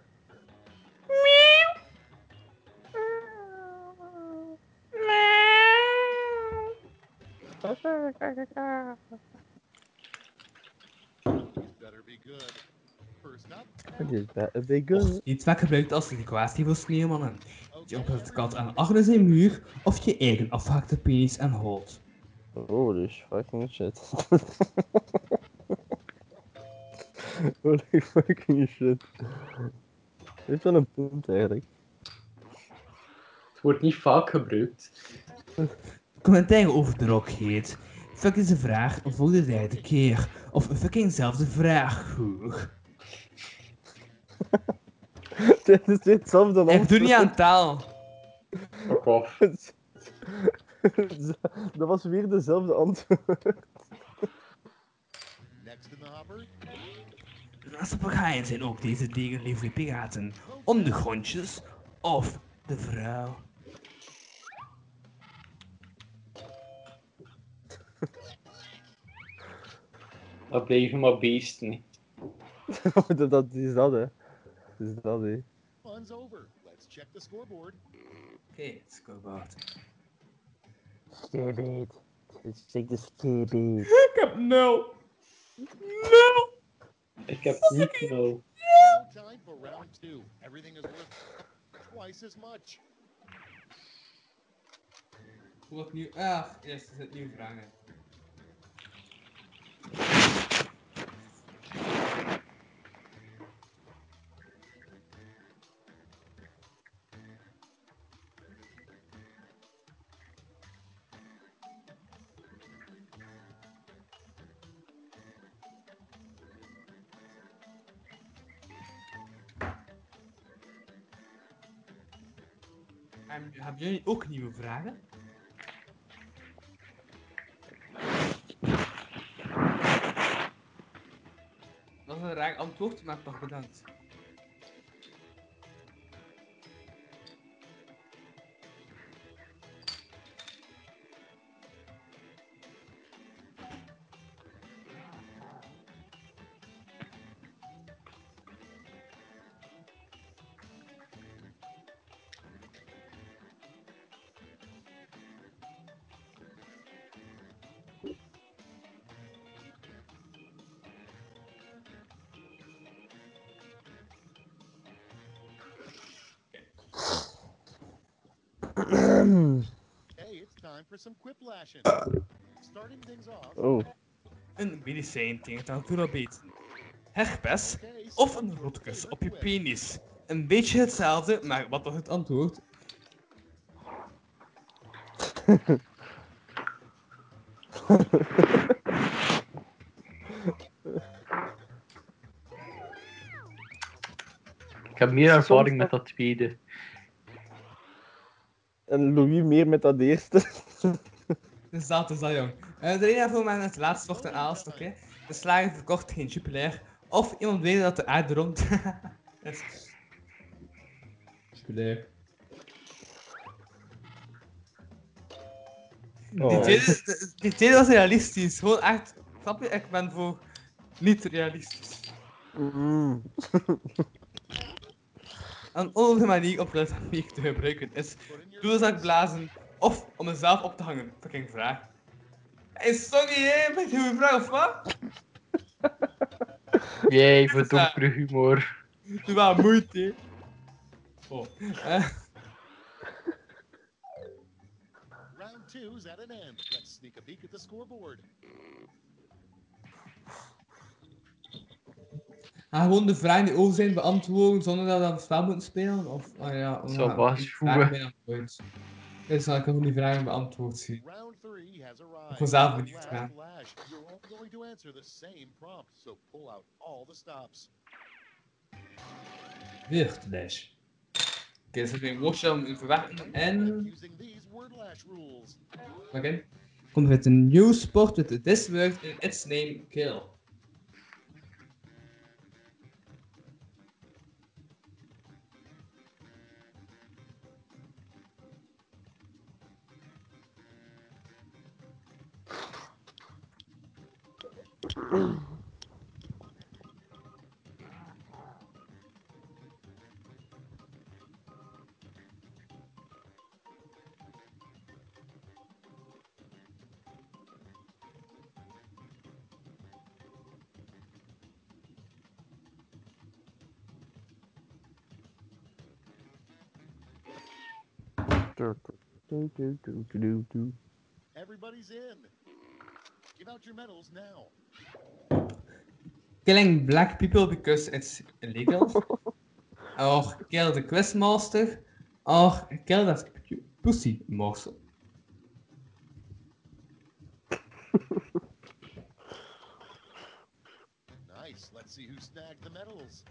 Speaker 9: These better be good. First up.
Speaker 3: Het is bij een begun.
Speaker 4: Och, iets wat gebruikt als liquidatie voor sneeuwmannen. Je
Speaker 9: Okay.
Speaker 4: opent de kat aan achter zijn muur of je eigen afhakte penis en holt.
Speaker 3: Holy fucking shit. (laughs) Holy fucking shit. Dit is wel een punt eigenlijk. (laughs)
Speaker 5: Het wordt niet vaak gebruikt.
Speaker 4: Commentaar over de rock heet. Fuck is de vraag voor de derde keer. Of fucking zelfde vraag. Goh.
Speaker 3: Dit is dit hetzelfde dan
Speaker 4: Ik doe niet aan taal.
Speaker 5: Fuck off.
Speaker 3: antwoord. (laughs) Dat was weer dezelfde antwoord. (laughs)
Speaker 9: Next in the hopper.
Speaker 4: Naast de papegaaien zijn ook deze dingen lieve piraten. Ondergrondjes of de vrouw.
Speaker 5: Dat blijven maar beesten.
Speaker 3: dat, dat is dat, hè. Dat is dat, hè.
Speaker 9: Fun's over. Let's check the scoreboard.
Speaker 4: Oké, let's go about.
Speaker 3: Skibbeet. Zeg de skibbeet.
Speaker 4: Ik heb nul. Nul.
Speaker 5: Ik heb niet veel.
Speaker 9: No time for round two. Everything is worth twice as much.
Speaker 4: Hoe opnieuw? Ah, eerst is het nieuw vragen. En Ehm, hebben jullie ook nieuwe vragen? Dat is een raar antwoord, maar toch bedankt.
Speaker 9: Hey, it's time for some quiplashing. Starting things off.
Speaker 3: Oh.
Speaker 4: Een medicijn tegen tandvoerabeten. Herpes
Speaker 9: Okay, so
Speaker 4: of een roodkus op je penis. Een beetje hetzelfde, maar wat was het antwoord?
Speaker 5: Ik heb meer ervaring
Speaker 3: Soms
Speaker 5: met dat tweede.
Speaker 3: En Louis meer met dat eerste.
Speaker 4: Dus dat is dat, jong. Eh, de reden voor mij het laatste wordt een aalstok, hè. De slager verkocht geen jupiler. Of iemand weet dat de aarde rond... (laughs) is. Jupiler. Die, tweede, is- de- die tweede was realistisch. Gewoon echt, snap je? Ik ben voor niet realistisch. Een onnodige manier om geluidsafweer te gebruiken is doelzak blazen of om mezelf op te hangen. Fucking vraag. Hey, sorry hé, ben je goede vraag of wat?
Speaker 5: (laughs) Jij, voor Tom Cruise humor.
Speaker 4: Doe wel moeite hé. Oh. eh.
Speaker 9: Round two's at an end. Let's sneak a peek at the scoreboard.
Speaker 4: Ah, gewoon de vragen die over zijn beantwoorden zonder dat we dat spel moeten spelen? Of, ah ja,
Speaker 5: Zo
Speaker 4: omdat-
Speaker 5: was
Speaker 4: die
Speaker 5: vroeger.
Speaker 4: vragen bijna nooit. Dus dan kunnen we die vragen beantwoord zien.
Speaker 9: Round three has arrived.
Speaker 4: was zelf benieuwd,
Speaker 9: Last
Speaker 4: ja.
Speaker 9: lash. You're all going to answer the same prompt, so pull out all the stops.
Speaker 4: Weerdash. Oké, dus dat is een woordje om in te verwachten en...
Speaker 9: Using these word lash rules.
Speaker 4: Oké. Komt met een nieuw sport met de this word in its name kill.
Speaker 9: Everybody's in. Give out your medals now.
Speaker 4: Killing black people because it's illegal. (laughs) or kill the quizmaster. Or kill that pu- pussy monster.
Speaker 9: Nice. Let's see who snagged the medals.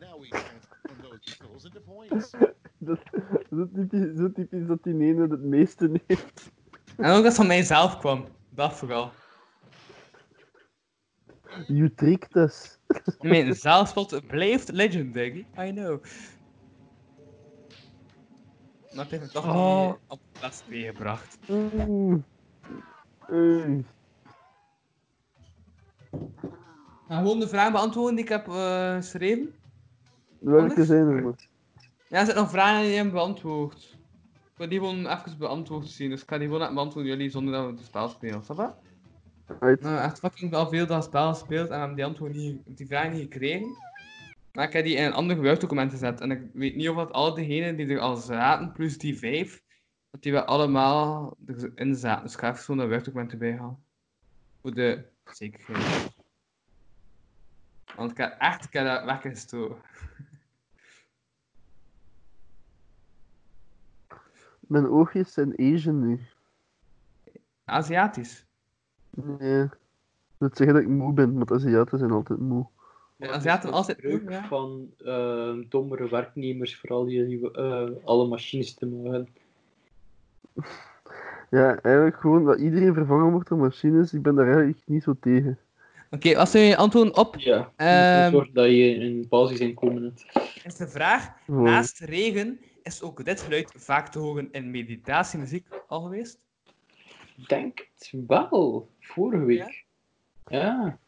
Speaker 9: Now we transform those medals into points.
Speaker 3: Dat, zo, typisch, zo typisch dat die ene het meeste heeft.
Speaker 4: En ook dat het van mijzelf kwam. Dat vooral.
Speaker 3: You tricked us.
Speaker 4: (laughs) Mijn zelfspot blijft legendary. I know. Maar ik heb het toch
Speaker 5: Oh.
Speaker 4: niet op plaats 2 gebracht.
Speaker 3: Oeh. Oeh.
Speaker 4: Nou, gewoon de vraag beantwoorden die ik heb eh, geschreven.
Speaker 3: Welke
Speaker 4: Anders?
Speaker 3: zijn er maar?
Speaker 4: Ja, er zijn nog vragen die je hebt beantwoord. Ik wil die gewoon even beantwoord zien, dus ik ga die gewoon laten beantwoorden jullie zonder dat we het spel spelen, snap je?
Speaker 3: Right.
Speaker 4: Nou, echt fucking wel veel dat het spel speelt en we hebben die antwoord niet, die vragen niet gekregen. Maar ik heb die in een ander Word-document gezet en ik weet niet of dat al diegenen die er al zaten, plus die vijf, dat die wel allemaal erin zaten. Dus ik ga even zo'n Word-document erbij halen. Voor de zekerheid. Want ik heb echt, ik heb dat weggestoken.
Speaker 3: Mijn oogjes zijn Asian nu.
Speaker 4: Aziatisch.
Speaker 3: Nee. Dat zeggen dat ik moe ben, want Aziaten zijn altijd moe.
Speaker 4: Ja, Aziaten altijd moe,
Speaker 5: druk
Speaker 4: ja.
Speaker 5: van eh, dommere werknemers, vooral die die, eh, alle machines te maken.
Speaker 3: Ja, eigenlijk gewoon dat iedereen vervangen wordt door machines. Ik ben daar eigenlijk niet zo tegen.
Speaker 4: Oké, als we antwoorden op
Speaker 5: Ja,
Speaker 4: Ehm.
Speaker 5: zorg dat je in basisinkomen hebt.
Speaker 4: is de vraag,
Speaker 3: Gewoon.
Speaker 4: naast regen is ook dit geluid vaak te horen in meditatiemuziek al geweest?
Speaker 5: Ik Denk het wel, vorige week. Ja,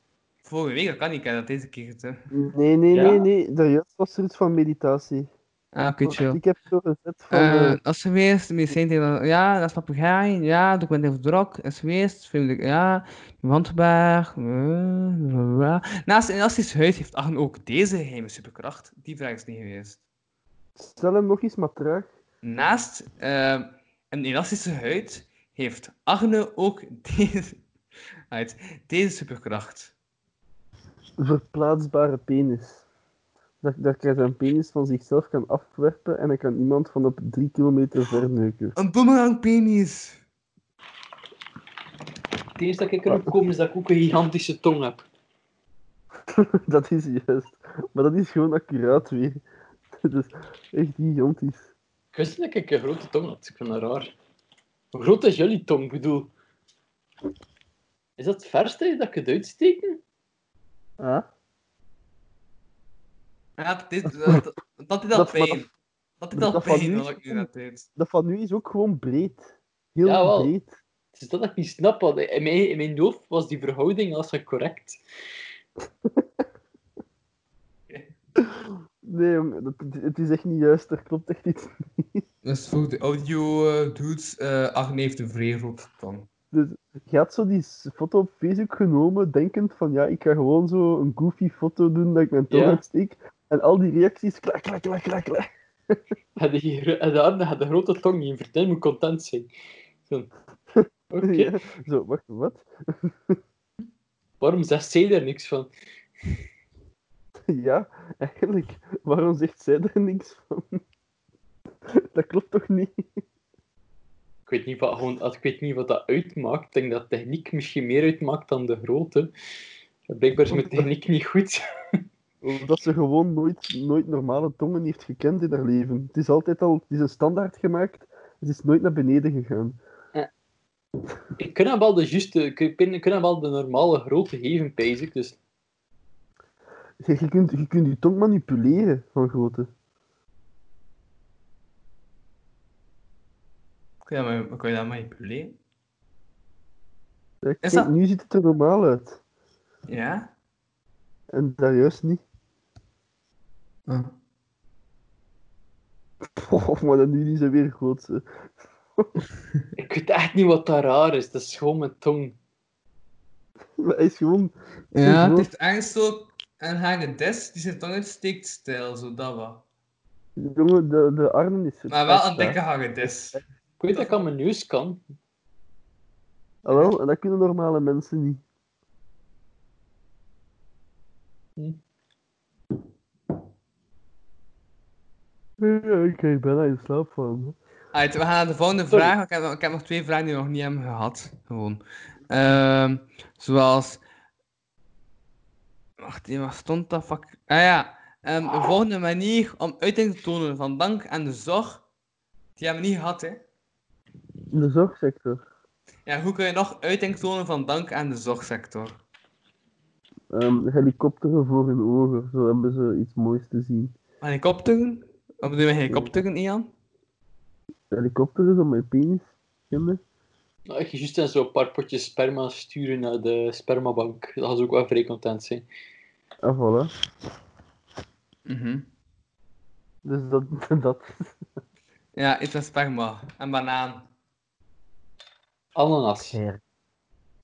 Speaker 4: Vorige week, dat kan niet, ik heb dat deze keer gedaan.
Speaker 3: Nee, nee,
Speaker 5: Ja?
Speaker 3: nee, nee. Daarjuist was er iets van meditatie.
Speaker 4: Ah, oké,
Speaker 3: Want Ik heb zo gezet van... eh,
Speaker 4: als ze weest, de medicijn tegen dat- ja, dat is papegaai, ja, documenten over drok, is weest, vind ik, ja, wandberg, eh, Naast elastisch huid heeft Agen ook deze geheime superkracht, die vraag is niet geweest.
Speaker 3: Stel hem nog eens maar traag.
Speaker 4: Naast ehm, een elastische huid heeft Agne ook (laughs) deze, uit, deze superkracht.
Speaker 3: Verplaatsbare penis. Dat, dat hij zijn penis van zichzelf kan afwerpen en hij kan iemand van op drie kilometer ver neuken. (laughs)
Speaker 4: Een boomerang penis.
Speaker 5: het eerste dat ik erop kom is dat ik ook een gigantische tong heb.
Speaker 3: Dat is juist. Maar dat is gewoon accuraat weer. (laughs) Dat is echt gigantisch.
Speaker 5: Ik wist niet dat ik een grote tong had, ik vind dat raar. Hoe groot is jullie tong, Ik bedoel? Is dat het verste dat je kunt uitsteken?
Speaker 3: Ah?
Speaker 4: Ja, dat, is, dat, dat deed al
Speaker 3: Dat- maar
Speaker 4: pijn. Dat deed
Speaker 3: dat
Speaker 4: al
Speaker 3: van
Speaker 4: pijn
Speaker 3: nu
Speaker 4: wat
Speaker 3: is
Speaker 4: ik nu net deed.
Speaker 3: Dat van nu is ook gewoon breed. Heel
Speaker 5: Jawel.
Speaker 3: breed.
Speaker 5: Het is dat ik niet snap, want in mijn, in mijn hoofd was die verhouding als correct.
Speaker 3: Nee, jong, dat- het- het is echt niet juist. Er klopt echt iets.
Speaker 4: Dus voor de audio eh, dudes, eh Agne heeft een vrij groot tong.
Speaker 3: Je had zo die s- foto op Facebook genomen, denkend van ja, ik ga gewoon zo een goofy foto doen dat ik mijn tong
Speaker 5: Ja.
Speaker 3: uitsteek. En al die reacties, klak, klak, klak, klak, klak.
Speaker 5: En die gro- en de armen had de grote tong niet. Verdien moet content zijn. Zo. (laughs) Oké,
Speaker 3: Ja. Zo, wacht, wat? (laughs)
Speaker 5: waarom zegt zij daar niks van?
Speaker 3: Ja, eigenlijk, waarom zegt zij er niks van? (laughs) Dat klopt toch niet?
Speaker 5: Ik weet niet wat, gewoon, ik weet niet wat dat uitmaakt. Ik denk dat techniek misschien meer uitmaakt dan de grootte. Blijkbaar is mijn techniek niet goed.
Speaker 3: Omdat ze gewoon nooit, nooit normale tongen heeft gekend in haar leven. Het is altijd al, het is een standaard gemaakt, het is nooit naar beneden gegaan.
Speaker 5: Ik kan hem wel de juiste, ik kan ik kan hem wel de normale grootte geven, pijs ik. Dus
Speaker 3: Je, je kunt, je kunt je tong manipuleren van grootte.
Speaker 4: Kun je dat, ma- kun je dat manipuleren?
Speaker 3: Ja, kijk,
Speaker 4: dat-
Speaker 3: nu ziet het er normaal uit.
Speaker 4: Ja?
Speaker 3: En daar juist niet.
Speaker 4: Ah.
Speaker 3: Oh, maar dan nu is ze weer groot. hè.
Speaker 5: ik weet echt niet wat daar raar is. Dat is gewoon mijn tong.
Speaker 3: Maar hij is gewoon...
Speaker 4: Ja,
Speaker 3: groot.
Speaker 4: het is eigenlijk zo en hangen des die zijn tong uitsteekt stijl, zo dat wat.
Speaker 3: Jongen, de, de armen is...
Speaker 4: Maar wel
Speaker 3: staat.
Speaker 4: een dikke hangen des.
Speaker 5: Ik weet dat ik aan mijn neus kan.
Speaker 3: Ah, wel, en dat kunnen normale mensen niet.
Speaker 5: Hm.
Speaker 3: Ja, ik krijg bijna in slaap van.
Speaker 4: Alright, we gaan naar de volgende
Speaker 5: Sorry.
Speaker 4: vraag. want Ik heb, nog- ik heb nog twee vragen die we nog niet hebben gehad. Gewoon. Ehm, zoals. Wacht even, wat stond dat? Fuck. Ah ja. ehm, de volgende manier om uiting te tonen van dank en de zorg. Die hebben we niet gehad, hè?
Speaker 3: In de zorgsector.
Speaker 4: Ja, hoe kun je nog uiting tonen van dank aan de zorgsector?
Speaker 3: Ehm helikopteren voor hun ogen, zo hebben ze iets moois te zien.
Speaker 4: Helikopteren? Wat bedoel je met helikopteren, Ian?
Speaker 3: Helikopteren zo met penis, kinderen.
Speaker 5: Nou, ik ga juist eens zo'n paar potjes sperma sturen naar de spermabank. Dat zou ook wel vrij content zijn.
Speaker 3: Ah, voilà.
Speaker 4: Mhm.
Speaker 3: Dus dat, dat. (laughs)
Speaker 4: Ja, iets met sperma. En banaan.
Speaker 5: Ananas.
Speaker 4: Ah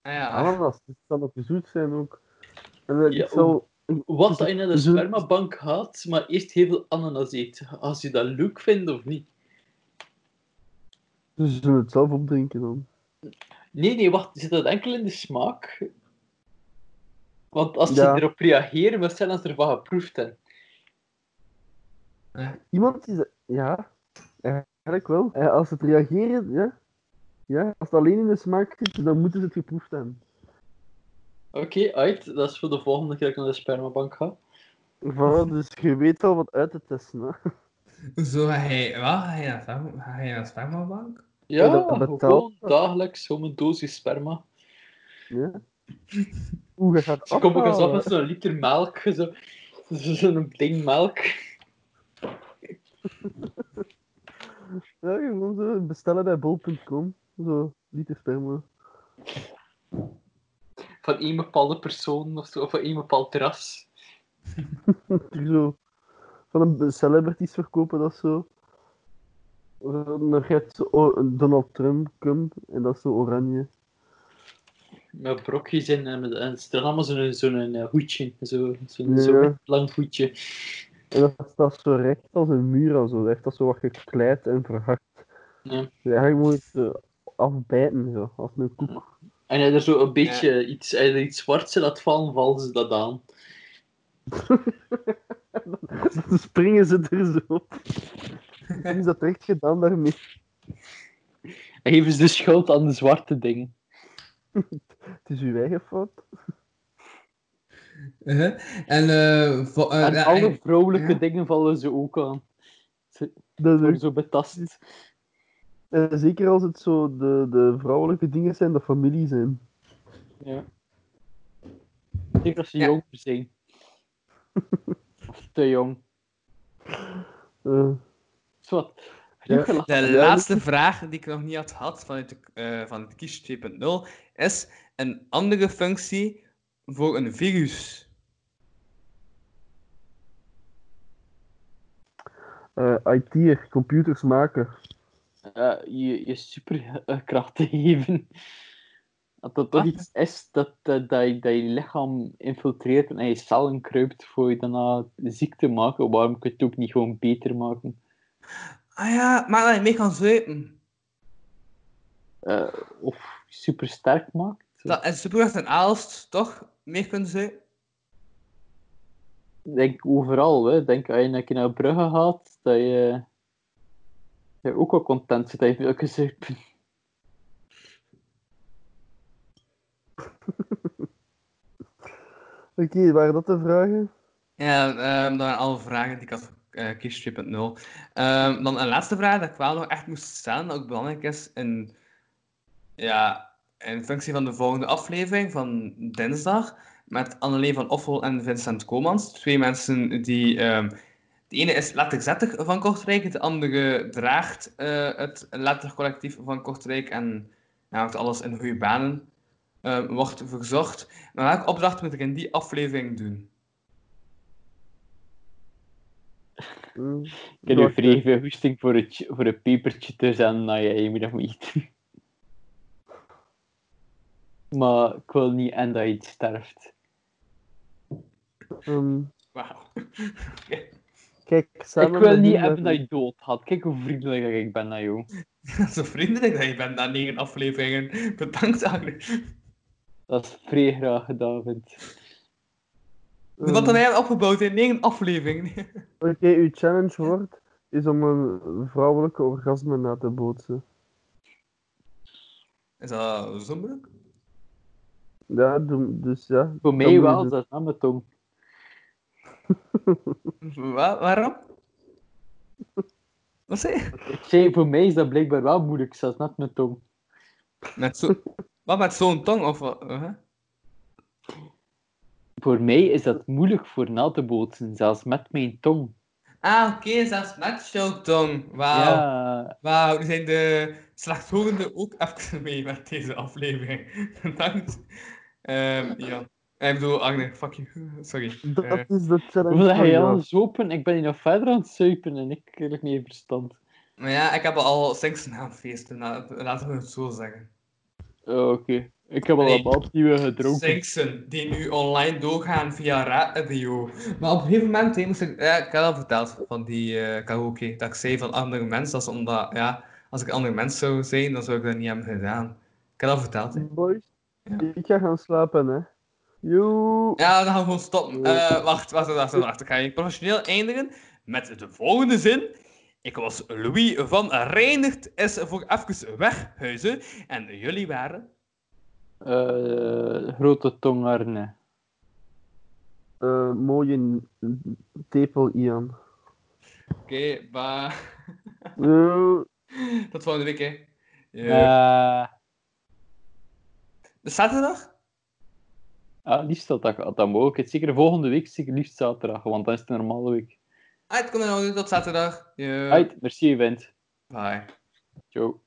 Speaker 4: ja.
Speaker 3: Ananas, het kan ook zoet zijn ook. En eh,
Speaker 5: Ja,
Speaker 3: ik
Speaker 5: oh.
Speaker 3: zou...
Speaker 5: Wat dat je naar de
Speaker 3: Zo-
Speaker 5: spermabank gaat, maar eerst heel veel ananas eet. Als je dat leuk vindt of niet.
Speaker 3: Ze zullen het zelf opdrinken dan.
Speaker 5: Nee, nee, wacht. Zit dat enkel in de smaak? Want als
Speaker 3: Ja.
Speaker 5: ze erop reageren, wat zijn als ze ervan geproefd hebben?
Speaker 3: Iemand is... Ja, eigenlijk wel. Eh, als het reageren, ja. Ja, als het alleen in de smaak zit, dan moeten ze het geproefd hebben.
Speaker 5: Oké, uit. Dat is voor de volgende keer dat ik naar de spermabank ga.
Speaker 3: Voilà, dus je weet al wat uit te testen. Hè.
Speaker 4: Hoezo ga je... Wat? Ga je naar sperma- ga je naar de spermabank?
Speaker 5: Ja,
Speaker 3: Ja, dat betaalt.
Speaker 5: gewoon dagelijks zo'n dosis sperma.
Speaker 3: Ja. Oeh, je gaat
Speaker 5: Ze komen eens af
Speaker 3: afhalen.
Speaker 5: met zo'n liter melk. zo- (laughs) Zo'n ding melk.
Speaker 3: Ja, gewoon zo bestellen bij bol.com. Zo, liter sperma.
Speaker 5: Van één bepaalde persoon of zo, of van één bepaald ras.
Speaker 3: Die zo van een be- celebrities verkopen, dat zo. Eh, Dan gaat zo o- een Donald Trump cum, en dat is zo oranje.
Speaker 5: Met brokjes in en, met- en ze dragen allemaal zo'n zo'n, eh, hoedje. Zo'n zo'n
Speaker 3: Ja.
Speaker 5: zo'n lang hoedje.
Speaker 3: En dat staat zo recht als een muur en zo. Dat heeft dat zo wat gekleid en verhard.
Speaker 5: Ja.
Speaker 3: Dus eigenlijk moet je het eh, afbijten, zo, als een koek.
Speaker 5: En hij er zo een beetje iets, hij er iets zwarts in laat vallen, vallen ze dat aan.
Speaker 3: (laughs) Dan springen ze er zo op. Dan is dat echt gedaan daarmee.
Speaker 5: En geven ze de schuld aan de zwarte dingen.
Speaker 3: Het is uw eigen fout.
Speaker 4: Uh-huh. En, eh vo- eh,
Speaker 5: en
Speaker 4: ja,
Speaker 5: alle
Speaker 4: en-
Speaker 5: vrouwelijke
Speaker 4: ja.
Speaker 5: dingen vallen ze ook aan. Ze
Speaker 3: Dat is
Speaker 5: worden zo betast.
Speaker 3: Eh, zeker als het zo de, de vrouwelijke dingen zijn, dat familie zijn.
Speaker 5: Ja. Zeker als ze
Speaker 4: Ja.
Speaker 5: jong zijn. of te jong.
Speaker 3: Eh,
Speaker 5: Zwat.
Speaker 4: De laatste vraag die ik nog niet had gehad vanuit de, eh, van het Kies 2.0 is een andere functie voor een virus.
Speaker 3: Eh IT'er, computers maken.
Speaker 5: Eh, je, je (laughs) superkrachten geven. Dat dat toch
Speaker 4: Wat?
Speaker 5: iets is dat, eh, dat, je, dat je lichaam infiltreert en in je cellen kruipt voor je daarna ziek te maken. Waarom kun je het ook niet gewoon beter maken?
Speaker 4: Ah ja, maar dat je mee kan zuipen.
Speaker 5: Eh, of supersterk maken?
Speaker 4: Dat is superkracht en aalst toch meer kunnen zuipen.
Speaker 5: Ik denk overal, hè. Ik denk als je een keer naar Brugge gaat, dat je, dat je ook wel content zit dat je veel gezuipt bent.
Speaker 3: Oké, waren dat de vragen?
Speaker 4: Ja, ehm, dat waren alle vragen die ik had voor eh, Kies 2.0. Ehm, dan een laatste vraag dat ik wel nog echt moest stellen, dat ook belangrijk is in, ja, in functie van de volgende aflevering van dinsdag met Anneleen van Offel en Vincent Komans. Twee mensen die... ehm, de ene is letterzettig van Kortrijk, de andere draagt eh, het lettercollectief van Kortrijk en ja, houdt alles in goede banen. ehm, wordt verzocht. Maar welke opdracht moet ik in die aflevering doen?
Speaker 3: Hm.
Speaker 5: Ik heb nu
Speaker 3: Wacht,
Speaker 5: vrij veel hoesting voor een, ch- voor een pepertje te zenden dat je je middag moet eten. (laughs) Maar ik wil niet en dat je iets sterft.
Speaker 3: eh, ehm,
Speaker 4: Wauw. Oké.
Speaker 3: kijk, samen
Speaker 5: ik wil
Speaker 3: met
Speaker 5: niet
Speaker 3: Linda-
Speaker 5: hebben dat je dood had. Kijk hoe vriendelijk dat ik ben naar jou.
Speaker 4: (laughs) Zo vriendelijk dat je bent na negen afleveringen. Bedankt, Agnes.
Speaker 5: Dat is vrij graag gedaan, vind.
Speaker 4: Wat hebben wij hebben opgebouwd in negen afleveringen. (laughs)
Speaker 3: Oké, uw challenge wordt is om een vrouwelijke orgasme na te bootsen.
Speaker 4: Is dat zo moeilijk?
Speaker 3: Ja, doe- dus ja.
Speaker 5: Voor
Speaker 3: Dat
Speaker 5: mij
Speaker 3: moet
Speaker 5: wel,
Speaker 3: je
Speaker 5: dat is aan mijn tong.
Speaker 4: Wa- waarom? Wat zei je?
Speaker 5: Ik zei, voor mij is dat blijkbaar wel moeilijk, zelfs net mijn tong.
Speaker 4: Met zo... Wat, met zo'n tong? Of wat? Huh?
Speaker 5: Voor mij is dat moeilijk voor na te bootsen, zelfs met mijn tong.
Speaker 4: Ah, oké, zelfs met jouw tong. Wauw.
Speaker 5: Ja,
Speaker 4: Wauw, nu zijn de slachthorenden ook even mee met deze aflevering. (laughs) Bedankt. Ehm, ja. Ik bedoel, Agnes, fuck you. (laughs) Sorry.
Speaker 3: doen.
Speaker 4: Eh,
Speaker 3: Dat is de challenge.
Speaker 5: hoeveel heb
Speaker 3: van
Speaker 5: je
Speaker 3: jou.
Speaker 5: alles open? Ik ben hier nog verder aan het zuipen en ik krijg niet in verstand.
Speaker 4: maar ja, ik heb al Sinksenhaanfeesten, la- laten we het zo zeggen.
Speaker 5: Oh, Oké. Ik heb al
Speaker 4: Nee.
Speaker 5: een bad nieuwe gedronken.
Speaker 4: Sinksen, die nu online doorgaan via radio. Maar op een gegeven moment, hè, moest ik, ja, ik had al verteld van die eh karaoke, dat ik zei van andere mensen, dat is omdat, ja, als ik een ander mens zou zijn, dan zou ik dat niet hebben gedaan. Ik had al verteld, hè.
Speaker 3: Boys,
Speaker 4: Ja.
Speaker 3: ik ga gaan slapen, hè. Joe.
Speaker 4: Ja, dan gaan we gewoon stoppen.
Speaker 3: Nee.
Speaker 4: Eh, wacht, wacht, wacht, wacht, wacht. Ik ga je professioneel eindigen met de volgende zin. Ik was Louis van Reinert, is voor even weghuizen. En jullie waren...
Speaker 5: Eh, grote tongarne.
Speaker 3: Eh, mooie n- tepel, Ian.
Speaker 4: Oké, ba. (laughs)
Speaker 3: Joe.
Speaker 4: Tot volgende week, hè. Ja.
Speaker 5: Eh,
Speaker 4: Zaterdag?
Speaker 5: ah, liefst dat dat, dat mogelijk. Zeker volgende week, zeker liefst zaterdag, want dan is het een normale week.
Speaker 4: Ah, het komt er nog niet tot zaterdag. Ja.
Speaker 5: Uit, merci, Wint.
Speaker 4: Bye.
Speaker 5: Ciao.